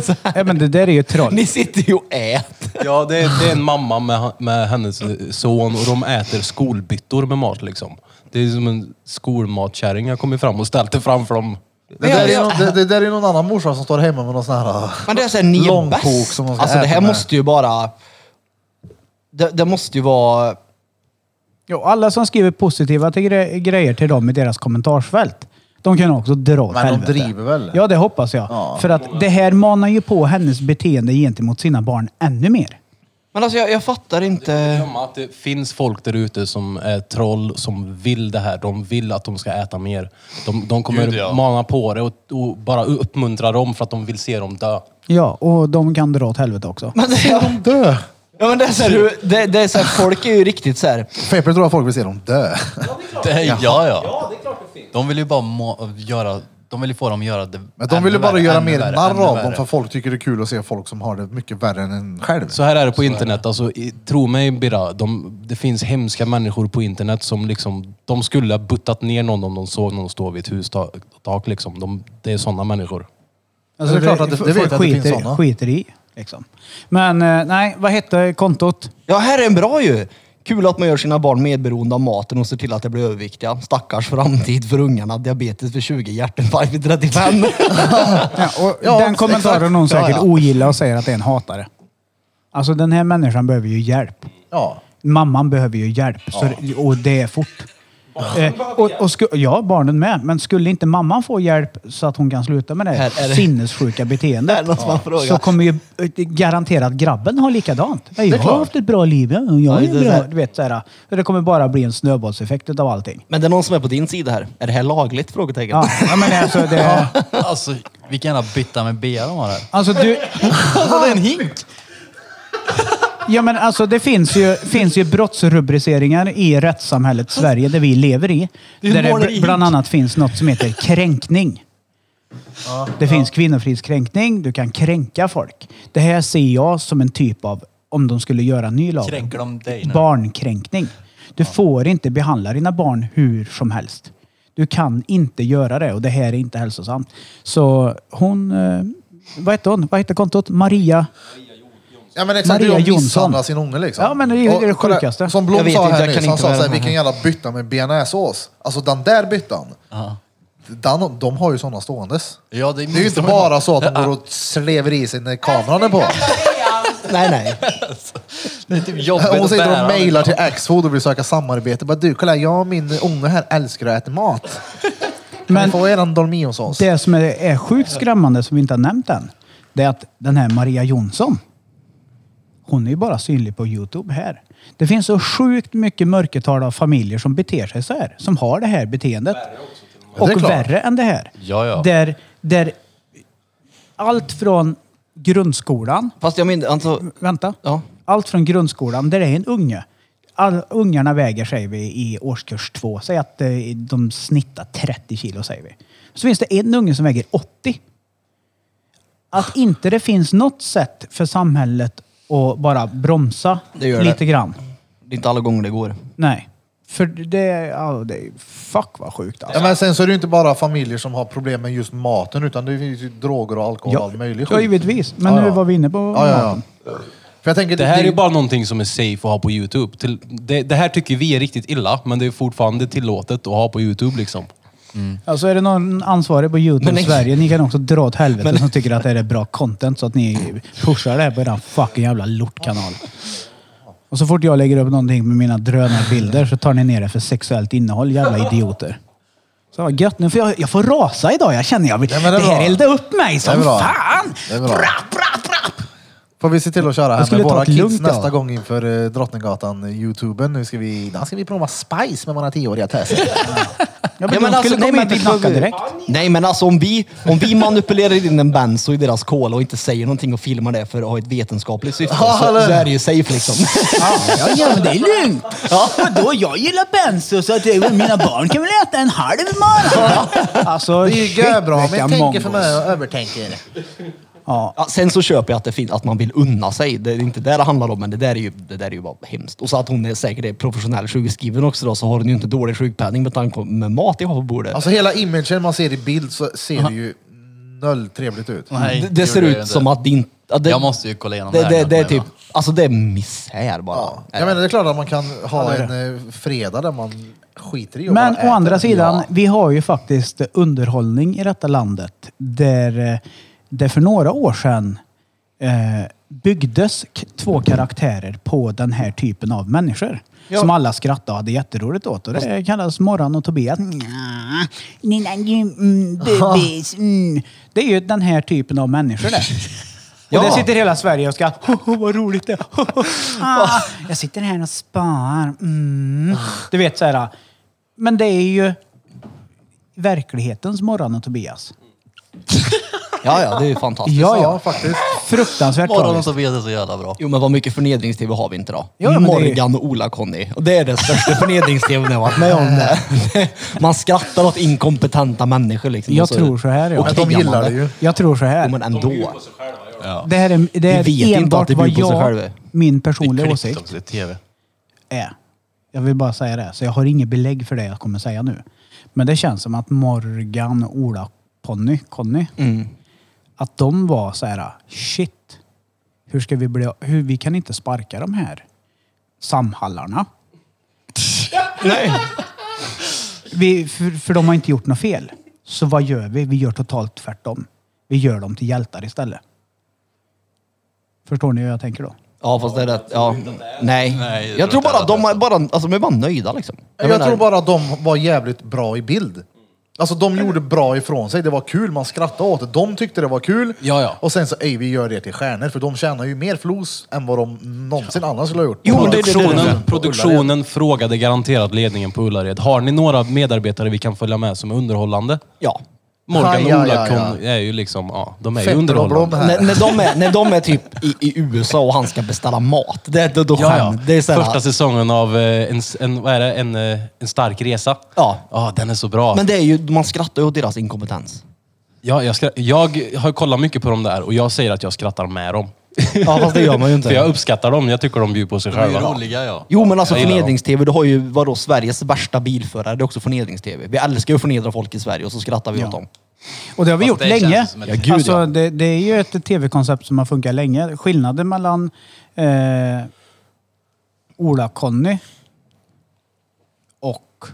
[SPEAKER 6] Så här,
[SPEAKER 3] Ja, men det där är ju troll.
[SPEAKER 6] ni sitter ju och äter.
[SPEAKER 5] Ja, det är, det är en mamma med, med hennes son och de äter skolbyttor med mat liksom. Det är som en skolmatkärring har kommit fram och ställt det framför dem.
[SPEAKER 1] Det där, är någon, det, det där är någon annan morsa som står hemma med någon sån här... ah.
[SPEAKER 6] Men det är såhär, ni är
[SPEAKER 1] Långkok
[SPEAKER 6] bäst.
[SPEAKER 1] som de ska
[SPEAKER 6] Alltså det
[SPEAKER 1] äta
[SPEAKER 6] här
[SPEAKER 1] med.
[SPEAKER 6] måste ju bara... Det, det måste ju vara...
[SPEAKER 3] Jo, alla som skriver positiva till gre- grejer till dem i deras kommentarsfält, de kan också dra åt
[SPEAKER 1] Men de
[SPEAKER 3] helvete.
[SPEAKER 1] driver väl?
[SPEAKER 3] Ja, det hoppas jag.
[SPEAKER 1] Ja.
[SPEAKER 3] För att det här manar ju på hennes beteende gentemot sina barn ännu mer.
[SPEAKER 6] Men alltså jag, jag fattar inte...
[SPEAKER 5] Glömma att det finns folk där ute som är troll, som vill det här. De vill att de ska äta mer. De, de kommer
[SPEAKER 2] Gud, ja.
[SPEAKER 5] mana på det och, och bara uppmuntra dem för att de vill se dem dö.
[SPEAKER 3] Ja, och de kan dra åt helvete också.
[SPEAKER 6] Men det, ja,
[SPEAKER 1] Dö!
[SPEAKER 6] men det är såhär, hur- det, det är såhär, folk är ju riktigt såhär...
[SPEAKER 1] Fepper tror att folk vill se dem dö.
[SPEAKER 2] Det, ja, ja. De vill ju bara må, göra... De vill ju få dem att göra det
[SPEAKER 1] Men de
[SPEAKER 2] ännu
[SPEAKER 1] vill ju bara
[SPEAKER 2] värre,
[SPEAKER 1] göra
[SPEAKER 2] ännu
[SPEAKER 1] mer
[SPEAKER 2] värre,
[SPEAKER 1] narr
[SPEAKER 2] ännu
[SPEAKER 1] av dem
[SPEAKER 2] värre.
[SPEAKER 1] för folk tycker det är kul att se folk som har det mycket värre än en själv.
[SPEAKER 5] Så här är det på internet. Alltså, i, tro mig Birra, de, det finns hemska människor på internet som liksom, de skulle ha buttat ner någon om de såg någon stå vid ett hustak. Liksom. De, det är sådana människor.
[SPEAKER 1] Alltså, det är klart att det-
[SPEAKER 3] f-
[SPEAKER 1] det vet
[SPEAKER 3] folk
[SPEAKER 1] jag att det finns
[SPEAKER 3] skiter,
[SPEAKER 1] såna.
[SPEAKER 3] skiter i. Liksom. Men eh, nej, vad hette kontot?
[SPEAKER 6] Ja, här är en bra ju! Kul att man gör sina barn medberoende av maten och ser till att de blir överviktiga. Stackars framtid för ungarna. Diabetes för 20, hjärtinfarkt vid 35.
[SPEAKER 3] Ja, och
[SPEAKER 1] Ja,
[SPEAKER 3] den
[SPEAKER 1] exakt.
[SPEAKER 3] kommentaren någon
[SPEAKER 1] Ja,
[SPEAKER 3] säkert
[SPEAKER 1] ja.
[SPEAKER 3] ogillar och säger att det är en hatare. Alltså den här människan behöver ju hjälp.
[SPEAKER 1] Ja.
[SPEAKER 3] Mamman behöver ju hjälp så, och det är fort. Eh, och, och sku, ja, barnen med. Men skulle inte mamman få hjälp så att hon kan sluta med det,
[SPEAKER 6] Här är det-
[SPEAKER 3] sinnessjuka
[SPEAKER 6] Det är
[SPEAKER 3] beteendet
[SPEAKER 6] något som man
[SPEAKER 3] så
[SPEAKER 6] frågar.
[SPEAKER 3] kommer ju eh, garanterat grabben ha likadant. Ja, Jag har haft ett bra liv. ja, Jag
[SPEAKER 6] Ja, det
[SPEAKER 3] är
[SPEAKER 6] är så
[SPEAKER 3] bra.
[SPEAKER 6] här.
[SPEAKER 3] Du vet, så här, så det kommer bara bli en snöbollseffekt av allting.
[SPEAKER 6] Men det är någon som är på din sida här. Är det här lagligt? Frågetecken.
[SPEAKER 3] Ja, ja, men alltså, det,
[SPEAKER 2] Alltså, vilken jävla bytta med bea de har här.
[SPEAKER 3] alltså, du,
[SPEAKER 2] Alltså, det är en hink!
[SPEAKER 3] Ja men alltså det finns ju, finns ju brottsrubriceringar i rättssamhället Sverige där vi lever i.
[SPEAKER 6] Det är
[SPEAKER 3] där det
[SPEAKER 6] måleri.
[SPEAKER 3] bl- bland annat finns något som heter kränkning. det finns kvinnofridskränkning, du kan kränka folk. Det här ser jag som en typ av, om de skulle göra en ny lag,
[SPEAKER 2] Kränker de dig nu?
[SPEAKER 3] barnkränkning. Du får inte behandla dina barn hur som helst. Du kan inte göra det och det här är inte hälsosamt. Så hon, eh, vad heter hon? Vad heter kontot? Maria?
[SPEAKER 1] Ja men exakt,
[SPEAKER 3] Maria
[SPEAKER 1] det är ju att
[SPEAKER 3] Jonsson.
[SPEAKER 1] misshandla sin unge liksom.
[SPEAKER 3] Ja, men det är ju det
[SPEAKER 1] Och kolla,
[SPEAKER 3] sjukaste.
[SPEAKER 1] Som
[SPEAKER 6] Jag
[SPEAKER 1] Blom
[SPEAKER 6] vet
[SPEAKER 1] sa
[SPEAKER 6] inte,
[SPEAKER 1] här
[SPEAKER 6] jag
[SPEAKER 1] nyss,
[SPEAKER 6] kan
[SPEAKER 1] han
[SPEAKER 6] inte
[SPEAKER 1] sa
[SPEAKER 6] vara
[SPEAKER 1] såhär,
[SPEAKER 6] den här.
[SPEAKER 1] vilken jävla bytta med bearnaisesås. Alltså den där byttan,
[SPEAKER 2] Ja.
[SPEAKER 1] den, de har ju sådana ståendes.
[SPEAKER 2] Ja, det,
[SPEAKER 1] Det är ju inte bara så att de går och slever i sig när kameran är på.
[SPEAKER 6] Nej, nej.
[SPEAKER 2] Det är typ jobbigt
[SPEAKER 1] Hon
[SPEAKER 2] att
[SPEAKER 1] sitter
[SPEAKER 2] bära.
[SPEAKER 1] och mejlar till Axfood och vill söka samarbete. Bara du, kolla jag och min unge här älskar att äta mat. Men
[SPEAKER 3] Men-
[SPEAKER 1] får eran dolmiosås.
[SPEAKER 3] Det som är, är sjukt skrämmande, som vi inte har nämnt än, det är att den här Maria Jonsson, hon är ju bara synlig på Youtube här. Det finns så sjukt mycket mörkertal av familjer som beter sig så här, som har det här beteendet.
[SPEAKER 1] med. Det är
[SPEAKER 3] och
[SPEAKER 1] klart.
[SPEAKER 3] värre än det här.
[SPEAKER 2] Ja, ja.
[SPEAKER 3] Där, där allt från grundskolan
[SPEAKER 6] Fast jag menar, alltså...
[SPEAKER 3] vänta.
[SPEAKER 6] Ja.
[SPEAKER 3] Allt från grundskolan, där det är en unge. All, ungarna väger, säger vi, i årskurs två. Säg att eh, de snittar 30 kilo, säger vi. Så finns det en unge som väger 80. Att inte det finns något sätt för samhället att bara bromsa
[SPEAKER 6] Det gör det.
[SPEAKER 3] lite grann.
[SPEAKER 6] Det är inte alla gånger det går.
[SPEAKER 3] Nej. För det, ja, det är... Fuck vad sjukt alltså.
[SPEAKER 1] Ja, men sen så är det ju inte bara familjer som har problem med just maten utan det finns ju droger och alkohol och all möjlig
[SPEAKER 3] ja,
[SPEAKER 1] skit.
[SPEAKER 3] givetvis. Men
[SPEAKER 1] Ja,
[SPEAKER 3] nu
[SPEAKER 1] ja.
[SPEAKER 3] var vi inne på
[SPEAKER 1] Ja, ja,
[SPEAKER 3] maten.
[SPEAKER 1] ja. För jag tänker,
[SPEAKER 5] Det här är ju bara någonting som är safe att ha på Youtube. Till, det, det här tycker vi är riktigt illa, men det är fortfarande tillåtet att ha på Youtube liksom.
[SPEAKER 3] Alltså är det någon ansvarig på Youtube
[SPEAKER 6] Men nej.
[SPEAKER 3] Sverige, ni kan också dra åt helvete som tycker att det är bra content så att ni pushar det här på eran fucking jävla lortkanal. Och så fort jag lägger upp någonting med mina drönarbilder så tar ni ner det för sexuellt innehåll, jävla idioter. Så vad gött, nu får jag, jag får rasa idag. Jag känner jag vill,
[SPEAKER 1] Det är
[SPEAKER 3] det,
[SPEAKER 1] väl bra.
[SPEAKER 3] här eldar upp mig
[SPEAKER 1] Det
[SPEAKER 3] som
[SPEAKER 1] är bra.
[SPEAKER 3] fan!
[SPEAKER 1] Det är bra.
[SPEAKER 3] Brapp, brapp, brapp!
[SPEAKER 1] Får vi se till att köra
[SPEAKER 3] Jag
[SPEAKER 1] här
[SPEAKER 3] skulle
[SPEAKER 1] med
[SPEAKER 3] ta
[SPEAKER 1] våra
[SPEAKER 3] ett
[SPEAKER 1] kids
[SPEAKER 3] lugnt,
[SPEAKER 1] nästa
[SPEAKER 3] ja.
[SPEAKER 1] gång inför eh, Drottninggatan, eh, Youtuben. Nu ska vi, där ska vi prova Spice med våra tioåriga test.
[SPEAKER 3] Ja, men
[SPEAKER 6] Ja, men
[SPEAKER 3] de
[SPEAKER 6] alltså,
[SPEAKER 3] skulle
[SPEAKER 6] nej,
[SPEAKER 3] komma
[SPEAKER 6] men
[SPEAKER 3] hit och knacka
[SPEAKER 6] vi behöver-
[SPEAKER 3] direkt.
[SPEAKER 6] Nej men alltså om vi, om vi manipulerar in en benzo i deras kola och inte säger någonting och filmar det för att ha ett vetenskapligt syfte
[SPEAKER 1] Ja,
[SPEAKER 6] så,
[SPEAKER 1] eller-
[SPEAKER 6] så är det ju safe liksom.
[SPEAKER 3] Ja, ja, men det är lugnt. Vadå, jag gillar benzo så att jag, mina barn kan väl äta en halv i morgon. Alltså,
[SPEAKER 1] Det är ju görbra, men jag tänker för mig och övertänker.
[SPEAKER 3] Ja.
[SPEAKER 6] Ja, sen så köper jag att, det fin- att man vill unna sig. Det är inte det det handlar om, men det där är ju, det där är ju bara hemskt. Och så att hon är säkert är professionell sjukskriven också då, så har hon ju inte dålig sjukpenning med tanke på med mat jag har på bordet.
[SPEAKER 1] Alltså hela imagen man ser i bild så ser det ju noll trevligt ut.
[SPEAKER 2] Nej,
[SPEAKER 6] det, det ser
[SPEAKER 2] gjorde jag
[SPEAKER 6] ut
[SPEAKER 2] ju inte.
[SPEAKER 6] som att din... ja, det,
[SPEAKER 2] Jag måste ju kolla igenom
[SPEAKER 6] det,
[SPEAKER 2] det
[SPEAKER 6] det,
[SPEAKER 2] här
[SPEAKER 6] det,
[SPEAKER 2] nu,
[SPEAKER 6] är
[SPEAKER 2] men
[SPEAKER 6] typ...
[SPEAKER 2] ja.
[SPEAKER 6] Alltså det är misär bara.
[SPEAKER 1] Ja.
[SPEAKER 6] Är
[SPEAKER 1] Jag
[SPEAKER 6] det.
[SPEAKER 1] menar det är klart att man kan ha en eh, fredag där man skiter i och
[SPEAKER 3] Men
[SPEAKER 1] bara äter.
[SPEAKER 3] å andra sidan,
[SPEAKER 1] Ja.
[SPEAKER 3] vi har ju faktiskt underhållning i detta landet där eh, det för några år sedan eh, byggdes k- två karaktärer på den här typen av människor. Som alla skrattade och hade jätteroligt åt. Och det kallas Morran och Tobias.
[SPEAKER 1] Mm.
[SPEAKER 3] Nja, ni där ju, mm, bebis, mm. Det är ju den här typen av människor det. Och
[SPEAKER 6] Ja.
[SPEAKER 3] där sitter hela Sverige och ska "Ho, ho, vad roligt det är. Ho, ho. ah, Jag sitter här och spar. Mm. Du vet så här. Men det är ju verklighetens Morran och Tobias.
[SPEAKER 6] Ja, ja, det är ju fantastiskt.
[SPEAKER 3] Ja, ja.
[SPEAKER 1] Ja, faktiskt.
[SPEAKER 3] Fruktansvärt
[SPEAKER 2] Morgonen
[SPEAKER 3] tragiskt.
[SPEAKER 2] så vet jag så jävla bra.
[SPEAKER 6] Jo men vad mycket förnedrings-tv har vi inte då?
[SPEAKER 3] Ja, men det är-
[SPEAKER 6] Morgan och Ola-Conny. Och det är den största förnedrings-tvn jag har varit med om. Det. Man skrattar åt inkompetenta människor liksom.
[SPEAKER 3] Jag
[SPEAKER 6] Och så-
[SPEAKER 3] tror så här, ja.
[SPEAKER 6] och
[SPEAKER 1] Men de
[SPEAKER 6] krigar man
[SPEAKER 1] gillar det ju.
[SPEAKER 3] Jag tror så
[SPEAKER 6] Jo,
[SPEAKER 3] här.
[SPEAKER 6] men ändå.
[SPEAKER 3] Det här är, det
[SPEAKER 6] Vi
[SPEAKER 3] är
[SPEAKER 6] vet inte att
[SPEAKER 3] enbart
[SPEAKER 6] det
[SPEAKER 3] vad
[SPEAKER 6] bjuder på sig
[SPEAKER 3] jag,
[SPEAKER 6] själv.
[SPEAKER 3] min
[SPEAKER 2] Det är
[SPEAKER 3] personliga
[SPEAKER 2] klippt
[SPEAKER 3] åsikt
[SPEAKER 2] också i TV.
[SPEAKER 3] är. Jag vill bara säga det. Så jag har inget belägg för det jag kommer säga nu. Men det känns som att Morgan, Ola, Conny, Conny att de var så här, shit, hur ska vi bli, hur, vi kan inte sparka de här samhallarna. Vi, för, för de har inte gjort något fel. Så vad gör vi? Vi gör totalt tvärtom. Vi gör dem till hjältar istället. Förstår ni hur jag tänker då?
[SPEAKER 6] Ja fast det är rätt. Ja. Nej.
[SPEAKER 2] Nej, jag
[SPEAKER 6] Jag
[SPEAKER 2] tror
[SPEAKER 6] tror bara
[SPEAKER 2] inte
[SPEAKER 6] att
[SPEAKER 2] det.
[SPEAKER 6] de är bara, alltså, de är bara nöjda liksom.
[SPEAKER 1] Jag, tror bara att de var jävligt bra i bild. Alltså de gjorde bra ifrån sig, det var kul, man skrattade åt det. De tyckte det var kul.
[SPEAKER 5] Ja, ja.
[SPEAKER 1] Och sen så, ej vi gör det till stjärnor, för de tjänar ju mer flos än vad de någonsin annars skulle ha gjort.
[SPEAKER 6] Jo, men det är det- det är det.
[SPEAKER 5] Produktionen,
[SPEAKER 1] Ullared.
[SPEAKER 5] produktionen frågade garanterat ledningen på Ullared. Har ni några medarbetare vi kan följa med som är underhållande?
[SPEAKER 6] Ja.
[SPEAKER 5] Morgan
[SPEAKER 1] Ja, ja,
[SPEAKER 5] och Ola
[SPEAKER 1] ja, ja.
[SPEAKER 5] Kon- är ju liksom, ja, de är ju
[SPEAKER 1] Fetter och
[SPEAKER 5] underhållande.
[SPEAKER 1] Blom här.
[SPEAKER 6] När, när, de är, när de är typ i, i USA och han ska beställa mat. Det, då då
[SPEAKER 5] Ja, ja.
[SPEAKER 6] skämt. Det är så här-
[SPEAKER 5] Första säsongen av eh, en, s- en, vad är det? En, eh, en stark resa.
[SPEAKER 6] Ja.
[SPEAKER 5] ja, den är så bra.
[SPEAKER 6] Men det är ju, man skrattar ju åt deras inkompetens.
[SPEAKER 5] Ja, jag, skra- jag har kollat mycket på dem där och jag säger att jag skrattar med dem.
[SPEAKER 6] Ja fast det gör man ju
[SPEAKER 5] För jag
[SPEAKER 6] inte.
[SPEAKER 5] uppskattar dem. Jag tycker de bjuder på sig
[SPEAKER 2] De är ju
[SPEAKER 5] själva.
[SPEAKER 2] roliga ja.
[SPEAKER 6] Jo men alltså
[SPEAKER 5] Jag gillar dem.
[SPEAKER 6] förnedrings-tv, du har ju vadå, Sveriges värsta bilförare. Det är också förnedrings-tv. Vi älskar ju att förnedra folk i Sverige och så skrattar vi åt dem.
[SPEAKER 3] Och det har vi
[SPEAKER 2] Fast
[SPEAKER 3] gjort
[SPEAKER 2] det
[SPEAKER 3] länge.
[SPEAKER 2] känns som ett-
[SPEAKER 6] Ja, gud,
[SPEAKER 3] alltså,
[SPEAKER 6] ja.
[SPEAKER 3] det, det är ju ett tv-koncept som har funkat länge. Skillnaden mellan eh, Ola-Conny och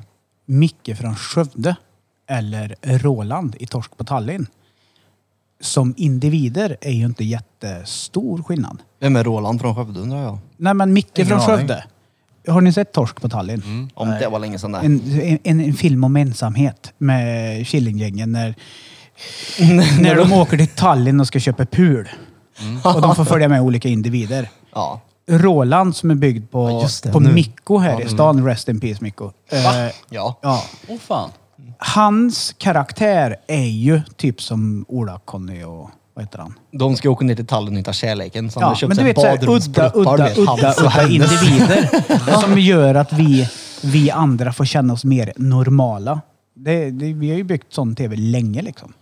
[SPEAKER 3] Micke från Skövde eller Roland i Torsk på Tallinn. Som individer är ju inte jättestor skillnad.
[SPEAKER 6] Vem är Roland från Skövde undrar jag?
[SPEAKER 3] Nej men Micke
[SPEAKER 1] Ingen
[SPEAKER 3] från
[SPEAKER 1] aning.
[SPEAKER 3] Skövde. Har ni sett Torsk på Tallinn?
[SPEAKER 6] Om det var länge sedan det.
[SPEAKER 3] En, en, en film om ensamhet med Killinggängen när, när de åker till Tallinn och ska köpa pul. Och de får följa med olika individer.
[SPEAKER 6] Ja.
[SPEAKER 3] Roland som är byggd på,
[SPEAKER 6] Ja, just det,
[SPEAKER 3] på
[SPEAKER 6] nu. mm.
[SPEAKER 3] Mikko här i stan. Rest in peace Mikko. Eh,
[SPEAKER 6] Ja.
[SPEAKER 3] ja.
[SPEAKER 2] Åh fan.
[SPEAKER 3] Hans karaktär är ju typ som Ola-Conny och vad heter han?
[SPEAKER 6] De ska åka ner till Tallinn och hitta kärleken. Så han typ
[SPEAKER 3] Ja,
[SPEAKER 6] har köpt
[SPEAKER 3] men du
[SPEAKER 6] sig
[SPEAKER 3] vet såhär udda,
[SPEAKER 6] badrumspluppar,
[SPEAKER 3] udda,
[SPEAKER 6] du vet,
[SPEAKER 3] udda,
[SPEAKER 6] hans och
[SPEAKER 3] udda
[SPEAKER 6] hennes.
[SPEAKER 3] individer som gör att vi, vi andra får känna oss mer normala. Det, det, vi har ju byggt sån tv länge liksom.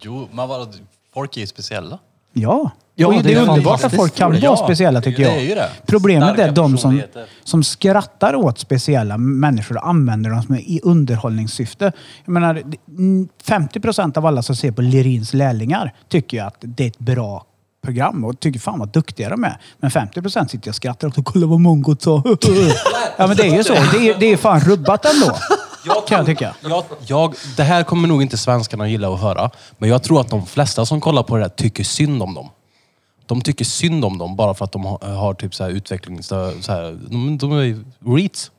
[SPEAKER 2] Jo, men vadå, folk är ju speciella.
[SPEAKER 3] Ja.
[SPEAKER 6] Ja,
[SPEAKER 3] och det
[SPEAKER 6] det
[SPEAKER 3] är
[SPEAKER 6] är
[SPEAKER 3] underbart att
[SPEAKER 6] fantastiskt.
[SPEAKER 3] folk kan vara
[SPEAKER 2] Ja,
[SPEAKER 3] speciella tycker
[SPEAKER 2] det
[SPEAKER 3] jag.
[SPEAKER 2] är ju det.
[SPEAKER 3] Problemet är
[SPEAKER 5] Starka
[SPEAKER 3] de som,
[SPEAKER 5] personligheter.
[SPEAKER 3] som skrattar åt speciella människor och använder dem som är i underhållningssyfte. Jag menar, mm, 50 procent av alla som ser på Lerins lärlingar tycker ju att det är ett bra program och tycker fan vad duktiga de är. Men 50 procent sitter och skrattar och kolla vad mongot sa. ja men det är ju så. Det är, det är fan rubbat ändå.
[SPEAKER 5] Jag
[SPEAKER 3] Kan jag tycka.
[SPEAKER 5] Jag, jag, det här kommer nog inte svenskarna gilla att höra, men jag tror att de flesta som kollar på det här tycker synd om dem. De tycker synd om dem bara för att de har, har typ så här utvecklings... Så här, de, de är ju reats.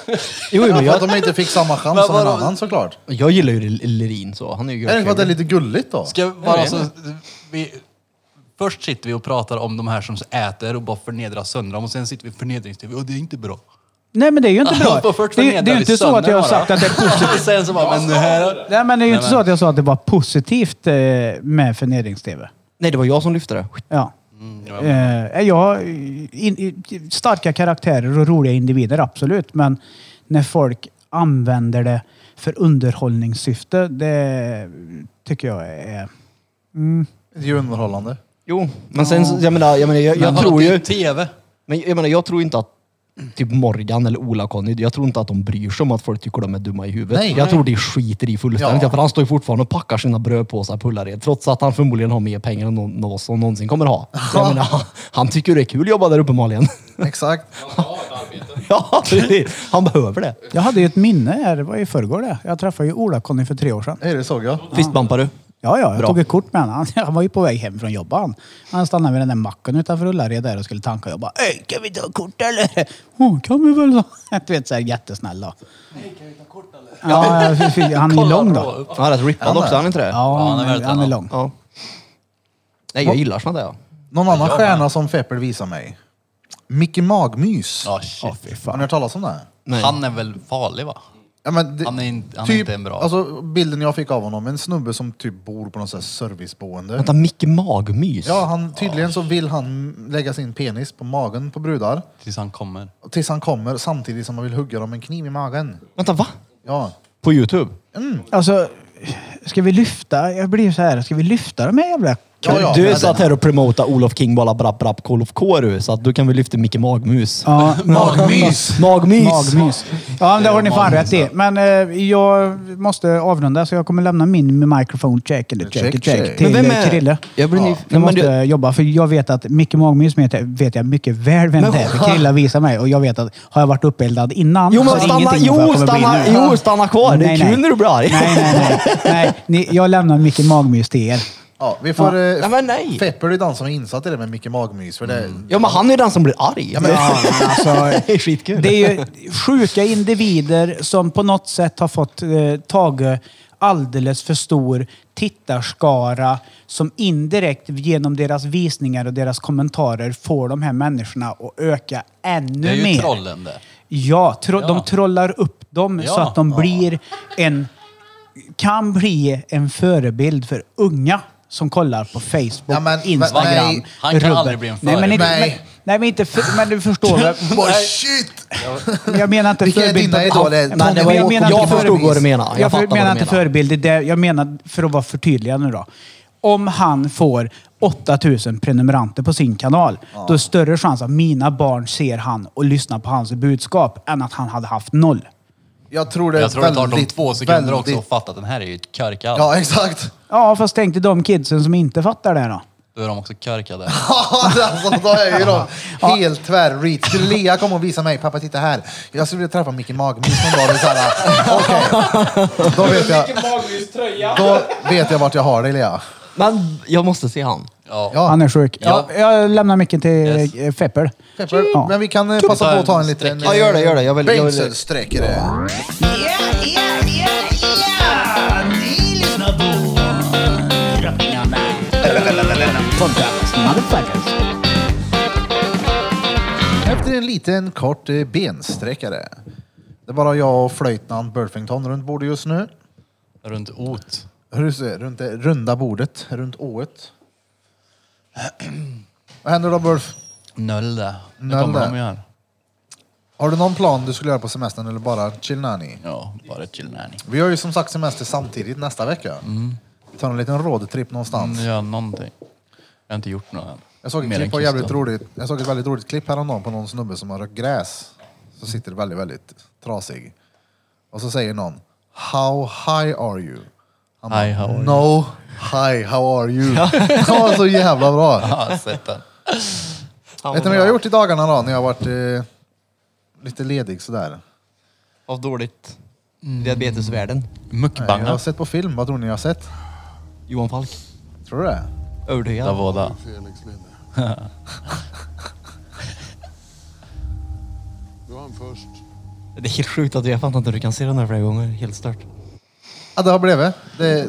[SPEAKER 6] Jo, jo, men
[SPEAKER 1] Ja, för
[SPEAKER 6] jag,
[SPEAKER 1] att de inte fick samma chans som en annan såklart.
[SPEAKER 6] jag gillar ju Lerin så. Han är ju
[SPEAKER 1] Är det inte för att det är
[SPEAKER 6] görtrevlig.
[SPEAKER 1] lite gulligt då?
[SPEAKER 2] Ska vi bara så, vi, först sitter vi och pratar om de här som äter och bara förnedrar sönder dem och sen sitter vi i förnedrings-tv och det är inte bra.
[SPEAKER 3] Nej men det är ju inte bra.
[SPEAKER 2] På först
[SPEAKER 3] Det, är-
[SPEAKER 2] förnedrar
[SPEAKER 3] det är ju
[SPEAKER 2] vi
[SPEAKER 3] inte så
[SPEAKER 2] sönder
[SPEAKER 3] att jag har
[SPEAKER 2] bara.
[SPEAKER 3] sagt att det är positivt.
[SPEAKER 2] sen så bara, men det här...
[SPEAKER 3] Nej men det är ju inte så att jag sa att det var positivt eh, med förnedrings-tv.
[SPEAKER 6] Nej, det var jag som lyfte det.
[SPEAKER 3] Ja. Eh, ja, in, i- starka karaktärer och roliga individer, absolut. Men när folk använder det för underhållningssyfte, det tycker jag är...
[SPEAKER 1] Det är ju underhållande.
[SPEAKER 6] Jo, men sen så- jag menar, jag, menar, jag, jag
[SPEAKER 2] Men
[SPEAKER 6] tror
[SPEAKER 2] det är
[SPEAKER 6] ju...
[SPEAKER 2] TV.
[SPEAKER 6] Men jag menar, jag tror inte att typ Morgan eller Ola-Conny, jag tror inte att de bryr sig om att folk tycker de är dumma i huvudet.
[SPEAKER 1] Nej.
[SPEAKER 6] jag tror de skiter i fullständigt.
[SPEAKER 1] Ja.
[SPEAKER 6] För han står ju fortfarande och packar sina brödpåsar på Ullared, trots att han förmodligen har mer pengar än någon någon av oss som någonsin kommer ha. Så jag menar, han, han tycker det är kul att jobba där uppe Malin.
[SPEAKER 1] Exakt.
[SPEAKER 6] ja, precis. han behöver det.
[SPEAKER 3] Jag hade ju ett minne här, det var i förrgår det. Jag träffade ju Ola-Conny för tre år sedan.
[SPEAKER 1] Nej, det såg jag.
[SPEAKER 6] Fistbumpar du?
[SPEAKER 3] Ja, ja, jag
[SPEAKER 6] Bra.
[SPEAKER 3] tog ett kort med honom. Han- Han var ju på väg hem från jobbet han. Han stannade vid den där macken utanför Ullared där och skulle tanka. Jag bara, Öj, kan vi ta kort eller? Åh, kan vi väl? då?" Du vet, så här jättesnäll då. Ja, fy- fy- han är ju lång då.
[SPEAKER 6] Han är rätt rippad också, han är inte det?
[SPEAKER 3] Ja, han
[SPEAKER 2] han är
[SPEAKER 3] är,
[SPEAKER 2] väldigt
[SPEAKER 3] han är
[SPEAKER 2] lång.
[SPEAKER 3] lång.
[SPEAKER 6] Ja. Nej, jag gillar sånt där. Ja.
[SPEAKER 1] Någon annan stjärna som Feppel visar mig. Micke Magmys.
[SPEAKER 2] Ja, shit.
[SPEAKER 3] Åh, fy
[SPEAKER 1] Har ni
[SPEAKER 3] fan.
[SPEAKER 1] hört talas om det?
[SPEAKER 6] Nej.
[SPEAKER 2] Han är väl farlig va?
[SPEAKER 1] Ja, men det-
[SPEAKER 2] Han är inte- han är inte en bra.
[SPEAKER 1] Alltså, bilden jag fick av honom, en snubbe som typ bor på något sånt här serviceboende.
[SPEAKER 6] Vänta, Micke Magmys?
[SPEAKER 1] Ja, han, tydligen så vill han lägga sin penis på magen på brudar
[SPEAKER 2] Tills han kommer.
[SPEAKER 1] tills han kommer samtidigt som han vill hugga dem med en kniv i magen.
[SPEAKER 6] Vänta, va?
[SPEAKER 1] Ja.
[SPEAKER 6] På Youtube?
[SPEAKER 3] Alltså, ska vi lyfta? Jag blir så här, ska vi lyfta de här jävla...
[SPEAKER 1] Ja, ja,
[SPEAKER 6] du
[SPEAKER 1] men-
[SPEAKER 6] satt här och promotade Olof King bara brapp brapp Olof K du, så att du kan väl lyfta Micke Magmus.
[SPEAKER 3] Ja,
[SPEAKER 1] Magmys!
[SPEAKER 6] Magmys!
[SPEAKER 3] magmys. Ja, men det har ni fan rätt i. Men eh, jag måste avrunda så jag kommer lämna min mikrofon check eller check,
[SPEAKER 1] Check,
[SPEAKER 3] check,
[SPEAKER 1] check.
[SPEAKER 3] till eh,
[SPEAKER 6] Men vem är-
[SPEAKER 3] Krille.
[SPEAKER 6] Jag blir nyf-
[SPEAKER 3] ja,
[SPEAKER 6] Men
[SPEAKER 3] jag måste
[SPEAKER 6] du-
[SPEAKER 3] jobba för jag vet att Micke Magmys vet jag, vet jag mycket väl vem
[SPEAKER 6] Men-
[SPEAKER 3] det är. För Krilla visar mig och jag vet att har jag varit uppeldad innan
[SPEAKER 6] Jo, men
[SPEAKER 3] så är
[SPEAKER 6] stanna-
[SPEAKER 3] ingenting
[SPEAKER 6] jo,
[SPEAKER 3] vad jag kommer bli
[SPEAKER 6] stanna-
[SPEAKER 3] nu.
[SPEAKER 6] jo, stanna kvar. Det är kul när du blir arg.
[SPEAKER 3] Nej, nej, nej. nej ni, jag lämnar Micke Magmys till er.
[SPEAKER 1] Ja, vi får... eh,
[SPEAKER 6] Nej, men nej.
[SPEAKER 1] Feppel är den som är insatt i det med Micke Magmys. För det,
[SPEAKER 2] Mm.
[SPEAKER 6] Ja, men han är ju den som blir arg.
[SPEAKER 1] Ja, men-
[SPEAKER 3] Ja, men alltså,
[SPEAKER 6] det är skitkul.
[SPEAKER 3] Det är ju sjuka individer som på något sätt har fått eh, tag alldeles för stor tittarskara som indirekt genom deras visningar och deras kommentarer får de här människorna att öka ännu
[SPEAKER 2] Det är ju
[SPEAKER 3] mer.
[SPEAKER 2] trollen det.
[SPEAKER 3] Ja, tro,
[SPEAKER 2] Ja.
[SPEAKER 3] de trollar upp dem så
[SPEAKER 2] Ja.
[SPEAKER 3] att de blir en kan bli en förebild för unga som kollar på Facebook,
[SPEAKER 1] Ja, men,
[SPEAKER 3] Instagram,
[SPEAKER 1] men nej,
[SPEAKER 2] han kan
[SPEAKER 3] Rubbel.
[SPEAKER 2] aldrig bli en
[SPEAKER 3] Nej, men, inte,
[SPEAKER 1] förebild.
[SPEAKER 3] men, nej, men, inte för, men du förstår väl?
[SPEAKER 1] Bara shit!
[SPEAKER 3] Men jag menar inte
[SPEAKER 1] Vilka är
[SPEAKER 3] förebild.
[SPEAKER 1] dina idoler?
[SPEAKER 6] Nej, det var-
[SPEAKER 1] Tony
[SPEAKER 6] jag
[SPEAKER 1] Hawk och
[SPEAKER 6] menar inte
[SPEAKER 1] Micke
[SPEAKER 6] förstod
[SPEAKER 1] Magmys.
[SPEAKER 6] vad du menar. Jag
[SPEAKER 3] Jag, för,
[SPEAKER 6] fattar vad
[SPEAKER 3] menar
[SPEAKER 6] du
[SPEAKER 3] inte
[SPEAKER 6] menar.
[SPEAKER 3] förebild. Det är det, jag menar, för att vara förtydligande då. Om han får 8000 prenumeranter på sin kanal, då är större chans att mina barn ser han och lyssnar på hans budskap än att han hade haft noll.
[SPEAKER 1] Jag tror det är
[SPEAKER 2] Jag tror det tar dem
[SPEAKER 1] väldigt,
[SPEAKER 2] två sekunder
[SPEAKER 1] väldigt-
[SPEAKER 2] också att fatta att den här är ju ett karkad.
[SPEAKER 1] Ja, exakt.
[SPEAKER 3] Ja, fast tänk dig de kidsen som inte fattar det då.
[SPEAKER 2] Då är de också karkade.
[SPEAKER 1] alltså, då är ju de helt tvärreach. Lea kom och visade mig, pappa titta här. Jag skulle vilja träffa Micke Magmys någon dag. Det är så här, Okej, då vet jag. Då vet jag vart jag har dig Lea.
[SPEAKER 6] Men jag måste se han.
[SPEAKER 2] Ja.
[SPEAKER 1] Ja.
[SPEAKER 3] Han är sjuk.
[SPEAKER 2] Ja.
[SPEAKER 3] Jag, jag lämnar micken till
[SPEAKER 2] Yes.
[SPEAKER 3] eh, Feppel.
[SPEAKER 1] Pepper,
[SPEAKER 3] Ja.
[SPEAKER 1] Men vi kan eh, passa på att ta en liten...
[SPEAKER 6] Ja, gör det, gör det. Jag vill- jag vill-
[SPEAKER 1] Bengtsson-sträck är det. Efter en liten kort eh, bensträckare. Det är bara jag och flöjtnant Burfington runt bordet just nu.
[SPEAKER 2] Runt ot.
[SPEAKER 1] Hur ser det? Runt det runda bordet, runt ået. Vad händer då Burf?
[SPEAKER 2] Nöll det. Nu
[SPEAKER 1] Nöll
[SPEAKER 2] kommer
[SPEAKER 1] det.
[SPEAKER 2] de ju här.
[SPEAKER 1] Har du någon plan du skulle göra på semestern eller bara chillnani?
[SPEAKER 2] Ja, bara chill nanny.
[SPEAKER 1] Vi har ju som sagt semester samtidigt nästa vecka.
[SPEAKER 2] Mm.
[SPEAKER 1] Vi tar en liten roadtrip någonstans.
[SPEAKER 2] Gör någonting. Jag har inte gjort något än.
[SPEAKER 1] Jag såg, ett
[SPEAKER 2] Mm, Mer än
[SPEAKER 1] klipp på jävligt
[SPEAKER 2] Christian.
[SPEAKER 1] roligt, jag såg ett väldigt roligt klipp häromdagen på någon snubbe som har rökt gräs. Så sitter väldigt, väldigt trasig. Och så säger någon How high are you? Han
[SPEAKER 2] Hi, how are you?
[SPEAKER 1] No high, how are you? Det var så jävla bra.
[SPEAKER 2] Ja, jag har sett den.
[SPEAKER 1] Vet ni vad jag har gjort i dagarna då när jag har varit eh, lite ledig sådär?
[SPEAKER 6] Av dåligt
[SPEAKER 3] Mm.
[SPEAKER 6] Diabetesvärlden.
[SPEAKER 1] Nej, jag har
[SPEAKER 2] Mukbanga.
[SPEAKER 1] sett på film. Vad tror ni jag har sett?
[SPEAKER 6] Johan Falk.
[SPEAKER 1] Tror du det?
[SPEAKER 6] Övertygad.
[SPEAKER 5] Davoda.
[SPEAKER 8] Felix Linde. Du var han först.
[SPEAKER 6] Det är helt sjukt att jag fattar inte hur du kan se den här flera gånger. Helt stört.
[SPEAKER 1] Ja, det har blivit. Det...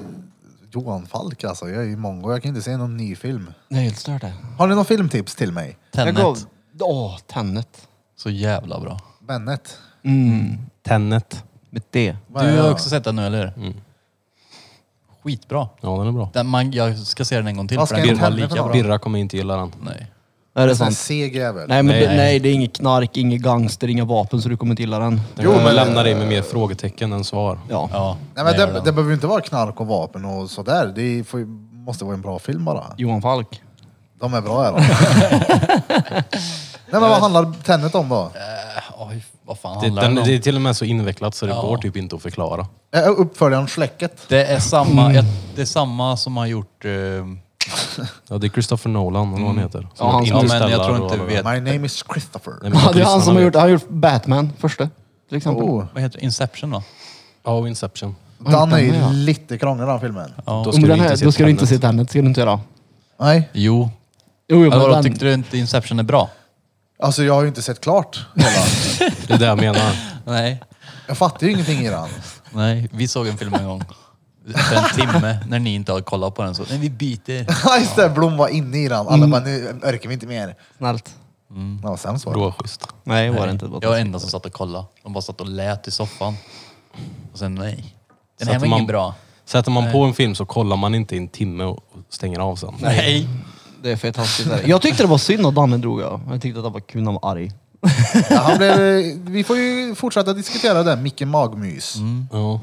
[SPEAKER 1] Johan Falk alltså. Jag är ju mongo. Jag kan inte se någon ny film.
[SPEAKER 6] Det är helt stört det.
[SPEAKER 1] Har ni någon filmtips till mig?
[SPEAKER 6] Jag gav...
[SPEAKER 2] Tenet.
[SPEAKER 6] Åh, Tennet.
[SPEAKER 2] Så jävla bra.
[SPEAKER 1] Bennet.
[SPEAKER 6] Mm.
[SPEAKER 5] Tennet.
[SPEAKER 6] Med det.
[SPEAKER 1] Vad är
[SPEAKER 2] Du har
[SPEAKER 1] jag?
[SPEAKER 2] också sett den nu, eller hur?
[SPEAKER 5] Mm.
[SPEAKER 2] Skitbra.
[SPEAKER 5] Ja, den är bra.
[SPEAKER 2] Den, man, jag ska se den en gång till,
[SPEAKER 1] Vad
[SPEAKER 2] för
[SPEAKER 1] ska
[SPEAKER 2] den
[SPEAKER 1] jag
[SPEAKER 2] kommer
[SPEAKER 1] tända
[SPEAKER 2] vara
[SPEAKER 1] för
[SPEAKER 2] lika
[SPEAKER 1] något?
[SPEAKER 2] bra.
[SPEAKER 5] Birra kommer inte gilla den.
[SPEAKER 2] Nej.
[SPEAKER 6] Är det
[SPEAKER 1] En
[SPEAKER 6] sant?
[SPEAKER 1] seg jävel.
[SPEAKER 6] Nej, men
[SPEAKER 5] Nej.
[SPEAKER 6] Det, nej, det är inget knark, inget gangster, inga vapen så du kommer inte gilla den.
[SPEAKER 5] Den
[SPEAKER 1] Jo,
[SPEAKER 5] jo,
[SPEAKER 1] men-
[SPEAKER 5] men lämnar dig med mer frågetecken än svar.
[SPEAKER 6] Ja.
[SPEAKER 2] Ja,
[SPEAKER 1] Nej, men
[SPEAKER 2] det
[SPEAKER 1] det,
[SPEAKER 2] gör
[SPEAKER 1] det
[SPEAKER 2] den.
[SPEAKER 1] behöver ju inte vara knark och vapen och sådär. Det får, ju- måste vara en bra film bara.
[SPEAKER 6] Johan Falk.
[SPEAKER 1] De är bra är de. Nej men vad handlar Tenet om då?
[SPEAKER 2] Oj, vad fan
[SPEAKER 5] Det,
[SPEAKER 2] handlar
[SPEAKER 5] den,
[SPEAKER 2] den om?
[SPEAKER 5] det är till och med så invecklat så det
[SPEAKER 2] Ja.
[SPEAKER 5] går typ inte att förklara.
[SPEAKER 1] Eh, Uppföljaren Släcket.
[SPEAKER 2] Det är
[SPEAKER 1] Mm.
[SPEAKER 2] samma, jag, det är samma som har gjort... eh,
[SPEAKER 5] Ja, det är Christopher Nolan, eller vad han heter. Som
[SPEAKER 6] Mm. Ja, han
[SPEAKER 5] är
[SPEAKER 6] som- Ja, men
[SPEAKER 2] jag
[SPEAKER 5] Interstellar
[SPEAKER 2] tror inte
[SPEAKER 5] och-
[SPEAKER 2] vi vet.
[SPEAKER 1] My name is Christopher.
[SPEAKER 5] Nej, men
[SPEAKER 6] Ja, det är han som
[SPEAKER 5] lyssnarna
[SPEAKER 6] har gjort, han har gjort Batman, första. Till exempel.
[SPEAKER 1] Oh,
[SPEAKER 2] vad heter det? Inception då?
[SPEAKER 5] vet. Ja, och Inception.
[SPEAKER 1] den är ju
[SPEAKER 6] Ja.
[SPEAKER 1] lite krånglig den filmen.
[SPEAKER 5] Då
[SPEAKER 6] Om
[SPEAKER 5] ska,
[SPEAKER 6] den
[SPEAKER 5] du,
[SPEAKER 6] här,
[SPEAKER 5] inte
[SPEAKER 6] då ska du inte se
[SPEAKER 5] Tenet.
[SPEAKER 6] Tennet, ska du inte göra.
[SPEAKER 1] Nej,
[SPEAKER 2] Jo.
[SPEAKER 6] Jo, jo,
[SPEAKER 2] Eller
[SPEAKER 6] men
[SPEAKER 2] vadå,
[SPEAKER 6] den,
[SPEAKER 2] tyckte du inte Inception är bra?
[SPEAKER 1] alltså jag har ju inte sett klart hela.
[SPEAKER 5] Det är det jag menar.
[SPEAKER 2] Nej.
[SPEAKER 1] Jag fattar ju ingenting i den.
[SPEAKER 2] Nej, vi såg en film en gång. För en timme, när ni inte har kollat på den. Så, nej, vi byter.
[SPEAKER 1] Ja, Just det, Blom var inne i den. Alla
[SPEAKER 5] Mm.
[SPEAKER 1] bara, nu orkar vi inte mer.
[SPEAKER 6] snällt.
[SPEAKER 1] Ja, vad sämst var
[SPEAKER 5] Det
[SPEAKER 1] det.
[SPEAKER 5] var schysst.
[SPEAKER 6] Nej, det var det inte.
[SPEAKER 2] Jag var enda som satt och kollade. De bara satt och lät i soffan. Och sen nej. Den
[SPEAKER 5] Så
[SPEAKER 2] här
[SPEAKER 5] att
[SPEAKER 2] var
[SPEAKER 5] man-
[SPEAKER 2] ingen bra.
[SPEAKER 5] Sätter man på en film så kollar man inte i en timme och och stänger av sen.
[SPEAKER 2] Nej.
[SPEAKER 6] Det är fett hastigt. där. Jag tyckte det var synd att Danne drog. Jag, jag tyckte att det var kul när han var arg.
[SPEAKER 1] Ja, han blev, vi får ju fortsätta diskutera det, Micke Magmys.
[SPEAKER 5] Ja.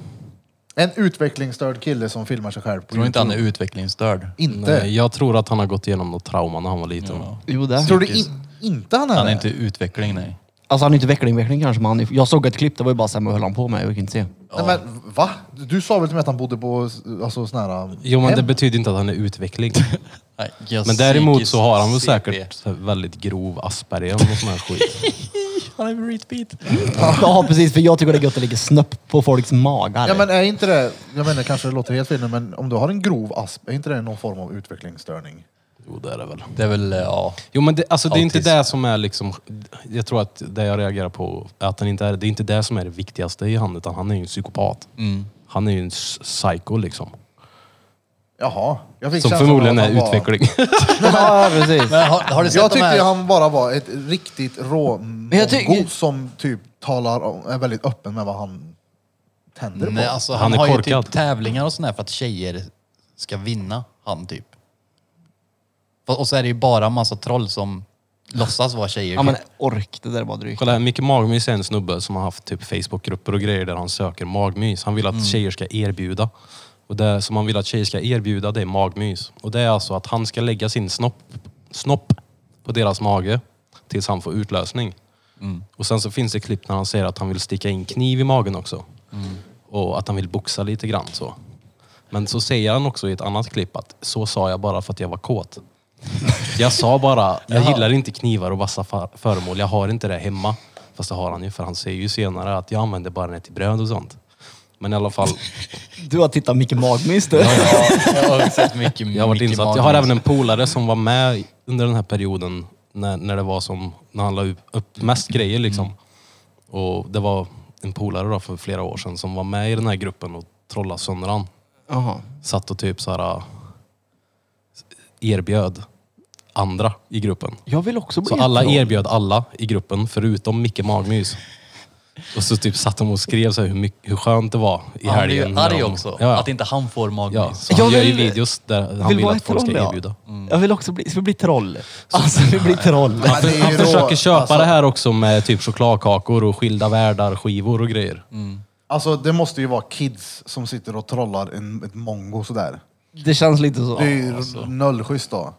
[SPEAKER 1] En utvecklingsstörd kille som filmar sig själv på
[SPEAKER 2] Tror inte han är
[SPEAKER 1] YouTube.
[SPEAKER 2] utvecklingsstörd.
[SPEAKER 1] Inte?
[SPEAKER 5] Nej, jag tror att han har gått igenom något trauma när han var liten.
[SPEAKER 6] Jo, det.
[SPEAKER 1] Tror du in, inte han är
[SPEAKER 2] Han
[SPEAKER 1] det?
[SPEAKER 2] är inte i utveckling, nej.
[SPEAKER 6] Alltså han är inte veckling, veckling kanske, men han är, jag såg ett klipp, det var ju bara såhär, vad höll han på med? Jag fick inte se.
[SPEAKER 1] Nej, men va? Du sa väl till mig att han bodde på alltså, sån här...
[SPEAKER 5] Jo, men
[SPEAKER 1] hem?
[SPEAKER 5] det betyder inte att han är utveckling.
[SPEAKER 2] nej jag
[SPEAKER 5] Men däremot så har han väl
[SPEAKER 2] psykiskt
[SPEAKER 5] säkert så här väldigt grov Asperger och något sån här skit.
[SPEAKER 2] Han är retbeat.
[SPEAKER 6] Ja precis, för jag tycker det är gött att ligga snupp på folks magar.
[SPEAKER 1] Ja men är inte det, jag menar kanske det låter helt fel nu, men om du har en grov asp, är inte det någon form av utvecklingsstörning?
[SPEAKER 5] Jo, det är det väl.
[SPEAKER 2] Det är väl, eh, ja.
[SPEAKER 5] Jo, men det, alltså, det är inte
[SPEAKER 2] Autism.
[SPEAKER 5] det som är liksom... Jag tror att det jag reagerar på är att han inte är... Det är inte det som är det viktigaste i han, utan han är ju en psykopat.
[SPEAKER 1] Mm.
[SPEAKER 5] Han är ju en s- psycho liksom.
[SPEAKER 1] Jaha. Jag fick
[SPEAKER 5] Som
[SPEAKER 1] känslan
[SPEAKER 5] förmodligen
[SPEAKER 1] av att
[SPEAKER 5] är
[SPEAKER 1] han var-
[SPEAKER 5] utveckling.
[SPEAKER 6] ja precis.
[SPEAKER 2] Men har, har du sett
[SPEAKER 1] Jag
[SPEAKER 2] de
[SPEAKER 1] tyckte
[SPEAKER 2] här?
[SPEAKER 1] ju han bara var ett riktigt råmongo
[SPEAKER 6] jag tycker-
[SPEAKER 1] som typ talar om, är väldigt öppen med vad han tänder
[SPEAKER 2] Nej,
[SPEAKER 1] på.
[SPEAKER 2] alltså, han,
[SPEAKER 5] Han är
[SPEAKER 2] har ju
[SPEAKER 5] korkad.
[SPEAKER 2] typ tävlingar och sådär för att tjejer ska vinna han typ. Och och så är det ju bara massa troll som låtsas vara tjejer.
[SPEAKER 6] Ja
[SPEAKER 2] typ.
[SPEAKER 6] men ork, det där var drygt.
[SPEAKER 5] Kolla här, Micke Magmys är en snubbe som har haft typ Facebookgrupper och grejer där han söker magmys. Han vill att tjejer ska erbjuda. Och det som han vill att tjejer ska erbjuda, det är magmys. Och det är alltså att han ska lägga sin snopp, snopp på deras mage tills han får utlösning. Och sen så finns det klipp när han säger att han vill sticka in kniv i magen också. Och att han vill boxa lite grann så. Men så säger han också i ett annat klipp att så sa jag bara för att jag var kåt. Jag sa bara, jag gillar inte knivar och vassa fa- föremål. Jag har inte det hemma. Fast det har han ju, för han säger ju senare att jag använder bara det till bröd och sånt. Men i alla fall,
[SPEAKER 6] Du har tittat Micke Magmys du.
[SPEAKER 2] Ja, jag har sett mycket
[SPEAKER 5] jag har varit
[SPEAKER 2] Mickey
[SPEAKER 5] insatt. Jag har
[SPEAKER 2] Mouse.
[SPEAKER 5] även en polare som var med i- under den här perioden när, när det var som, när han la upp- upp mest grejer liksom. Och det var en polare då för flera år sedan som var med i den här gruppen och trollade sönder han.
[SPEAKER 6] Jaha.
[SPEAKER 5] Satt och typ så här äh, erbjöd andra i gruppen.
[SPEAKER 6] Jag vill också bli
[SPEAKER 5] Så alla erbjöd alla i gruppen förutom Micke Magmys. Och så typ satt de och skrev så här hur, mycket, hur skönt det var i
[SPEAKER 2] Han blir
[SPEAKER 5] helgen.
[SPEAKER 2] ju
[SPEAKER 5] när
[SPEAKER 2] arg
[SPEAKER 5] de-
[SPEAKER 2] också.
[SPEAKER 5] Ja, ja.
[SPEAKER 2] Att inte han får magmys.
[SPEAKER 5] ja. Så han
[SPEAKER 6] Jag
[SPEAKER 5] gör ju
[SPEAKER 6] vill-
[SPEAKER 5] videos där han vill
[SPEAKER 6] vara
[SPEAKER 5] att
[SPEAKER 6] ett
[SPEAKER 5] folk ska
[SPEAKER 6] troll, ja.
[SPEAKER 5] erbjuda.
[SPEAKER 6] Jag vill också bli, ska vi bli troll? Alltså vi blir troll.
[SPEAKER 1] Men det är ju
[SPEAKER 5] Han
[SPEAKER 1] rå-
[SPEAKER 5] försöker köpa
[SPEAKER 1] alltså-
[SPEAKER 5] det här också med typ chokladkakor och skilda världar-skivor och grejer.
[SPEAKER 2] Mm.
[SPEAKER 1] Alltså det måste ju vara kids som sitter och trollar en, ett mongo sådär.
[SPEAKER 6] Det känns lite så.
[SPEAKER 1] Det är ju
[SPEAKER 2] alltså.
[SPEAKER 1] nollschysst då.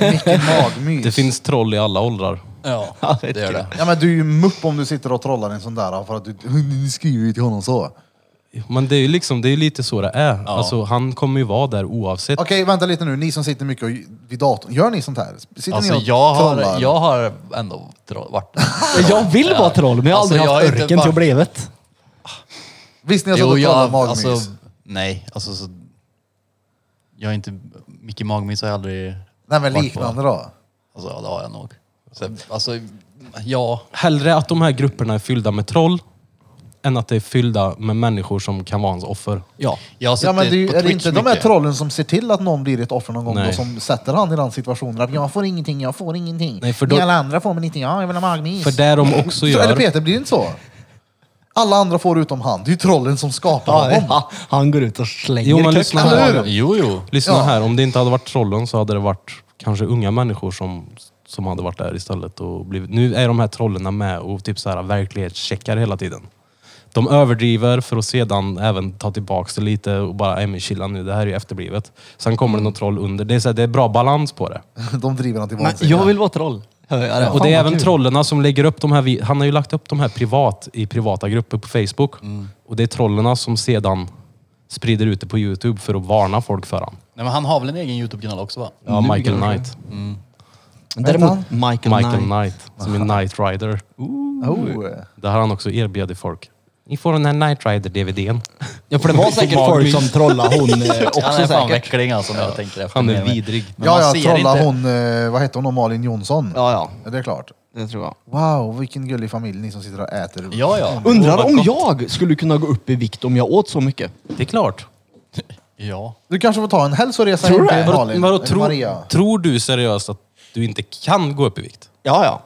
[SPEAKER 1] Micke Magmys.
[SPEAKER 5] Det finns troll i alla åldrar.
[SPEAKER 2] Ja, det gör det.
[SPEAKER 1] Ja men du är ju mupp om du sitter och trollar en sån där för att du, ni skriver ju till honom så. Okej
[SPEAKER 5] Men det är ju liksom, det är lite så det är. Alltså, han kommer ju vara där oavsett.
[SPEAKER 1] vänta lite nu, ni som sitter mycket och- vid datorn, gör ni sånt här? Sitter
[SPEAKER 2] Alltså
[SPEAKER 1] ni och
[SPEAKER 2] jag har,
[SPEAKER 1] trollar?
[SPEAKER 2] jag har ändå tro- varit
[SPEAKER 6] Jag vill vara troll men jag har
[SPEAKER 2] Alltså,
[SPEAKER 6] aldrig
[SPEAKER 2] jag har
[SPEAKER 6] haft
[SPEAKER 2] inte
[SPEAKER 6] orken till att
[SPEAKER 2] varit-
[SPEAKER 6] bli det.
[SPEAKER 1] Visst ni har satt
[SPEAKER 2] Jo,
[SPEAKER 1] och kollat
[SPEAKER 2] jag,
[SPEAKER 1] magmys?
[SPEAKER 2] alltså, nej, alltså så, jag är inte, mycket magmys har jag aldrig
[SPEAKER 1] Nej men
[SPEAKER 2] varit
[SPEAKER 1] liknande
[SPEAKER 2] På.
[SPEAKER 1] då.
[SPEAKER 2] Alltså ja, det har jag nog. Så, alltså, ja,
[SPEAKER 5] Hellre att de här grupperna är fyllda med troll än att det är fyllda med människor som kan vara ens offer.
[SPEAKER 6] Ja.
[SPEAKER 2] jag har suttit
[SPEAKER 1] Ja, men det är, ju-
[SPEAKER 2] på
[SPEAKER 1] är det
[SPEAKER 2] Twitch
[SPEAKER 1] inte de här
[SPEAKER 2] mycket.
[SPEAKER 1] trollen som ser till att någon blir ett offer någon gång
[SPEAKER 5] Nej.
[SPEAKER 1] då, som sätter han i den situationen? Att jag får ingenting, jag får ingenting.
[SPEAKER 5] Nej, för
[SPEAKER 1] Ni
[SPEAKER 5] då-
[SPEAKER 1] alla andra får men inte jag, jag vill ha magmys.
[SPEAKER 5] För det de också
[SPEAKER 1] Så, eller
[SPEAKER 5] gör...
[SPEAKER 1] Peter, blir det inte så? Alla andra får utom han. Det är ju trollen som skapar honom.
[SPEAKER 6] Han, han går ut och slänger
[SPEAKER 5] Jo, men
[SPEAKER 6] kuck-
[SPEAKER 5] lyssna
[SPEAKER 1] Eller
[SPEAKER 5] här.
[SPEAKER 1] hur?
[SPEAKER 2] Jo, jo.
[SPEAKER 5] Lyssna
[SPEAKER 1] Ja.
[SPEAKER 5] här, om det inte hade varit trollen så hade det varit kanske unga människor som, som hade varit där istället. Och blivit. Nu är de här trollerna med och typ så här verklighetscheckar hela tiden. De överdriver för att sedan även ta tillbaks det lite och bara, nej men chilla nu, det här är ju efterblivet. Sen
[SPEAKER 6] Mm.
[SPEAKER 5] kommer det något troll under. Det är, så här, det är bra balans på det.
[SPEAKER 1] De driver han till
[SPEAKER 6] Men
[SPEAKER 1] vansinne.
[SPEAKER 6] jag vill vara troll. Hör jag
[SPEAKER 5] Och
[SPEAKER 6] Fan,
[SPEAKER 5] det är
[SPEAKER 6] vad
[SPEAKER 5] även
[SPEAKER 6] kul.
[SPEAKER 5] trollerna som lägger upp de här, vi- han har ju lagt upp de här privat i privata grupper på Facebook.
[SPEAKER 6] Mm.
[SPEAKER 5] Och det är trollerna som sedan sprider ut det på Youtube för att varna folk för han.
[SPEAKER 2] Nej, men han har väl en egen Youtube-kanal också va?
[SPEAKER 5] Ja, Michael Knight.
[SPEAKER 6] Däremot Michael,
[SPEAKER 5] Michael
[SPEAKER 6] Knight.
[SPEAKER 5] Knight, som är Knight Rider.
[SPEAKER 1] Oh.
[SPEAKER 5] Det har han också erbjudit folk. Ni får den här Knight Rider-DVDn.
[SPEAKER 6] Ja, för det var säkert folk som trollade hon eh, också
[SPEAKER 2] han är fan
[SPEAKER 6] säkert.
[SPEAKER 2] veckling alltså när jag tänker efter.
[SPEAKER 5] Han
[SPEAKER 2] mer
[SPEAKER 5] är
[SPEAKER 2] och mer.
[SPEAKER 5] vidrig.
[SPEAKER 2] Men man
[SPEAKER 1] Ja,
[SPEAKER 2] ser
[SPEAKER 1] jag trollar
[SPEAKER 2] inte-
[SPEAKER 1] hon, eh, vad heter hon, då? Malin Jonsson.
[SPEAKER 6] Ja, ja.
[SPEAKER 1] Ja, Det är klart.
[SPEAKER 6] Det tror jag.
[SPEAKER 1] Wow, vilken gullig familj ni som sitter och äter.
[SPEAKER 2] Ja, ja.
[SPEAKER 6] Undrar
[SPEAKER 5] vad
[SPEAKER 6] om
[SPEAKER 5] gott.
[SPEAKER 6] jag skulle kunna gå upp i vikt om jag åt så mycket.
[SPEAKER 5] Det är klart.
[SPEAKER 2] Ja.
[SPEAKER 1] Du kanske får ta en hälsoresa hem till Malin.
[SPEAKER 5] vadå,
[SPEAKER 6] eh,
[SPEAKER 1] eller Maria.
[SPEAKER 5] tror, tror du seriöst att du inte kan gå upp i vikt?
[SPEAKER 6] Ja, ja.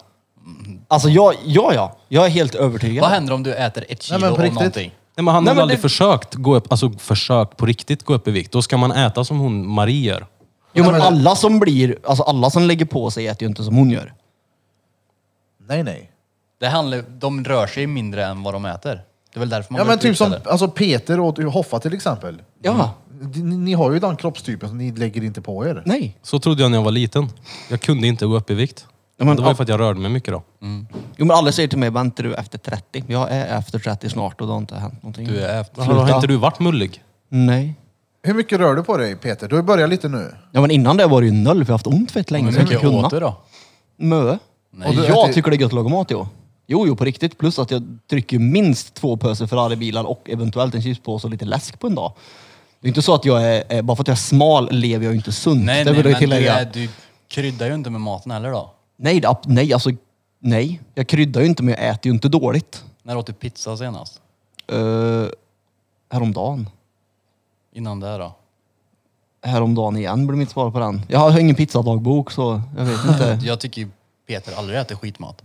[SPEAKER 6] Alltså, jag, ja, ja. Jag är helt övertygad.
[SPEAKER 2] Vad händer om du äter ett kilo
[SPEAKER 1] Nej, men på
[SPEAKER 2] av
[SPEAKER 1] riktigt.
[SPEAKER 2] någonting?
[SPEAKER 5] Nej, men han
[SPEAKER 6] Nej,
[SPEAKER 5] har
[SPEAKER 6] men
[SPEAKER 5] aldrig
[SPEAKER 6] det-
[SPEAKER 5] försökt, gå upp, alltså, försökt på riktigt gå upp i vikt. Då ska man äta som hon Marie gör.
[SPEAKER 6] Jo, men alla som blir, alltså alla som lägger på sig äter ju inte som hon gör.
[SPEAKER 1] Nej, nej.
[SPEAKER 2] Det handlar, de rör sig mindre än vad de äter. Det är väl därför man
[SPEAKER 1] Ja,
[SPEAKER 2] går
[SPEAKER 1] men
[SPEAKER 2] upp i
[SPEAKER 1] typ
[SPEAKER 2] vikt,
[SPEAKER 1] som
[SPEAKER 2] eller?
[SPEAKER 1] alltså Peter och Hoffa till exempel.
[SPEAKER 6] Ja.
[SPEAKER 1] Ni, ni har ju den kroppstypen som ni lägger inte på er.
[SPEAKER 6] Nej.
[SPEAKER 5] Så trodde jag när jag var liten. Jag kunde inte gå upp i vikt.
[SPEAKER 6] Ja, men-
[SPEAKER 5] det var ju för att jag rörde mig mycket då.
[SPEAKER 6] Jo, men alla säger till mig, väntar du efter 30? Jag är efter 30 snart och det har inte hänt någonting.
[SPEAKER 2] Du är efter.
[SPEAKER 5] Men Har, har
[SPEAKER 6] Sluta.
[SPEAKER 5] inte du varit mullig?
[SPEAKER 6] Nej.
[SPEAKER 1] Hur mycket rör du på dig Peter? Du har ju börjat lite nu.
[SPEAKER 6] Ja, men innan det var det ju noll, för jag har haft ont fett länge.
[SPEAKER 2] Hur
[SPEAKER 6] så
[SPEAKER 5] Mm.
[SPEAKER 6] jag
[SPEAKER 2] mycket
[SPEAKER 6] inte kunna.
[SPEAKER 2] åt du då?
[SPEAKER 6] Mö.
[SPEAKER 1] Och du
[SPEAKER 6] jag
[SPEAKER 1] äter-
[SPEAKER 6] tycker det är gött att laga mat, jo. Jo, jo, på riktigt. Plus att jag trycker minst två pöser Ferrari-bilar och eventuellt en chipspåse och lite läsk på en dag. Det är inte så att jag är, är bara för att jag är smal lever jag ju inte sunt.
[SPEAKER 2] Nej,
[SPEAKER 6] det
[SPEAKER 2] nej,
[SPEAKER 6] vill jag
[SPEAKER 2] men du,
[SPEAKER 6] tillägga.
[SPEAKER 2] är, du kryddar ju inte med maten heller då.
[SPEAKER 6] Nej, det- ab- nej, alltså nej. Jag kryddar ju inte, men jag äter ju inte dåligt.
[SPEAKER 2] När åt du pizza senast?
[SPEAKER 6] Uh, häromdagen.
[SPEAKER 2] Innan det då?
[SPEAKER 6] Häromdagen igen blir mitt svar på den. Jag har ingen pizzadagbok så jag vet inte.
[SPEAKER 2] Jag tycker ju Peter aldrig äter skitmat.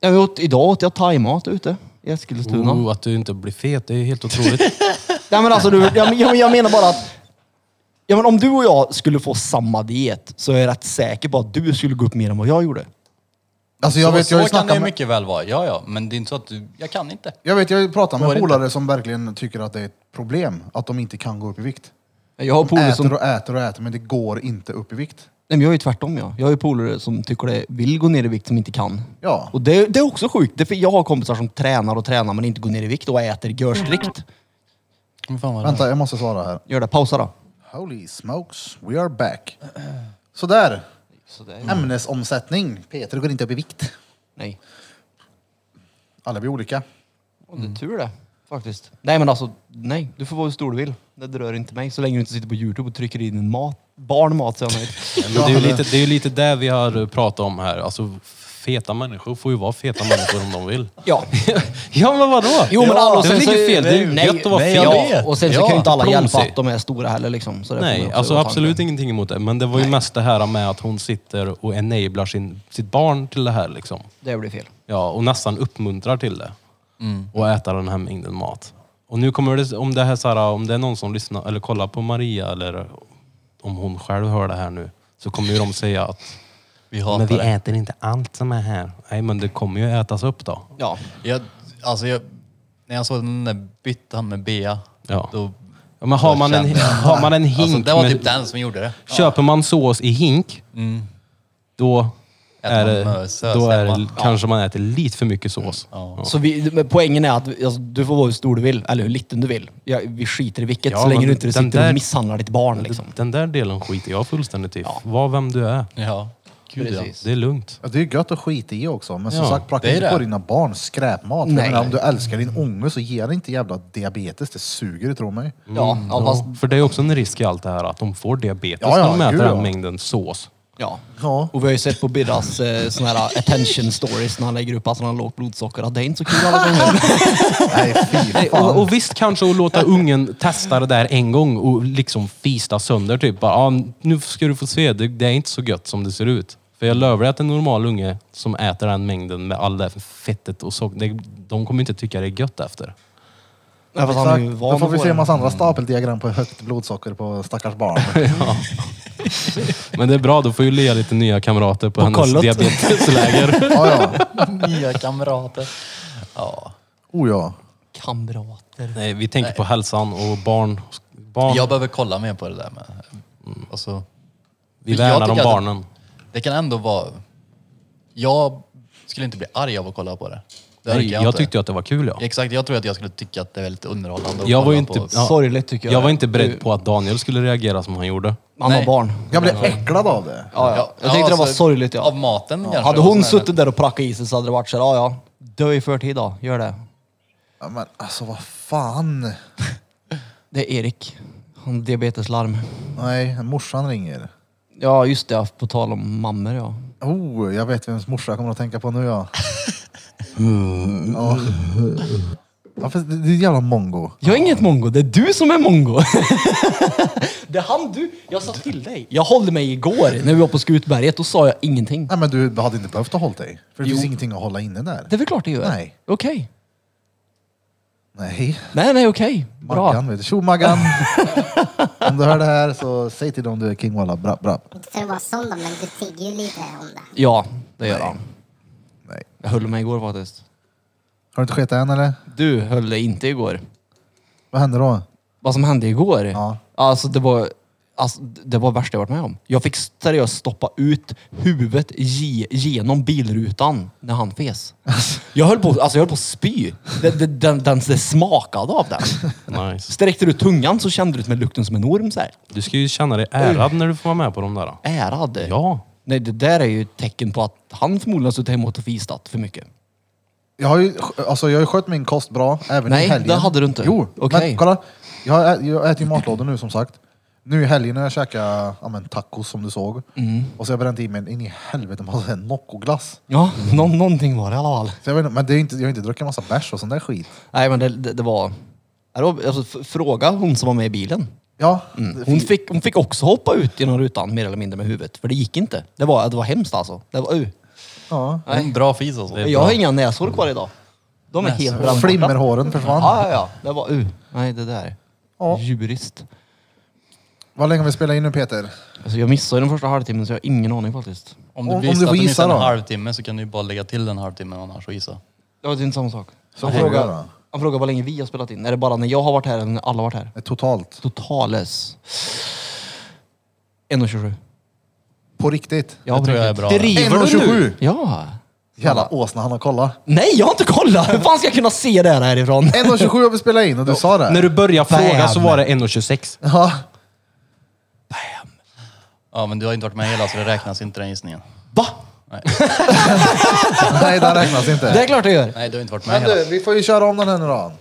[SPEAKER 6] jag åt, idag åt jag thaimat ute i Eskilstuna.
[SPEAKER 5] Oh, att du inte blir fet, det är ju helt otroligt.
[SPEAKER 6] Nej men alltså, du, jag, jag, jag menar bara att ja, men om du och jag skulle få samma diet så är jag rätt säker på att du skulle gå upp mer än vad jag gjorde.
[SPEAKER 1] Alltså jag
[SPEAKER 2] så
[SPEAKER 1] vet,
[SPEAKER 2] så
[SPEAKER 1] jag har ju
[SPEAKER 2] kan det
[SPEAKER 1] snackat
[SPEAKER 2] ju
[SPEAKER 1] med,
[SPEAKER 2] mycket väl vara. Ja, ja. Men det är inte så att du... Jag kan inte.
[SPEAKER 1] jag vet, jag har ju pratat
[SPEAKER 2] Går
[SPEAKER 1] med
[SPEAKER 2] inte.
[SPEAKER 1] polare som verkligen tycker att det är ett problem att de inte kan gå upp i vikt.
[SPEAKER 6] Jag har polare som...
[SPEAKER 1] Äter
[SPEAKER 6] Nej,
[SPEAKER 1] och äter och äter men det går inte upp i vikt.
[SPEAKER 6] men jag är ju tvärtom ja. Jag har ju polare som tycker det vill gå ner i vikt som inte kan.
[SPEAKER 1] Ja.
[SPEAKER 6] Och det, det är också sjukt. Det är för jag har kompisar som tränar och tränar men inte går ner i vikt och äter görstrikt.
[SPEAKER 2] Men fan vad det
[SPEAKER 1] Vänta, jag måste svara här.
[SPEAKER 6] Gör det. Pausa då.
[SPEAKER 1] Holy smokes, we are back. Sådär. Ämnesomsättning. Peter går inte upp i vikt.
[SPEAKER 6] Nej.
[SPEAKER 1] Alla blir olika.
[SPEAKER 6] Och det är tur det. Faktiskt. Nej men alltså, nej. Du får vara hur stor du vill. Det rör inte mig. Så länge du inte sitter på Youtube och trycker i din mat. Barnmat så är jag nöjd.
[SPEAKER 5] Men det, är ju lite, det är ju lite det vi har eh, pratat om här. Alltså, feta människor får ju vara feta människor om de vill.
[SPEAKER 6] Ja.
[SPEAKER 5] Ja, men vadå?
[SPEAKER 6] Jo men alla
[SPEAKER 5] det är väl inget fel. Det är ju gött att vara
[SPEAKER 6] nej,
[SPEAKER 5] fel.
[SPEAKER 6] Ja. Och sen så
[SPEAKER 5] Ja,
[SPEAKER 6] kan ju inte alla
[SPEAKER 5] plomsig.
[SPEAKER 6] hjälpa att de är stora heller liksom. Så det får man
[SPEAKER 5] Nej,
[SPEAKER 6] också
[SPEAKER 5] alltså
[SPEAKER 6] vara tanke.
[SPEAKER 5] absolut ingenting emot det. Men det var ju mest det här med att hon sitter och enablar sin, sitt barn till det här liksom.
[SPEAKER 6] Det blir fel.
[SPEAKER 5] Ja, och nästan uppmuntrar till det.
[SPEAKER 6] Mm.
[SPEAKER 5] Och äta den här mängden mat. Och nu kommer det, om det här så här, om det är någon som lyssnar eller kollar på Maria eller om hon själv hör det här nu. Så kommer ju de säga att
[SPEAKER 2] Vi hatar
[SPEAKER 5] men vi
[SPEAKER 2] det.
[SPEAKER 5] äter inte allt som är här. Nej, men det kommer ju ätas upp då.
[SPEAKER 6] Ja.
[SPEAKER 2] Jag, alltså jag, när jag såg den där byttan med Bea,
[SPEAKER 5] Ja.
[SPEAKER 2] då...
[SPEAKER 5] Ja, men har
[SPEAKER 2] då
[SPEAKER 5] man, en,
[SPEAKER 2] kände jag-
[SPEAKER 5] har man en hink
[SPEAKER 2] Alltså, det var
[SPEAKER 5] med-
[SPEAKER 2] typ den som gjorde det.
[SPEAKER 5] Köper man sås i hink, då,
[SPEAKER 2] Äter
[SPEAKER 5] är
[SPEAKER 2] man
[SPEAKER 5] det,
[SPEAKER 2] mösös
[SPEAKER 5] då är det,
[SPEAKER 2] hemma.
[SPEAKER 5] kanske man äter lite för mycket sås. Ja.
[SPEAKER 6] Så vi, men poängen är att alltså, du får vara hur stor du vill, eller hur liten du vill. Ja, vi skiter i vilket,
[SPEAKER 5] Ja,
[SPEAKER 6] så länge
[SPEAKER 5] men
[SPEAKER 6] du inte
[SPEAKER 5] den
[SPEAKER 6] sitter
[SPEAKER 5] där-
[SPEAKER 6] och misshandlar ditt barn liksom.
[SPEAKER 5] Den där delen skiter jag fullständigt i. Var vem du är.
[SPEAKER 2] Ja.
[SPEAKER 5] Gud, ja.
[SPEAKER 6] Precis.
[SPEAKER 5] Det är lugnt.
[SPEAKER 1] Ja, Det är ju gött att skita i också, men som
[SPEAKER 5] Ja,
[SPEAKER 1] sagt
[SPEAKER 2] det
[SPEAKER 1] pracka
[SPEAKER 2] är
[SPEAKER 1] inte på
[SPEAKER 2] det.
[SPEAKER 1] dina barn skräpmat. Jag
[SPEAKER 6] Nej.
[SPEAKER 1] menar, om du älskar din unge så ge den inte jävla diabetes, det suger tro mig.
[SPEAKER 6] Ja, ja, fast,
[SPEAKER 5] För det är också en risk i allt det här att de får diabetes
[SPEAKER 1] Ja, ja,
[SPEAKER 5] när de äter
[SPEAKER 1] gud,
[SPEAKER 5] den
[SPEAKER 1] ja.
[SPEAKER 5] mängden sås.
[SPEAKER 6] ja.
[SPEAKER 1] Ja.
[SPEAKER 6] Och vi har ju sett på Birras eh, såna här attention stories när han lägger upp att han har lågt blodsocker. Att det är inte så kul alla gånger.
[SPEAKER 1] Nej fy
[SPEAKER 5] Nej,
[SPEAKER 1] fan.
[SPEAKER 5] och, och visst kanske att låta ungen testa det där en gång och liksom fista sönder typ. Bara, ah, nu ska du få se, det, det är inte så gött som det ser ut. För jag lovar att en normal unge som äter den mängden med all det här fettet och socker, det- de kommer inte tycka det är gött efter.
[SPEAKER 6] Ja, fast han är
[SPEAKER 1] Exakt.
[SPEAKER 6] ju
[SPEAKER 1] Då
[SPEAKER 6] van
[SPEAKER 1] får vi
[SPEAKER 6] på
[SPEAKER 1] se
[SPEAKER 6] det.
[SPEAKER 1] en massa andra stapeldiagram på högt blodsocker på stackars barn.
[SPEAKER 5] Men det är bra, då får ju Lea lite nya kamrater på, hennes
[SPEAKER 6] kollet.
[SPEAKER 5] diabetesläger.
[SPEAKER 1] Ja, ja.
[SPEAKER 2] Nya kamrater.
[SPEAKER 1] Oh, ja.
[SPEAKER 6] Kamrater.
[SPEAKER 5] Nej, vi tänker på hälsan och barn. barn
[SPEAKER 2] Jag behöver kolla mer på det där med. Alltså,
[SPEAKER 5] vi
[SPEAKER 2] jag
[SPEAKER 5] värnar om
[SPEAKER 2] tycker att-
[SPEAKER 5] barnen.
[SPEAKER 2] det kan ändå vara... Jag skulle inte bli arg av att kolla på det. det orkar
[SPEAKER 5] Nej, jag
[SPEAKER 2] inte.
[SPEAKER 5] tyckte ju att det var kul ja.
[SPEAKER 2] Exakt, jag tror att jag skulle tycka att det är väldigt underhållande att
[SPEAKER 5] Jag var
[SPEAKER 2] kolla
[SPEAKER 5] ju inte-
[SPEAKER 2] på.
[SPEAKER 5] Ja.
[SPEAKER 6] Sorgligt tycker jag.
[SPEAKER 5] Jag var inte beredd på att Daniel skulle reagera som han gjorde.
[SPEAKER 6] Han har
[SPEAKER 2] Nej.
[SPEAKER 6] barn.
[SPEAKER 1] Jag blev äcklad av det.
[SPEAKER 6] Ja, ja. Jag tyckte det var
[SPEAKER 2] alltså,
[SPEAKER 6] sorgligt. Ja.
[SPEAKER 2] Av maten kanske.
[SPEAKER 6] Hade
[SPEAKER 2] och
[SPEAKER 6] hon
[SPEAKER 2] sådär, men-
[SPEAKER 6] suttit där och prackat i sig så hade det varit så här, ja ja, dö i förtid då, gör det.
[SPEAKER 1] Ja, men alltså vad fan.
[SPEAKER 6] Det är Erik. Han har diabeteslarm.
[SPEAKER 1] Nej, morsan ringer.
[SPEAKER 6] Ja, just det. På tal om mammor ja.
[SPEAKER 1] Oh, jag vet vems morsa jag kommer att tänka på nu ja. ja. ja fast det, det är jävla mongo.
[SPEAKER 6] Jag är inget mongo, det är du som är mongo. det är han du. Jag sa till dig. Jag håller mig igår när vi var på Skutberget, då sa jag ingenting.
[SPEAKER 1] Nej men du hade inte behövt att hålla dig. För det
[SPEAKER 6] Jo.
[SPEAKER 1] finns ingenting att hålla inne där.
[SPEAKER 6] Det är väl klart det gör.
[SPEAKER 1] Nej.
[SPEAKER 6] Okej.
[SPEAKER 1] Nej.
[SPEAKER 6] Nej, nej, okej. Bra.
[SPEAKER 1] Maggan vet du. Tjo Maggan! om du hör det här så säg till dem du är King Walla. Bra, bra.
[SPEAKER 8] Inte för att vara sån då, men du tigger ju lite om det.
[SPEAKER 6] Ja, det gör han.
[SPEAKER 1] Nej.
[SPEAKER 6] Jag höll mig igår faktiskt.
[SPEAKER 1] Har du inte skett än eller?
[SPEAKER 6] Du höll dig inte igår.
[SPEAKER 1] Vad hände då?
[SPEAKER 6] vad som hände igår.
[SPEAKER 1] Ja.
[SPEAKER 6] Alltså det var alltså, det var värsta jag varit med om. Jag fick seriöst stoppa ut huvudet ge, genom bilrutan när han fes. Jag höll på, alltså, jag höll på att spy. Det, det, den, den, det smakade av den.
[SPEAKER 5] Nice.
[SPEAKER 6] Sträckte du ut tungan så kände du ut med lukten som en orm. Så här.
[SPEAKER 5] Du ska ju känna dig ärad när du får vara med på de där.
[SPEAKER 6] Ärad.
[SPEAKER 5] Ja.
[SPEAKER 6] Nej, det där är ju ett tecken på att han förmodligen har suttit hemma och fistat för mycket.
[SPEAKER 1] Jag har ju, alltså jag har ju skött min kost bra, även
[SPEAKER 6] Nej,
[SPEAKER 1] i helgen.
[SPEAKER 6] det hade du inte.
[SPEAKER 1] Jo,
[SPEAKER 6] Okej.
[SPEAKER 1] men kolla. Jag, har ä- jag äter ju matlådor nu som sagt. Nu i helgen när jag käkade ja, men, tacos som du såg.
[SPEAKER 6] Mm.
[SPEAKER 1] Och så har jag bränt i mig en in i helvete massa Noccoglass.
[SPEAKER 6] Ja, nå, någonting var det i alla fall.
[SPEAKER 1] Så jag vet inte, men det är inte, jag har inte druckit massa bärs och sån där skit.
[SPEAKER 6] Nej, men det, det, det var... det var- Alltså, f- fråga hon som var med i bilen.
[SPEAKER 1] Ja,
[SPEAKER 6] Mm. Hon fick, hon fick också hoppa ut genom rutan mer eller mindre med huvudet. För det gick inte. Det var, det var hemskt alltså. Det var, uh.
[SPEAKER 1] ja.
[SPEAKER 2] En bra fis alltså.
[SPEAKER 5] Det är
[SPEAKER 6] Jag har
[SPEAKER 5] bra.
[SPEAKER 6] inga näshår kvar idag. De är helt brandborta.
[SPEAKER 1] Flimmerhåren försvann.
[SPEAKER 6] Ja, ja, ja. Det var uh. Nej, det där.
[SPEAKER 1] Ja.
[SPEAKER 6] Jurist.
[SPEAKER 1] Vad länge har vi spelat in nu Peter?
[SPEAKER 6] Alltså, jag missade den första halvtimmen så jag har ingen aning faktiskt.
[SPEAKER 2] Om du,
[SPEAKER 1] Om- om
[SPEAKER 2] visste
[SPEAKER 1] du får
[SPEAKER 2] att du
[SPEAKER 1] gissa
[SPEAKER 2] missade en
[SPEAKER 1] då?
[SPEAKER 2] halvtimme så kan du ju bara lägga till en halvtimme annars och gissa.
[SPEAKER 6] Ja, det är inte samma sak.
[SPEAKER 1] Så
[SPEAKER 6] Han
[SPEAKER 1] får jag
[SPEAKER 6] frågar,
[SPEAKER 1] göra.
[SPEAKER 6] han frågar vad länge vi har spelat in. Är det bara när jag har varit här eller när alla har varit här?
[SPEAKER 1] Totalt.
[SPEAKER 6] Totales. 1.27.
[SPEAKER 1] På riktigt.
[SPEAKER 6] Ja,
[SPEAKER 2] Det tror jag är bra.
[SPEAKER 6] Driver du nu?
[SPEAKER 1] 1,27.
[SPEAKER 6] Ja.
[SPEAKER 1] Jävla åsna, han har kollat.
[SPEAKER 6] Nej, jag har inte kollat! Hur fan ska jag kunna se det här härifrån?
[SPEAKER 1] 1,27 har vi spelat in och du sa det.
[SPEAKER 5] När du började fråga
[SPEAKER 6] Bam.
[SPEAKER 5] så var det 1,26.
[SPEAKER 1] Ja.
[SPEAKER 2] Ja, men du har inte varit med hela så det räknas inte den gissningen.
[SPEAKER 6] Va?
[SPEAKER 1] Nej, det räknas
[SPEAKER 6] Det
[SPEAKER 1] inte.
[SPEAKER 6] är klart det gör.
[SPEAKER 2] Nej, du har inte varit med
[SPEAKER 1] Men
[SPEAKER 2] hela.
[SPEAKER 1] du, vi får ju köra om den här nu då.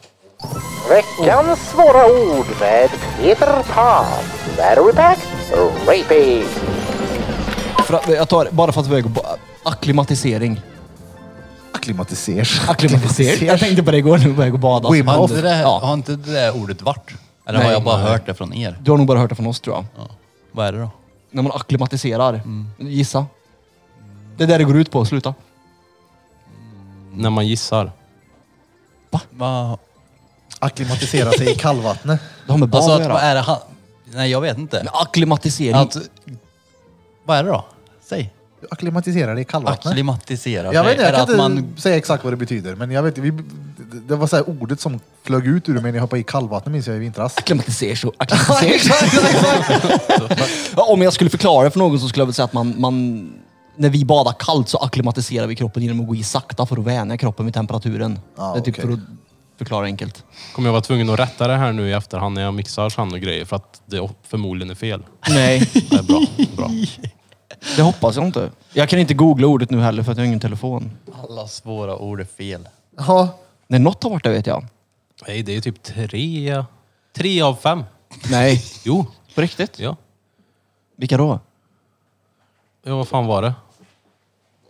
[SPEAKER 7] Veckans svåra ord med Peter Pan. Battery pack, rapey.
[SPEAKER 6] För att, jag tar bara för att väga på akklimatisering.
[SPEAKER 1] Akklimatisers.
[SPEAKER 6] Akklimatisering? Jag tänkte på det igår när vi var iväg och badade.
[SPEAKER 1] Wim
[SPEAKER 2] Har
[SPEAKER 1] Hof.
[SPEAKER 2] inte det,
[SPEAKER 6] Ja.
[SPEAKER 2] har inte det där ordet varit? Eller har
[SPEAKER 6] Nej.
[SPEAKER 2] jag bara hört det från er?
[SPEAKER 6] Du har nog bara hört det från oss tror jag.
[SPEAKER 2] Vad är det då?
[SPEAKER 6] När man akklimatiserar. Gissa. Det är där det går ut på. Sluta.
[SPEAKER 5] När man gissar.
[SPEAKER 2] Va?
[SPEAKER 1] Akklimatisera sig i kallvattnet.
[SPEAKER 6] Det har med barn
[SPEAKER 2] Alltså,
[SPEAKER 6] att
[SPEAKER 2] att, vad
[SPEAKER 6] göra.
[SPEAKER 2] är det han... Nej, jag vet inte.
[SPEAKER 6] Akklimatisering.
[SPEAKER 2] Att, vad är det då? Säg.
[SPEAKER 1] Du akklimatiserar dig i kallvattnet.
[SPEAKER 2] Akklimatisera
[SPEAKER 1] Jag vet inte,
[SPEAKER 2] Är
[SPEAKER 1] jag
[SPEAKER 2] det
[SPEAKER 1] kan
[SPEAKER 2] att
[SPEAKER 1] inte
[SPEAKER 2] man...
[SPEAKER 1] säga exakt vad det betyder. Men jag vet vi, det var så här ordet som flög ut ur mig när jag hoppade i kallvattnet minns jag i vintras.
[SPEAKER 6] Akklimatiserar sig och akklimatiserar Ja, Om jag skulle förklara det för någon så skulle jag väl säga att man, man när vi badar kallt så akklimatiserar vi kroppen genom att gå i sakta för att vänja kroppen vid temperaturen.
[SPEAKER 1] Ja,
[SPEAKER 6] det är typ
[SPEAKER 1] okej.
[SPEAKER 6] för att förklara enkelt.
[SPEAKER 5] Kommer jag vara tvungen att rätta det här nu i efterhand när jag mixar sen och grejer för att det förmodligen är fel.
[SPEAKER 6] Nej.
[SPEAKER 5] Det är bra. bra.
[SPEAKER 6] Det hoppas jag inte. Jag kan inte googla ordet nu heller för att jag har ingen telefon.
[SPEAKER 2] Alla svåra ord är fel.
[SPEAKER 1] Ja.
[SPEAKER 6] Nej, något har varit det vet jag.
[SPEAKER 5] Nej, det är ju typ tre, tre av fem.
[SPEAKER 6] Nej.
[SPEAKER 5] Jo,
[SPEAKER 6] På riktigt?
[SPEAKER 5] ja.
[SPEAKER 6] Vilka då?
[SPEAKER 5] Ja, vad fan var det?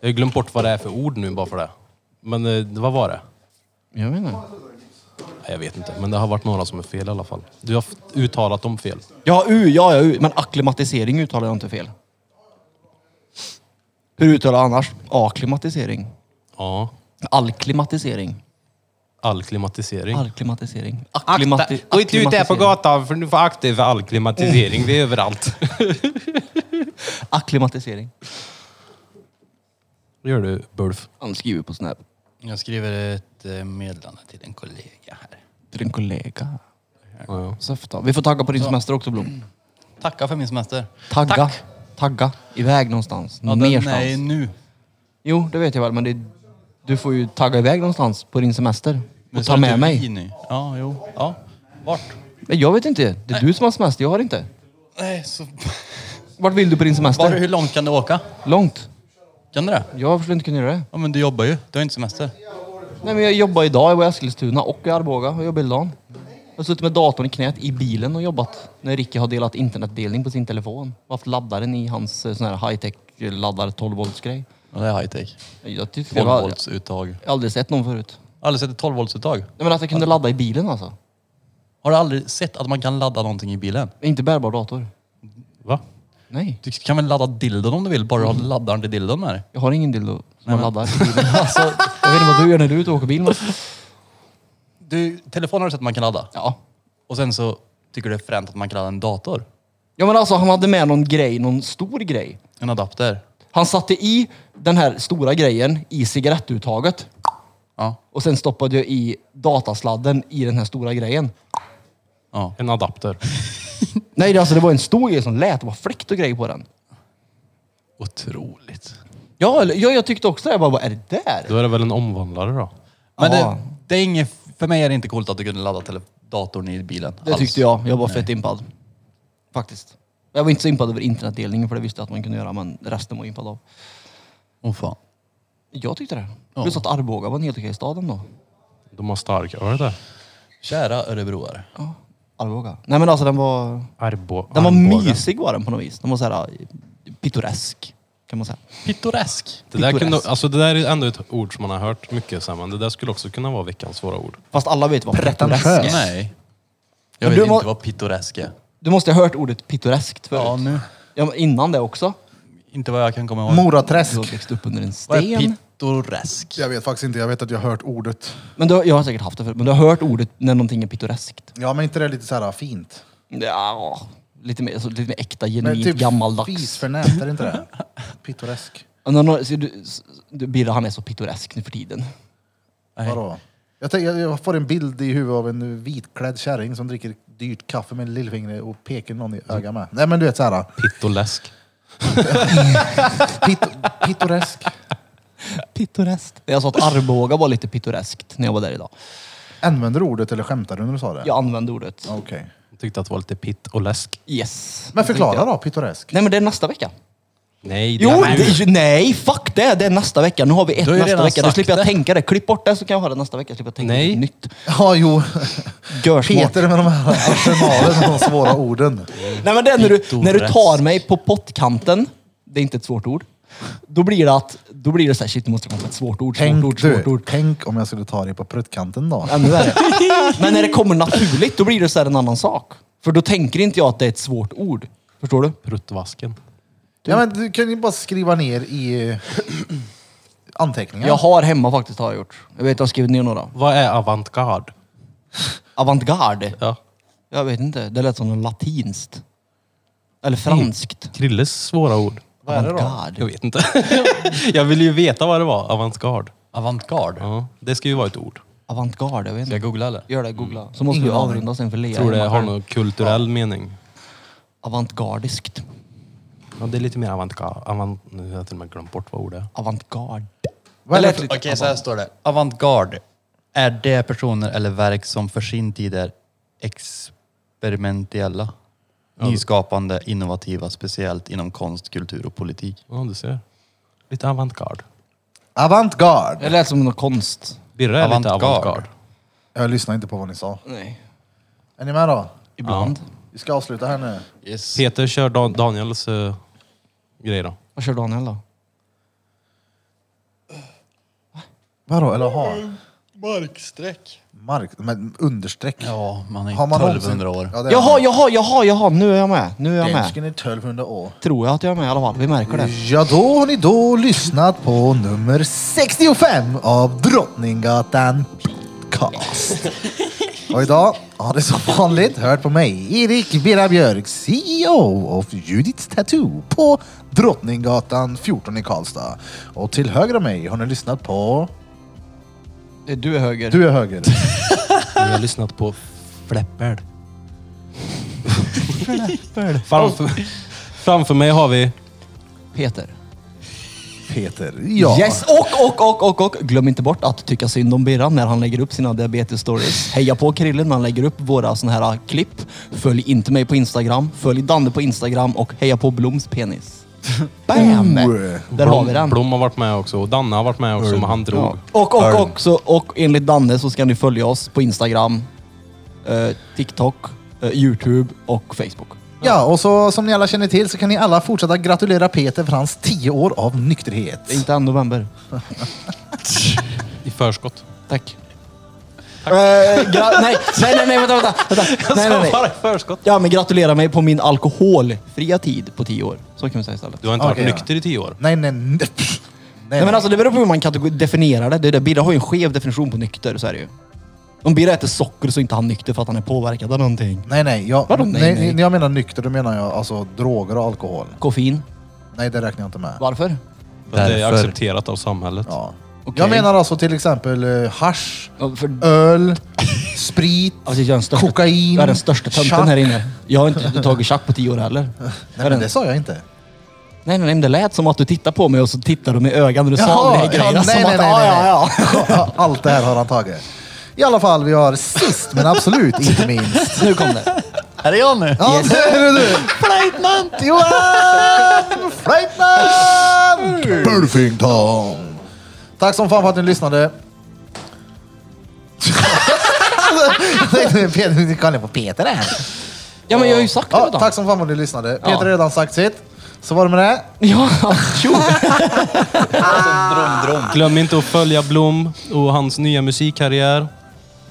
[SPEAKER 5] Jag har glömt bort vad det är för ord nu bara för det. Men eh, vad var det?
[SPEAKER 6] Jag vet inte.
[SPEAKER 5] Nej, Jag vet inte, men det har varit några som är fel i alla fall. Du har f- uttalat dem fel.
[SPEAKER 6] Ja, u, ja, ja, u. Men akklimatisering uttalar jag inte fel. Hur uttalar jag annars? Akklimatisering.
[SPEAKER 5] Ja.
[SPEAKER 6] Allklimatisering.
[SPEAKER 5] All klimatisering.
[SPEAKER 6] Allklimatisering.
[SPEAKER 5] Akta!
[SPEAKER 6] Akklimati-
[SPEAKER 5] Gå inte ut där på
[SPEAKER 6] akklimatisering.
[SPEAKER 5] gatan för du får akta dig för all klimatisering. Det är överallt.
[SPEAKER 6] Akklimatisering.
[SPEAKER 5] gör du, Bulf.
[SPEAKER 6] Han skriver på Snap.
[SPEAKER 2] Jag skriver ett eh, meddelande till en kollega här.
[SPEAKER 6] Till en kollega.
[SPEAKER 5] Ja.
[SPEAKER 6] Söfta. Vi får tagga på din semester också Blom.
[SPEAKER 2] Tacka för min semester.
[SPEAKER 6] Tagga.
[SPEAKER 2] Tack.
[SPEAKER 6] Tagga. Iväg någonstans.
[SPEAKER 2] Ja, den
[SPEAKER 6] Nerstans.
[SPEAKER 2] är nu.
[SPEAKER 6] Jo, det vet jag väl, men det, du får ju tagga iväg någonstans på din semester.
[SPEAKER 2] Men
[SPEAKER 6] Och
[SPEAKER 2] så
[SPEAKER 6] ta
[SPEAKER 2] är det
[SPEAKER 6] med
[SPEAKER 2] vi
[SPEAKER 6] mig.
[SPEAKER 2] Nu. Ja, jo. Ja. Vart?
[SPEAKER 6] Nej, jag vet inte. Det är du som har semester, jag har inte.
[SPEAKER 2] Nej, så...
[SPEAKER 6] Vart vill du på din
[SPEAKER 2] Bara hur
[SPEAKER 6] semester?
[SPEAKER 2] långt kan du åka?
[SPEAKER 6] Långt.
[SPEAKER 2] Kan du det?
[SPEAKER 6] Jag skulle inte kunna göra det.
[SPEAKER 2] Ja, men du jobbar ju. Du har inte semester.
[SPEAKER 6] Nej, men jag jobbar idag. Jag var i Eskilstuna och i Arboga och jobbade hela dagen. Jag har suttit med datorn i knät i bilen och jobbat. När Ricky har delat internetdelning på sin telefon. Och haft laddaren i hans eh, sån här high-tech laddare 12 volts grej.
[SPEAKER 2] Ja, det är high tech.
[SPEAKER 6] Jag tyckte det
[SPEAKER 2] 12
[SPEAKER 6] var...
[SPEAKER 2] volts uttag.
[SPEAKER 6] Jag har aldrig sett någon förut.
[SPEAKER 2] Aldrig sett ett 12 volts uttag.
[SPEAKER 6] Nej, men att jag kunde ladda i bilen alltså.
[SPEAKER 2] Har du aldrig sett att man kan ladda någonting i bilen?
[SPEAKER 6] Inte bärbar dator.
[SPEAKER 5] Va?
[SPEAKER 6] Nej.
[SPEAKER 2] Du kan väl ladda dildon om du vill, bara du har laddaren till dildon med dig.
[SPEAKER 6] Jag har ingen dildo som man laddar i bilen. Alltså, jag vet inte vad du gör när du är ute och åker bil. Men...
[SPEAKER 2] Du, telefonen har du sett att man kan ladda.
[SPEAKER 6] Ja.
[SPEAKER 2] Och sen så tycker du det är fränt att man kan ladda en dator.
[SPEAKER 6] ja men alltså han hade med någon grej, någon stor grej.
[SPEAKER 2] En adapter.
[SPEAKER 6] Han satte i den här stora grejen i cigarettuttaget.
[SPEAKER 2] Ja.
[SPEAKER 6] Och sen stoppade jag i datasladden i den här stora grejen.
[SPEAKER 2] Ja.
[SPEAKER 5] En adapter.
[SPEAKER 6] Nej det- alltså det var en stor grej som lät, det var fläkt och grejer på den.
[SPEAKER 2] Otroligt.
[SPEAKER 6] Ja, eller- ja jag tyckte också det. Jag bara, vad är det där?
[SPEAKER 5] Då är det väl en omvandlare då?
[SPEAKER 2] Men
[SPEAKER 6] Ja.
[SPEAKER 2] det, det är inget, för mig är det inte coolt att du kunde ladda tele, datorn i bilen.
[SPEAKER 6] Det
[SPEAKER 2] alls.
[SPEAKER 6] tyckte jag. Jag var fett impad. Faktiskt. Jag var inte så impad över internetdelningen för det visste jag att man kunde göra men resten var jag impad av.
[SPEAKER 2] Åh fan.
[SPEAKER 6] Jag tyckte det.
[SPEAKER 2] Ja.
[SPEAKER 6] Plus att Arboga var en helt okej stad ändå.
[SPEAKER 5] De har stark öl där.
[SPEAKER 2] Kära örebroare.
[SPEAKER 6] Arboga. Nej men alltså den var...
[SPEAKER 5] Arbo,
[SPEAKER 6] Den var
[SPEAKER 5] Arboga.
[SPEAKER 6] mysig var den på något vis. Den var så här eh, pittoresk. Kan man säga.
[SPEAKER 2] Pittoresk.
[SPEAKER 5] Det där, kunde,
[SPEAKER 6] pittoresk.
[SPEAKER 5] alltså det där är ändå ett ord som man har hört mycket sen, men det där skulle också kunna vara veckans svåra ord.
[SPEAKER 6] Fast alla vet vad pittoresk
[SPEAKER 1] Pretentiös.
[SPEAKER 6] är.
[SPEAKER 2] Nej. Jag
[SPEAKER 6] Men
[SPEAKER 2] vet
[SPEAKER 6] du
[SPEAKER 2] inte
[SPEAKER 6] må-
[SPEAKER 2] vad pittoresk är.
[SPEAKER 6] Du måste ha hört ordet pittoreskt förut.
[SPEAKER 2] Ja, nu.
[SPEAKER 6] Ja, men innan det också.
[SPEAKER 2] Inte vad jag kan komma ihåg.
[SPEAKER 6] Du har
[SPEAKER 1] Moraträsk.
[SPEAKER 6] växt upp under en
[SPEAKER 2] vad är
[SPEAKER 6] sten.
[SPEAKER 2] pittoresk?
[SPEAKER 1] Jag vet faktiskt inte. Jag vet att jag har hört ordet.
[SPEAKER 6] Men du, har- jag har säkert haft det förut. Men du har hört ordet när någonting är pittoreskt.
[SPEAKER 1] Ja, men inte det lite så här fint?
[SPEAKER 6] Ja, lite mer, alltså, lite mer äkta,
[SPEAKER 1] Men
[SPEAKER 6] genuint,
[SPEAKER 1] typ
[SPEAKER 6] gammaldags.
[SPEAKER 1] Fisförnämt, är det inte det? Pittoresk.
[SPEAKER 6] Ja, men har- ser du, s- du, Birra han är så pittoresk nu för tiden.
[SPEAKER 1] Vadå? Jag, tänker- jag får en bild i huvudet av en vitklädd kärring som dricker dyrt kaffe med lillfingret och pekar någon i ögat med. Nej men du vet såhär,
[SPEAKER 5] Pittoläsk.
[SPEAKER 1] pit, pittoresk.
[SPEAKER 6] Pittoreskt. Jag sa att Arboga var lite pittoreskt när jag var där idag.
[SPEAKER 1] Använder du ordet eller skämtar du när du sa det?
[SPEAKER 6] Jag använde ordet.
[SPEAKER 1] Okej.
[SPEAKER 5] Jag tyckte att det var lite pitt och läsk.
[SPEAKER 6] Yes.
[SPEAKER 1] Men förklara då, pittoresk.
[SPEAKER 6] Nej men det är nästa vecka.
[SPEAKER 5] Nej, det
[SPEAKER 6] Jo,
[SPEAKER 5] är nu.
[SPEAKER 6] det, nej fuck det! Det är nästa vecka. Nu har vi ett
[SPEAKER 2] Du har ju
[SPEAKER 6] nästa
[SPEAKER 2] redan
[SPEAKER 6] vecka. Då
[SPEAKER 2] sagt
[SPEAKER 6] slipper jag
[SPEAKER 2] det.
[SPEAKER 6] tänka det. Klipp bort det så kan jag ha det nästa vecka. Slipper jag tänka
[SPEAKER 5] Nej.
[SPEAKER 6] på nytt.
[SPEAKER 1] Ja, jo.
[SPEAKER 6] Görsmart.
[SPEAKER 1] Peter med de här arsenalen av de svåra orden.
[SPEAKER 6] Nej men det är när du, när du tar
[SPEAKER 2] Pittoresk.
[SPEAKER 6] mig på pottkanten, det är inte ett svårt ord. Då blir det att, då blir det såhär, shit nu måste jag komma på ett svårt ord, svårt ord,
[SPEAKER 1] Tänk,
[SPEAKER 6] svårt
[SPEAKER 1] du,
[SPEAKER 6] ord.
[SPEAKER 1] tänk om jag skulle ta dig på pruttkanten då.
[SPEAKER 6] Ännu värre. Men när det kommer naturligt, då blir det såhär en annan sak. För då tänker inte jag att det är ett svårt ord. Förstår du?
[SPEAKER 5] Pruttvasken.
[SPEAKER 1] Ja, men du kan ju bara skriva ner i eh, anteckningar.
[SPEAKER 6] Jag har hemma faktiskt, har jag gjort. Jag vet, jag har skrivit ner några.
[SPEAKER 5] Vad är avantgarde?
[SPEAKER 6] Avantgarde.
[SPEAKER 5] Ja.
[SPEAKER 6] Jag vet inte, det lät som något latinskt. Eller franskt.
[SPEAKER 5] Krilles svåra ord.
[SPEAKER 1] Vad är det då?
[SPEAKER 6] Avantgarde.
[SPEAKER 5] Jag vet inte. jag ville ju veta vad det var. Avantgarde.
[SPEAKER 2] Avantgarde.
[SPEAKER 5] Ja, det ska ju vara ett ord.
[SPEAKER 6] Avantgarde, jag vet
[SPEAKER 2] Ska jag
[SPEAKER 6] inte.
[SPEAKER 2] googla eller?
[SPEAKER 6] Gör det, googla. Så måste
[SPEAKER 1] Ingen
[SPEAKER 6] vi
[SPEAKER 1] aning.
[SPEAKER 6] avrunda sen för Lea.
[SPEAKER 5] tror det
[SPEAKER 6] hemma.
[SPEAKER 5] har någon kulturell mening.
[SPEAKER 6] Avantgardiskt.
[SPEAKER 5] Ja, det är lite mer avantgarde. Avant... Nu har jag till och med glömt bort vad ordet är.
[SPEAKER 6] Avantgarde.
[SPEAKER 1] Vad är det
[SPEAKER 6] Eller-
[SPEAKER 1] för-
[SPEAKER 2] Okej, så här står det. Avantgarde. Är det personer eller verk som för sin tid är experimentella? Nyskapande, innovativa, speciellt inom konst, kultur och politik.
[SPEAKER 5] Ja, du ser. Lite avantgarde.
[SPEAKER 1] Avantgarde!
[SPEAKER 6] Det lät som någon konst.
[SPEAKER 5] Birre är lite
[SPEAKER 2] Avantgarde.
[SPEAKER 5] avantgarde.
[SPEAKER 1] Jag lyssnar inte på vad ni sa.
[SPEAKER 6] Nej.
[SPEAKER 1] Är ni med då?
[SPEAKER 6] Ibland.
[SPEAKER 1] Vi ska avsluta här nu.
[SPEAKER 2] Yes.
[SPEAKER 5] Peter kör Dan- Daniels uh, grej då.
[SPEAKER 6] Vad kör Daniel då?
[SPEAKER 1] Vadå? Eller har?
[SPEAKER 2] Marksträck.
[SPEAKER 1] Mark? Men understreck?
[SPEAKER 2] Ja, man är
[SPEAKER 1] Har man
[SPEAKER 2] 1200 år.
[SPEAKER 1] Ja, det är
[SPEAKER 6] Jaha,
[SPEAKER 1] man.
[SPEAKER 6] jaha, jaha, jaha, nu är jag med. Nu är jag med.
[SPEAKER 1] Dansken är 1200 år.
[SPEAKER 6] Tror jag att jag är med i alla fall. Vi märker det.
[SPEAKER 1] Ja, då har ni då lyssnat på nummer 65 av Drottninggatan Podcast. Och idag har det som vanligt hört på mig, Erik Bera Björk, CEO of Judiths Tattoo på Drottninggatan 14 i Karlstad. Och till höger om mig har ni lyssnat på...
[SPEAKER 6] Du är höger.
[SPEAKER 1] Du är höger.
[SPEAKER 5] Vi har lyssnat på Fläppel. framför, framför mig har vi...
[SPEAKER 6] Peter.
[SPEAKER 1] Peter. Ja.
[SPEAKER 6] Yes, och, och, och, och, och. Glöm inte bort att tycka synd om Birra när han lägger upp sina diabetes-stories. Heja på Krille när han lägger upp våra såna här ah, klipp. Följ inte mig på Instagram. Följ Danne på Instagram och heja på Bloms penis. Bam!
[SPEAKER 1] Oh.
[SPEAKER 6] Där har vi den.
[SPEAKER 5] Blom har varit med också och Danne har varit med också, men han drog.
[SPEAKER 6] Ja. Och, och, och, så, och enligt Danne så ska ni följa oss på Instagram, eh, TikTok, eh, Youtube och Facebook.
[SPEAKER 1] Ja, och så som ni alla känner till så kan ni alla fortsätta gratulera Peter för hans 10 år av nykterhet.
[SPEAKER 6] Det är inte än november.
[SPEAKER 5] I förskott.
[SPEAKER 6] Tack. Eh, gra- nej, nej, nej, nej, vänta, vänta. vänta. Nej, nej, nej.
[SPEAKER 5] Bara i förskott.
[SPEAKER 6] Ja, men gratulera mig på min alkoholfria tid på 10 år. Så kan vi säga istället.
[SPEAKER 5] Du har inte
[SPEAKER 1] Okej,
[SPEAKER 5] varit
[SPEAKER 1] ja.
[SPEAKER 5] nykter i tio år.
[SPEAKER 1] Nej, nej, nej. pff.
[SPEAKER 6] Nej, men alltså det beror på hur man kategori- definierar det. det, är det. Birra har ju en skev definition på nykter, så är det ju. Om Birra äter socker så är inte han nykter för att han är påverkad av någonting.
[SPEAKER 1] nej, nej. Jag,
[SPEAKER 6] Vadå nej,
[SPEAKER 1] nej,
[SPEAKER 6] nej?
[SPEAKER 1] När jag menar nykter, då menar jag alltså droger och alkohol.
[SPEAKER 6] Koffein.
[SPEAKER 1] Nej, det räknar jag inte med.
[SPEAKER 6] Varför?
[SPEAKER 5] För att det är
[SPEAKER 2] Därför.
[SPEAKER 5] accepterat av samhället.
[SPEAKER 1] Ja.
[SPEAKER 6] Okej.
[SPEAKER 1] Jag menar alltså till exempel uh, hasch,
[SPEAKER 6] Ja, För
[SPEAKER 1] öl, sprit.
[SPEAKER 6] Alltså jag är den största,
[SPEAKER 1] Kokain,
[SPEAKER 6] Jag är den största tönten
[SPEAKER 1] tjack.
[SPEAKER 6] här inne. Jag har inte tagit tjack på tio år heller. Jag
[SPEAKER 1] Nej,
[SPEAKER 6] är
[SPEAKER 1] men
[SPEAKER 6] den-
[SPEAKER 1] det sa jag inte.
[SPEAKER 6] Nej, nej, nej, men det lät som att du tittar på mig och så tittar du med ögonen när du sa
[SPEAKER 1] Jaha,
[SPEAKER 6] de här grejerna.
[SPEAKER 1] ja, nej,
[SPEAKER 6] som
[SPEAKER 1] nej,
[SPEAKER 6] att,
[SPEAKER 1] nej,
[SPEAKER 6] "Ah,
[SPEAKER 1] nej,
[SPEAKER 6] ja, ja.
[SPEAKER 1] Allt det här har han tagit. I alla fall, vi har sist men absolut inte minst.
[SPEAKER 6] Nu kom det.
[SPEAKER 2] Här är jag nu!
[SPEAKER 1] Ja, yes. det är du! Flöjtnant Johan! Flöjtnant! Burfington! Tack som fan för att ni lyssnade. Jag tänkte, Peter, ni kollar på Peter här.
[SPEAKER 6] Ja, men jag har ju sagt det
[SPEAKER 1] Ja,
[SPEAKER 6] redan.
[SPEAKER 1] tack som fan för att ni lyssnade. Peter
[SPEAKER 6] Ja.
[SPEAKER 1] har redan sagt sitt. Så var det med det.
[SPEAKER 6] Ja, tjo.
[SPEAKER 5] Glöm inte att följa Blom och hans nya musikkarriär.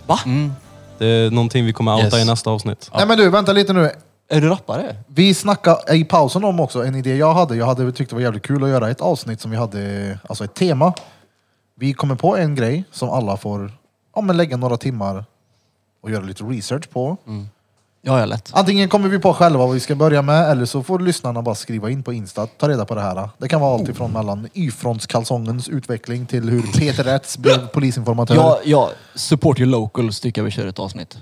[SPEAKER 6] Va?
[SPEAKER 5] Mm. Det är någonting vi kommer outa
[SPEAKER 2] Yes.
[SPEAKER 5] i nästa avsnitt.
[SPEAKER 1] Nej men du, vänta lite nu.
[SPEAKER 6] Är du rappare?
[SPEAKER 1] Vi snackade i pausen om också en idé jag hade. Jag hade tyckt det var jävligt kul att göra ett avsnitt som vi hade, alltså ett tema. Vi kommer på en grej som alla får ja, men lägga några timmar och göra lite research på.
[SPEAKER 6] Ja, jag lätt.
[SPEAKER 1] Antingen kommer vi på själva vad vi ska börja med eller så får lyssnarna bara skriva in på Insta, ta reda på det här. Det kan vara allt ifrån mellan Y-frontskalsongens utveckling till hur Peter Rätz blev polisinformatör.
[SPEAKER 6] Jag, jag support your locals tycker jag vi kör ett avsnitt.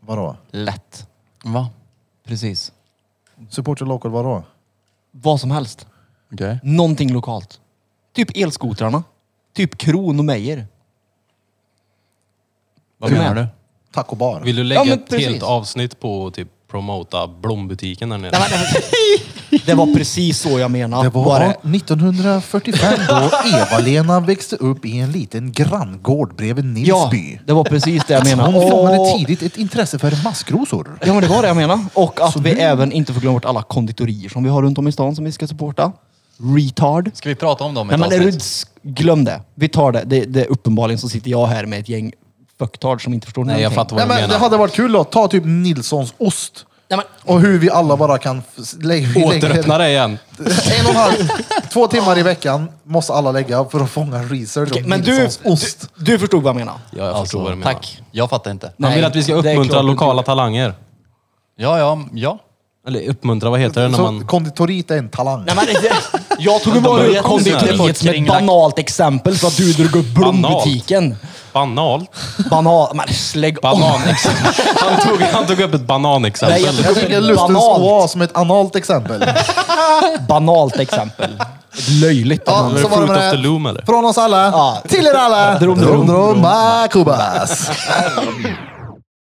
[SPEAKER 1] Vadå?
[SPEAKER 6] Lätt.
[SPEAKER 2] Va?
[SPEAKER 6] Precis.
[SPEAKER 1] Support your local vadå?
[SPEAKER 6] Vad som helst.
[SPEAKER 2] Okej.
[SPEAKER 6] Någonting lokalt. Typ elskotrarna. Typ Kron och Meyer.
[SPEAKER 2] Vad
[SPEAKER 6] Du
[SPEAKER 2] menar
[SPEAKER 6] med?
[SPEAKER 2] du?
[SPEAKER 1] Taco bar.
[SPEAKER 5] Vill du
[SPEAKER 6] Ja,
[SPEAKER 5] lägga
[SPEAKER 6] men
[SPEAKER 5] ett
[SPEAKER 6] precis.
[SPEAKER 5] helt avsnitt på att typ promota Blombutiken där nere?
[SPEAKER 6] Nej, men det- Det var precis så jag menade.
[SPEAKER 1] Det var
[SPEAKER 6] Bara-
[SPEAKER 1] 1945 då Eva-Lena växte upp i en liten granngård bredvid Nilsby.
[SPEAKER 6] Ja, det var precis det jag menade.
[SPEAKER 1] Alltså, Hon fångade
[SPEAKER 6] Åh.
[SPEAKER 1] tidigt ett intresse för maskrosor.
[SPEAKER 6] Ja, men det var det jag menade. Och att
[SPEAKER 1] Så
[SPEAKER 6] vi
[SPEAKER 1] nu-
[SPEAKER 6] även inte får glömma bort alla konditorier som vi har runt om i stan som vi ska supporta. Retard.
[SPEAKER 2] Ska vi prata om dem i
[SPEAKER 6] Nej,
[SPEAKER 2] ett
[SPEAKER 6] men är du,
[SPEAKER 2] avsnitt?
[SPEAKER 6] glöm det. Vi tar det. det, det uppenbarligen så sitter jag här med ett gäng fucktard som inte förstår
[SPEAKER 5] Nej, jag fattar vad
[SPEAKER 1] Nej,
[SPEAKER 5] du
[SPEAKER 1] men det
[SPEAKER 5] menar.
[SPEAKER 1] hade varit kul att ta typ Nilssons ost
[SPEAKER 6] Nej, men,
[SPEAKER 1] och hur vi alla bara kan f- lägga... vi lägger-
[SPEAKER 5] Återöppna det igen.
[SPEAKER 1] En och en halv, två timmar i veckan måste alla lägga för att fånga research
[SPEAKER 6] okej,
[SPEAKER 1] om
[SPEAKER 6] men du,
[SPEAKER 1] Nilssons
[SPEAKER 6] du,
[SPEAKER 1] ost.
[SPEAKER 6] du förstod vad jag menade.
[SPEAKER 5] Ja, jag förstår vad du menar.
[SPEAKER 6] Tack.
[SPEAKER 2] Jag fattar inte.
[SPEAKER 5] Man vill att vi ska
[SPEAKER 6] Nej, det är
[SPEAKER 5] uppmuntra
[SPEAKER 6] klart.
[SPEAKER 5] lokala talanger.
[SPEAKER 2] Ja, ja, ja.
[SPEAKER 5] Eller uppmuntra, vad heter det när
[SPEAKER 1] Så
[SPEAKER 5] man...
[SPEAKER 1] konditorit är en talang.
[SPEAKER 6] Nej, men, jag tog bara
[SPEAKER 5] är
[SPEAKER 6] upp
[SPEAKER 5] konstnärer.
[SPEAKER 6] konditoriet som ett banalt exempel så att du drog upp blombutiken.
[SPEAKER 5] Banalt.
[SPEAKER 6] Banal. Men slägg
[SPEAKER 5] Banan. Han tog, han tog upp ett bananexempel.
[SPEAKER 6] Nej, jag
[SPEAKER 1] Jag
[SPEAKER 6] tog upp
[SPEAKER 1] tycker
[SPEAKER 6] ett
[SPEAKER 1] luftens
[SPEAKER 6] banalt,
[SPEAKER 1] oas som ett analt exempel.
[SPEAKER 6] banalt exempel. Ett löjligt
[SPEAKER 1] Ja,
[SPEAKER 6] banalt.
[SPEAKER 1] så var det
[SPEAKER 5] Fruit of the
[SPEAKER 1] med
[SPEAKER 5] Loom, eller?
[SPEAKER 1] det. Från oss alla,
[SPEAKER 6] Ja.
[SPEAKER 1] till er alla,
[SPEAKER 6] Drum,
[SPEAKER 1] drum
[SPEAKER 6] drum,
[SPEAKER 1] drum, Macubas.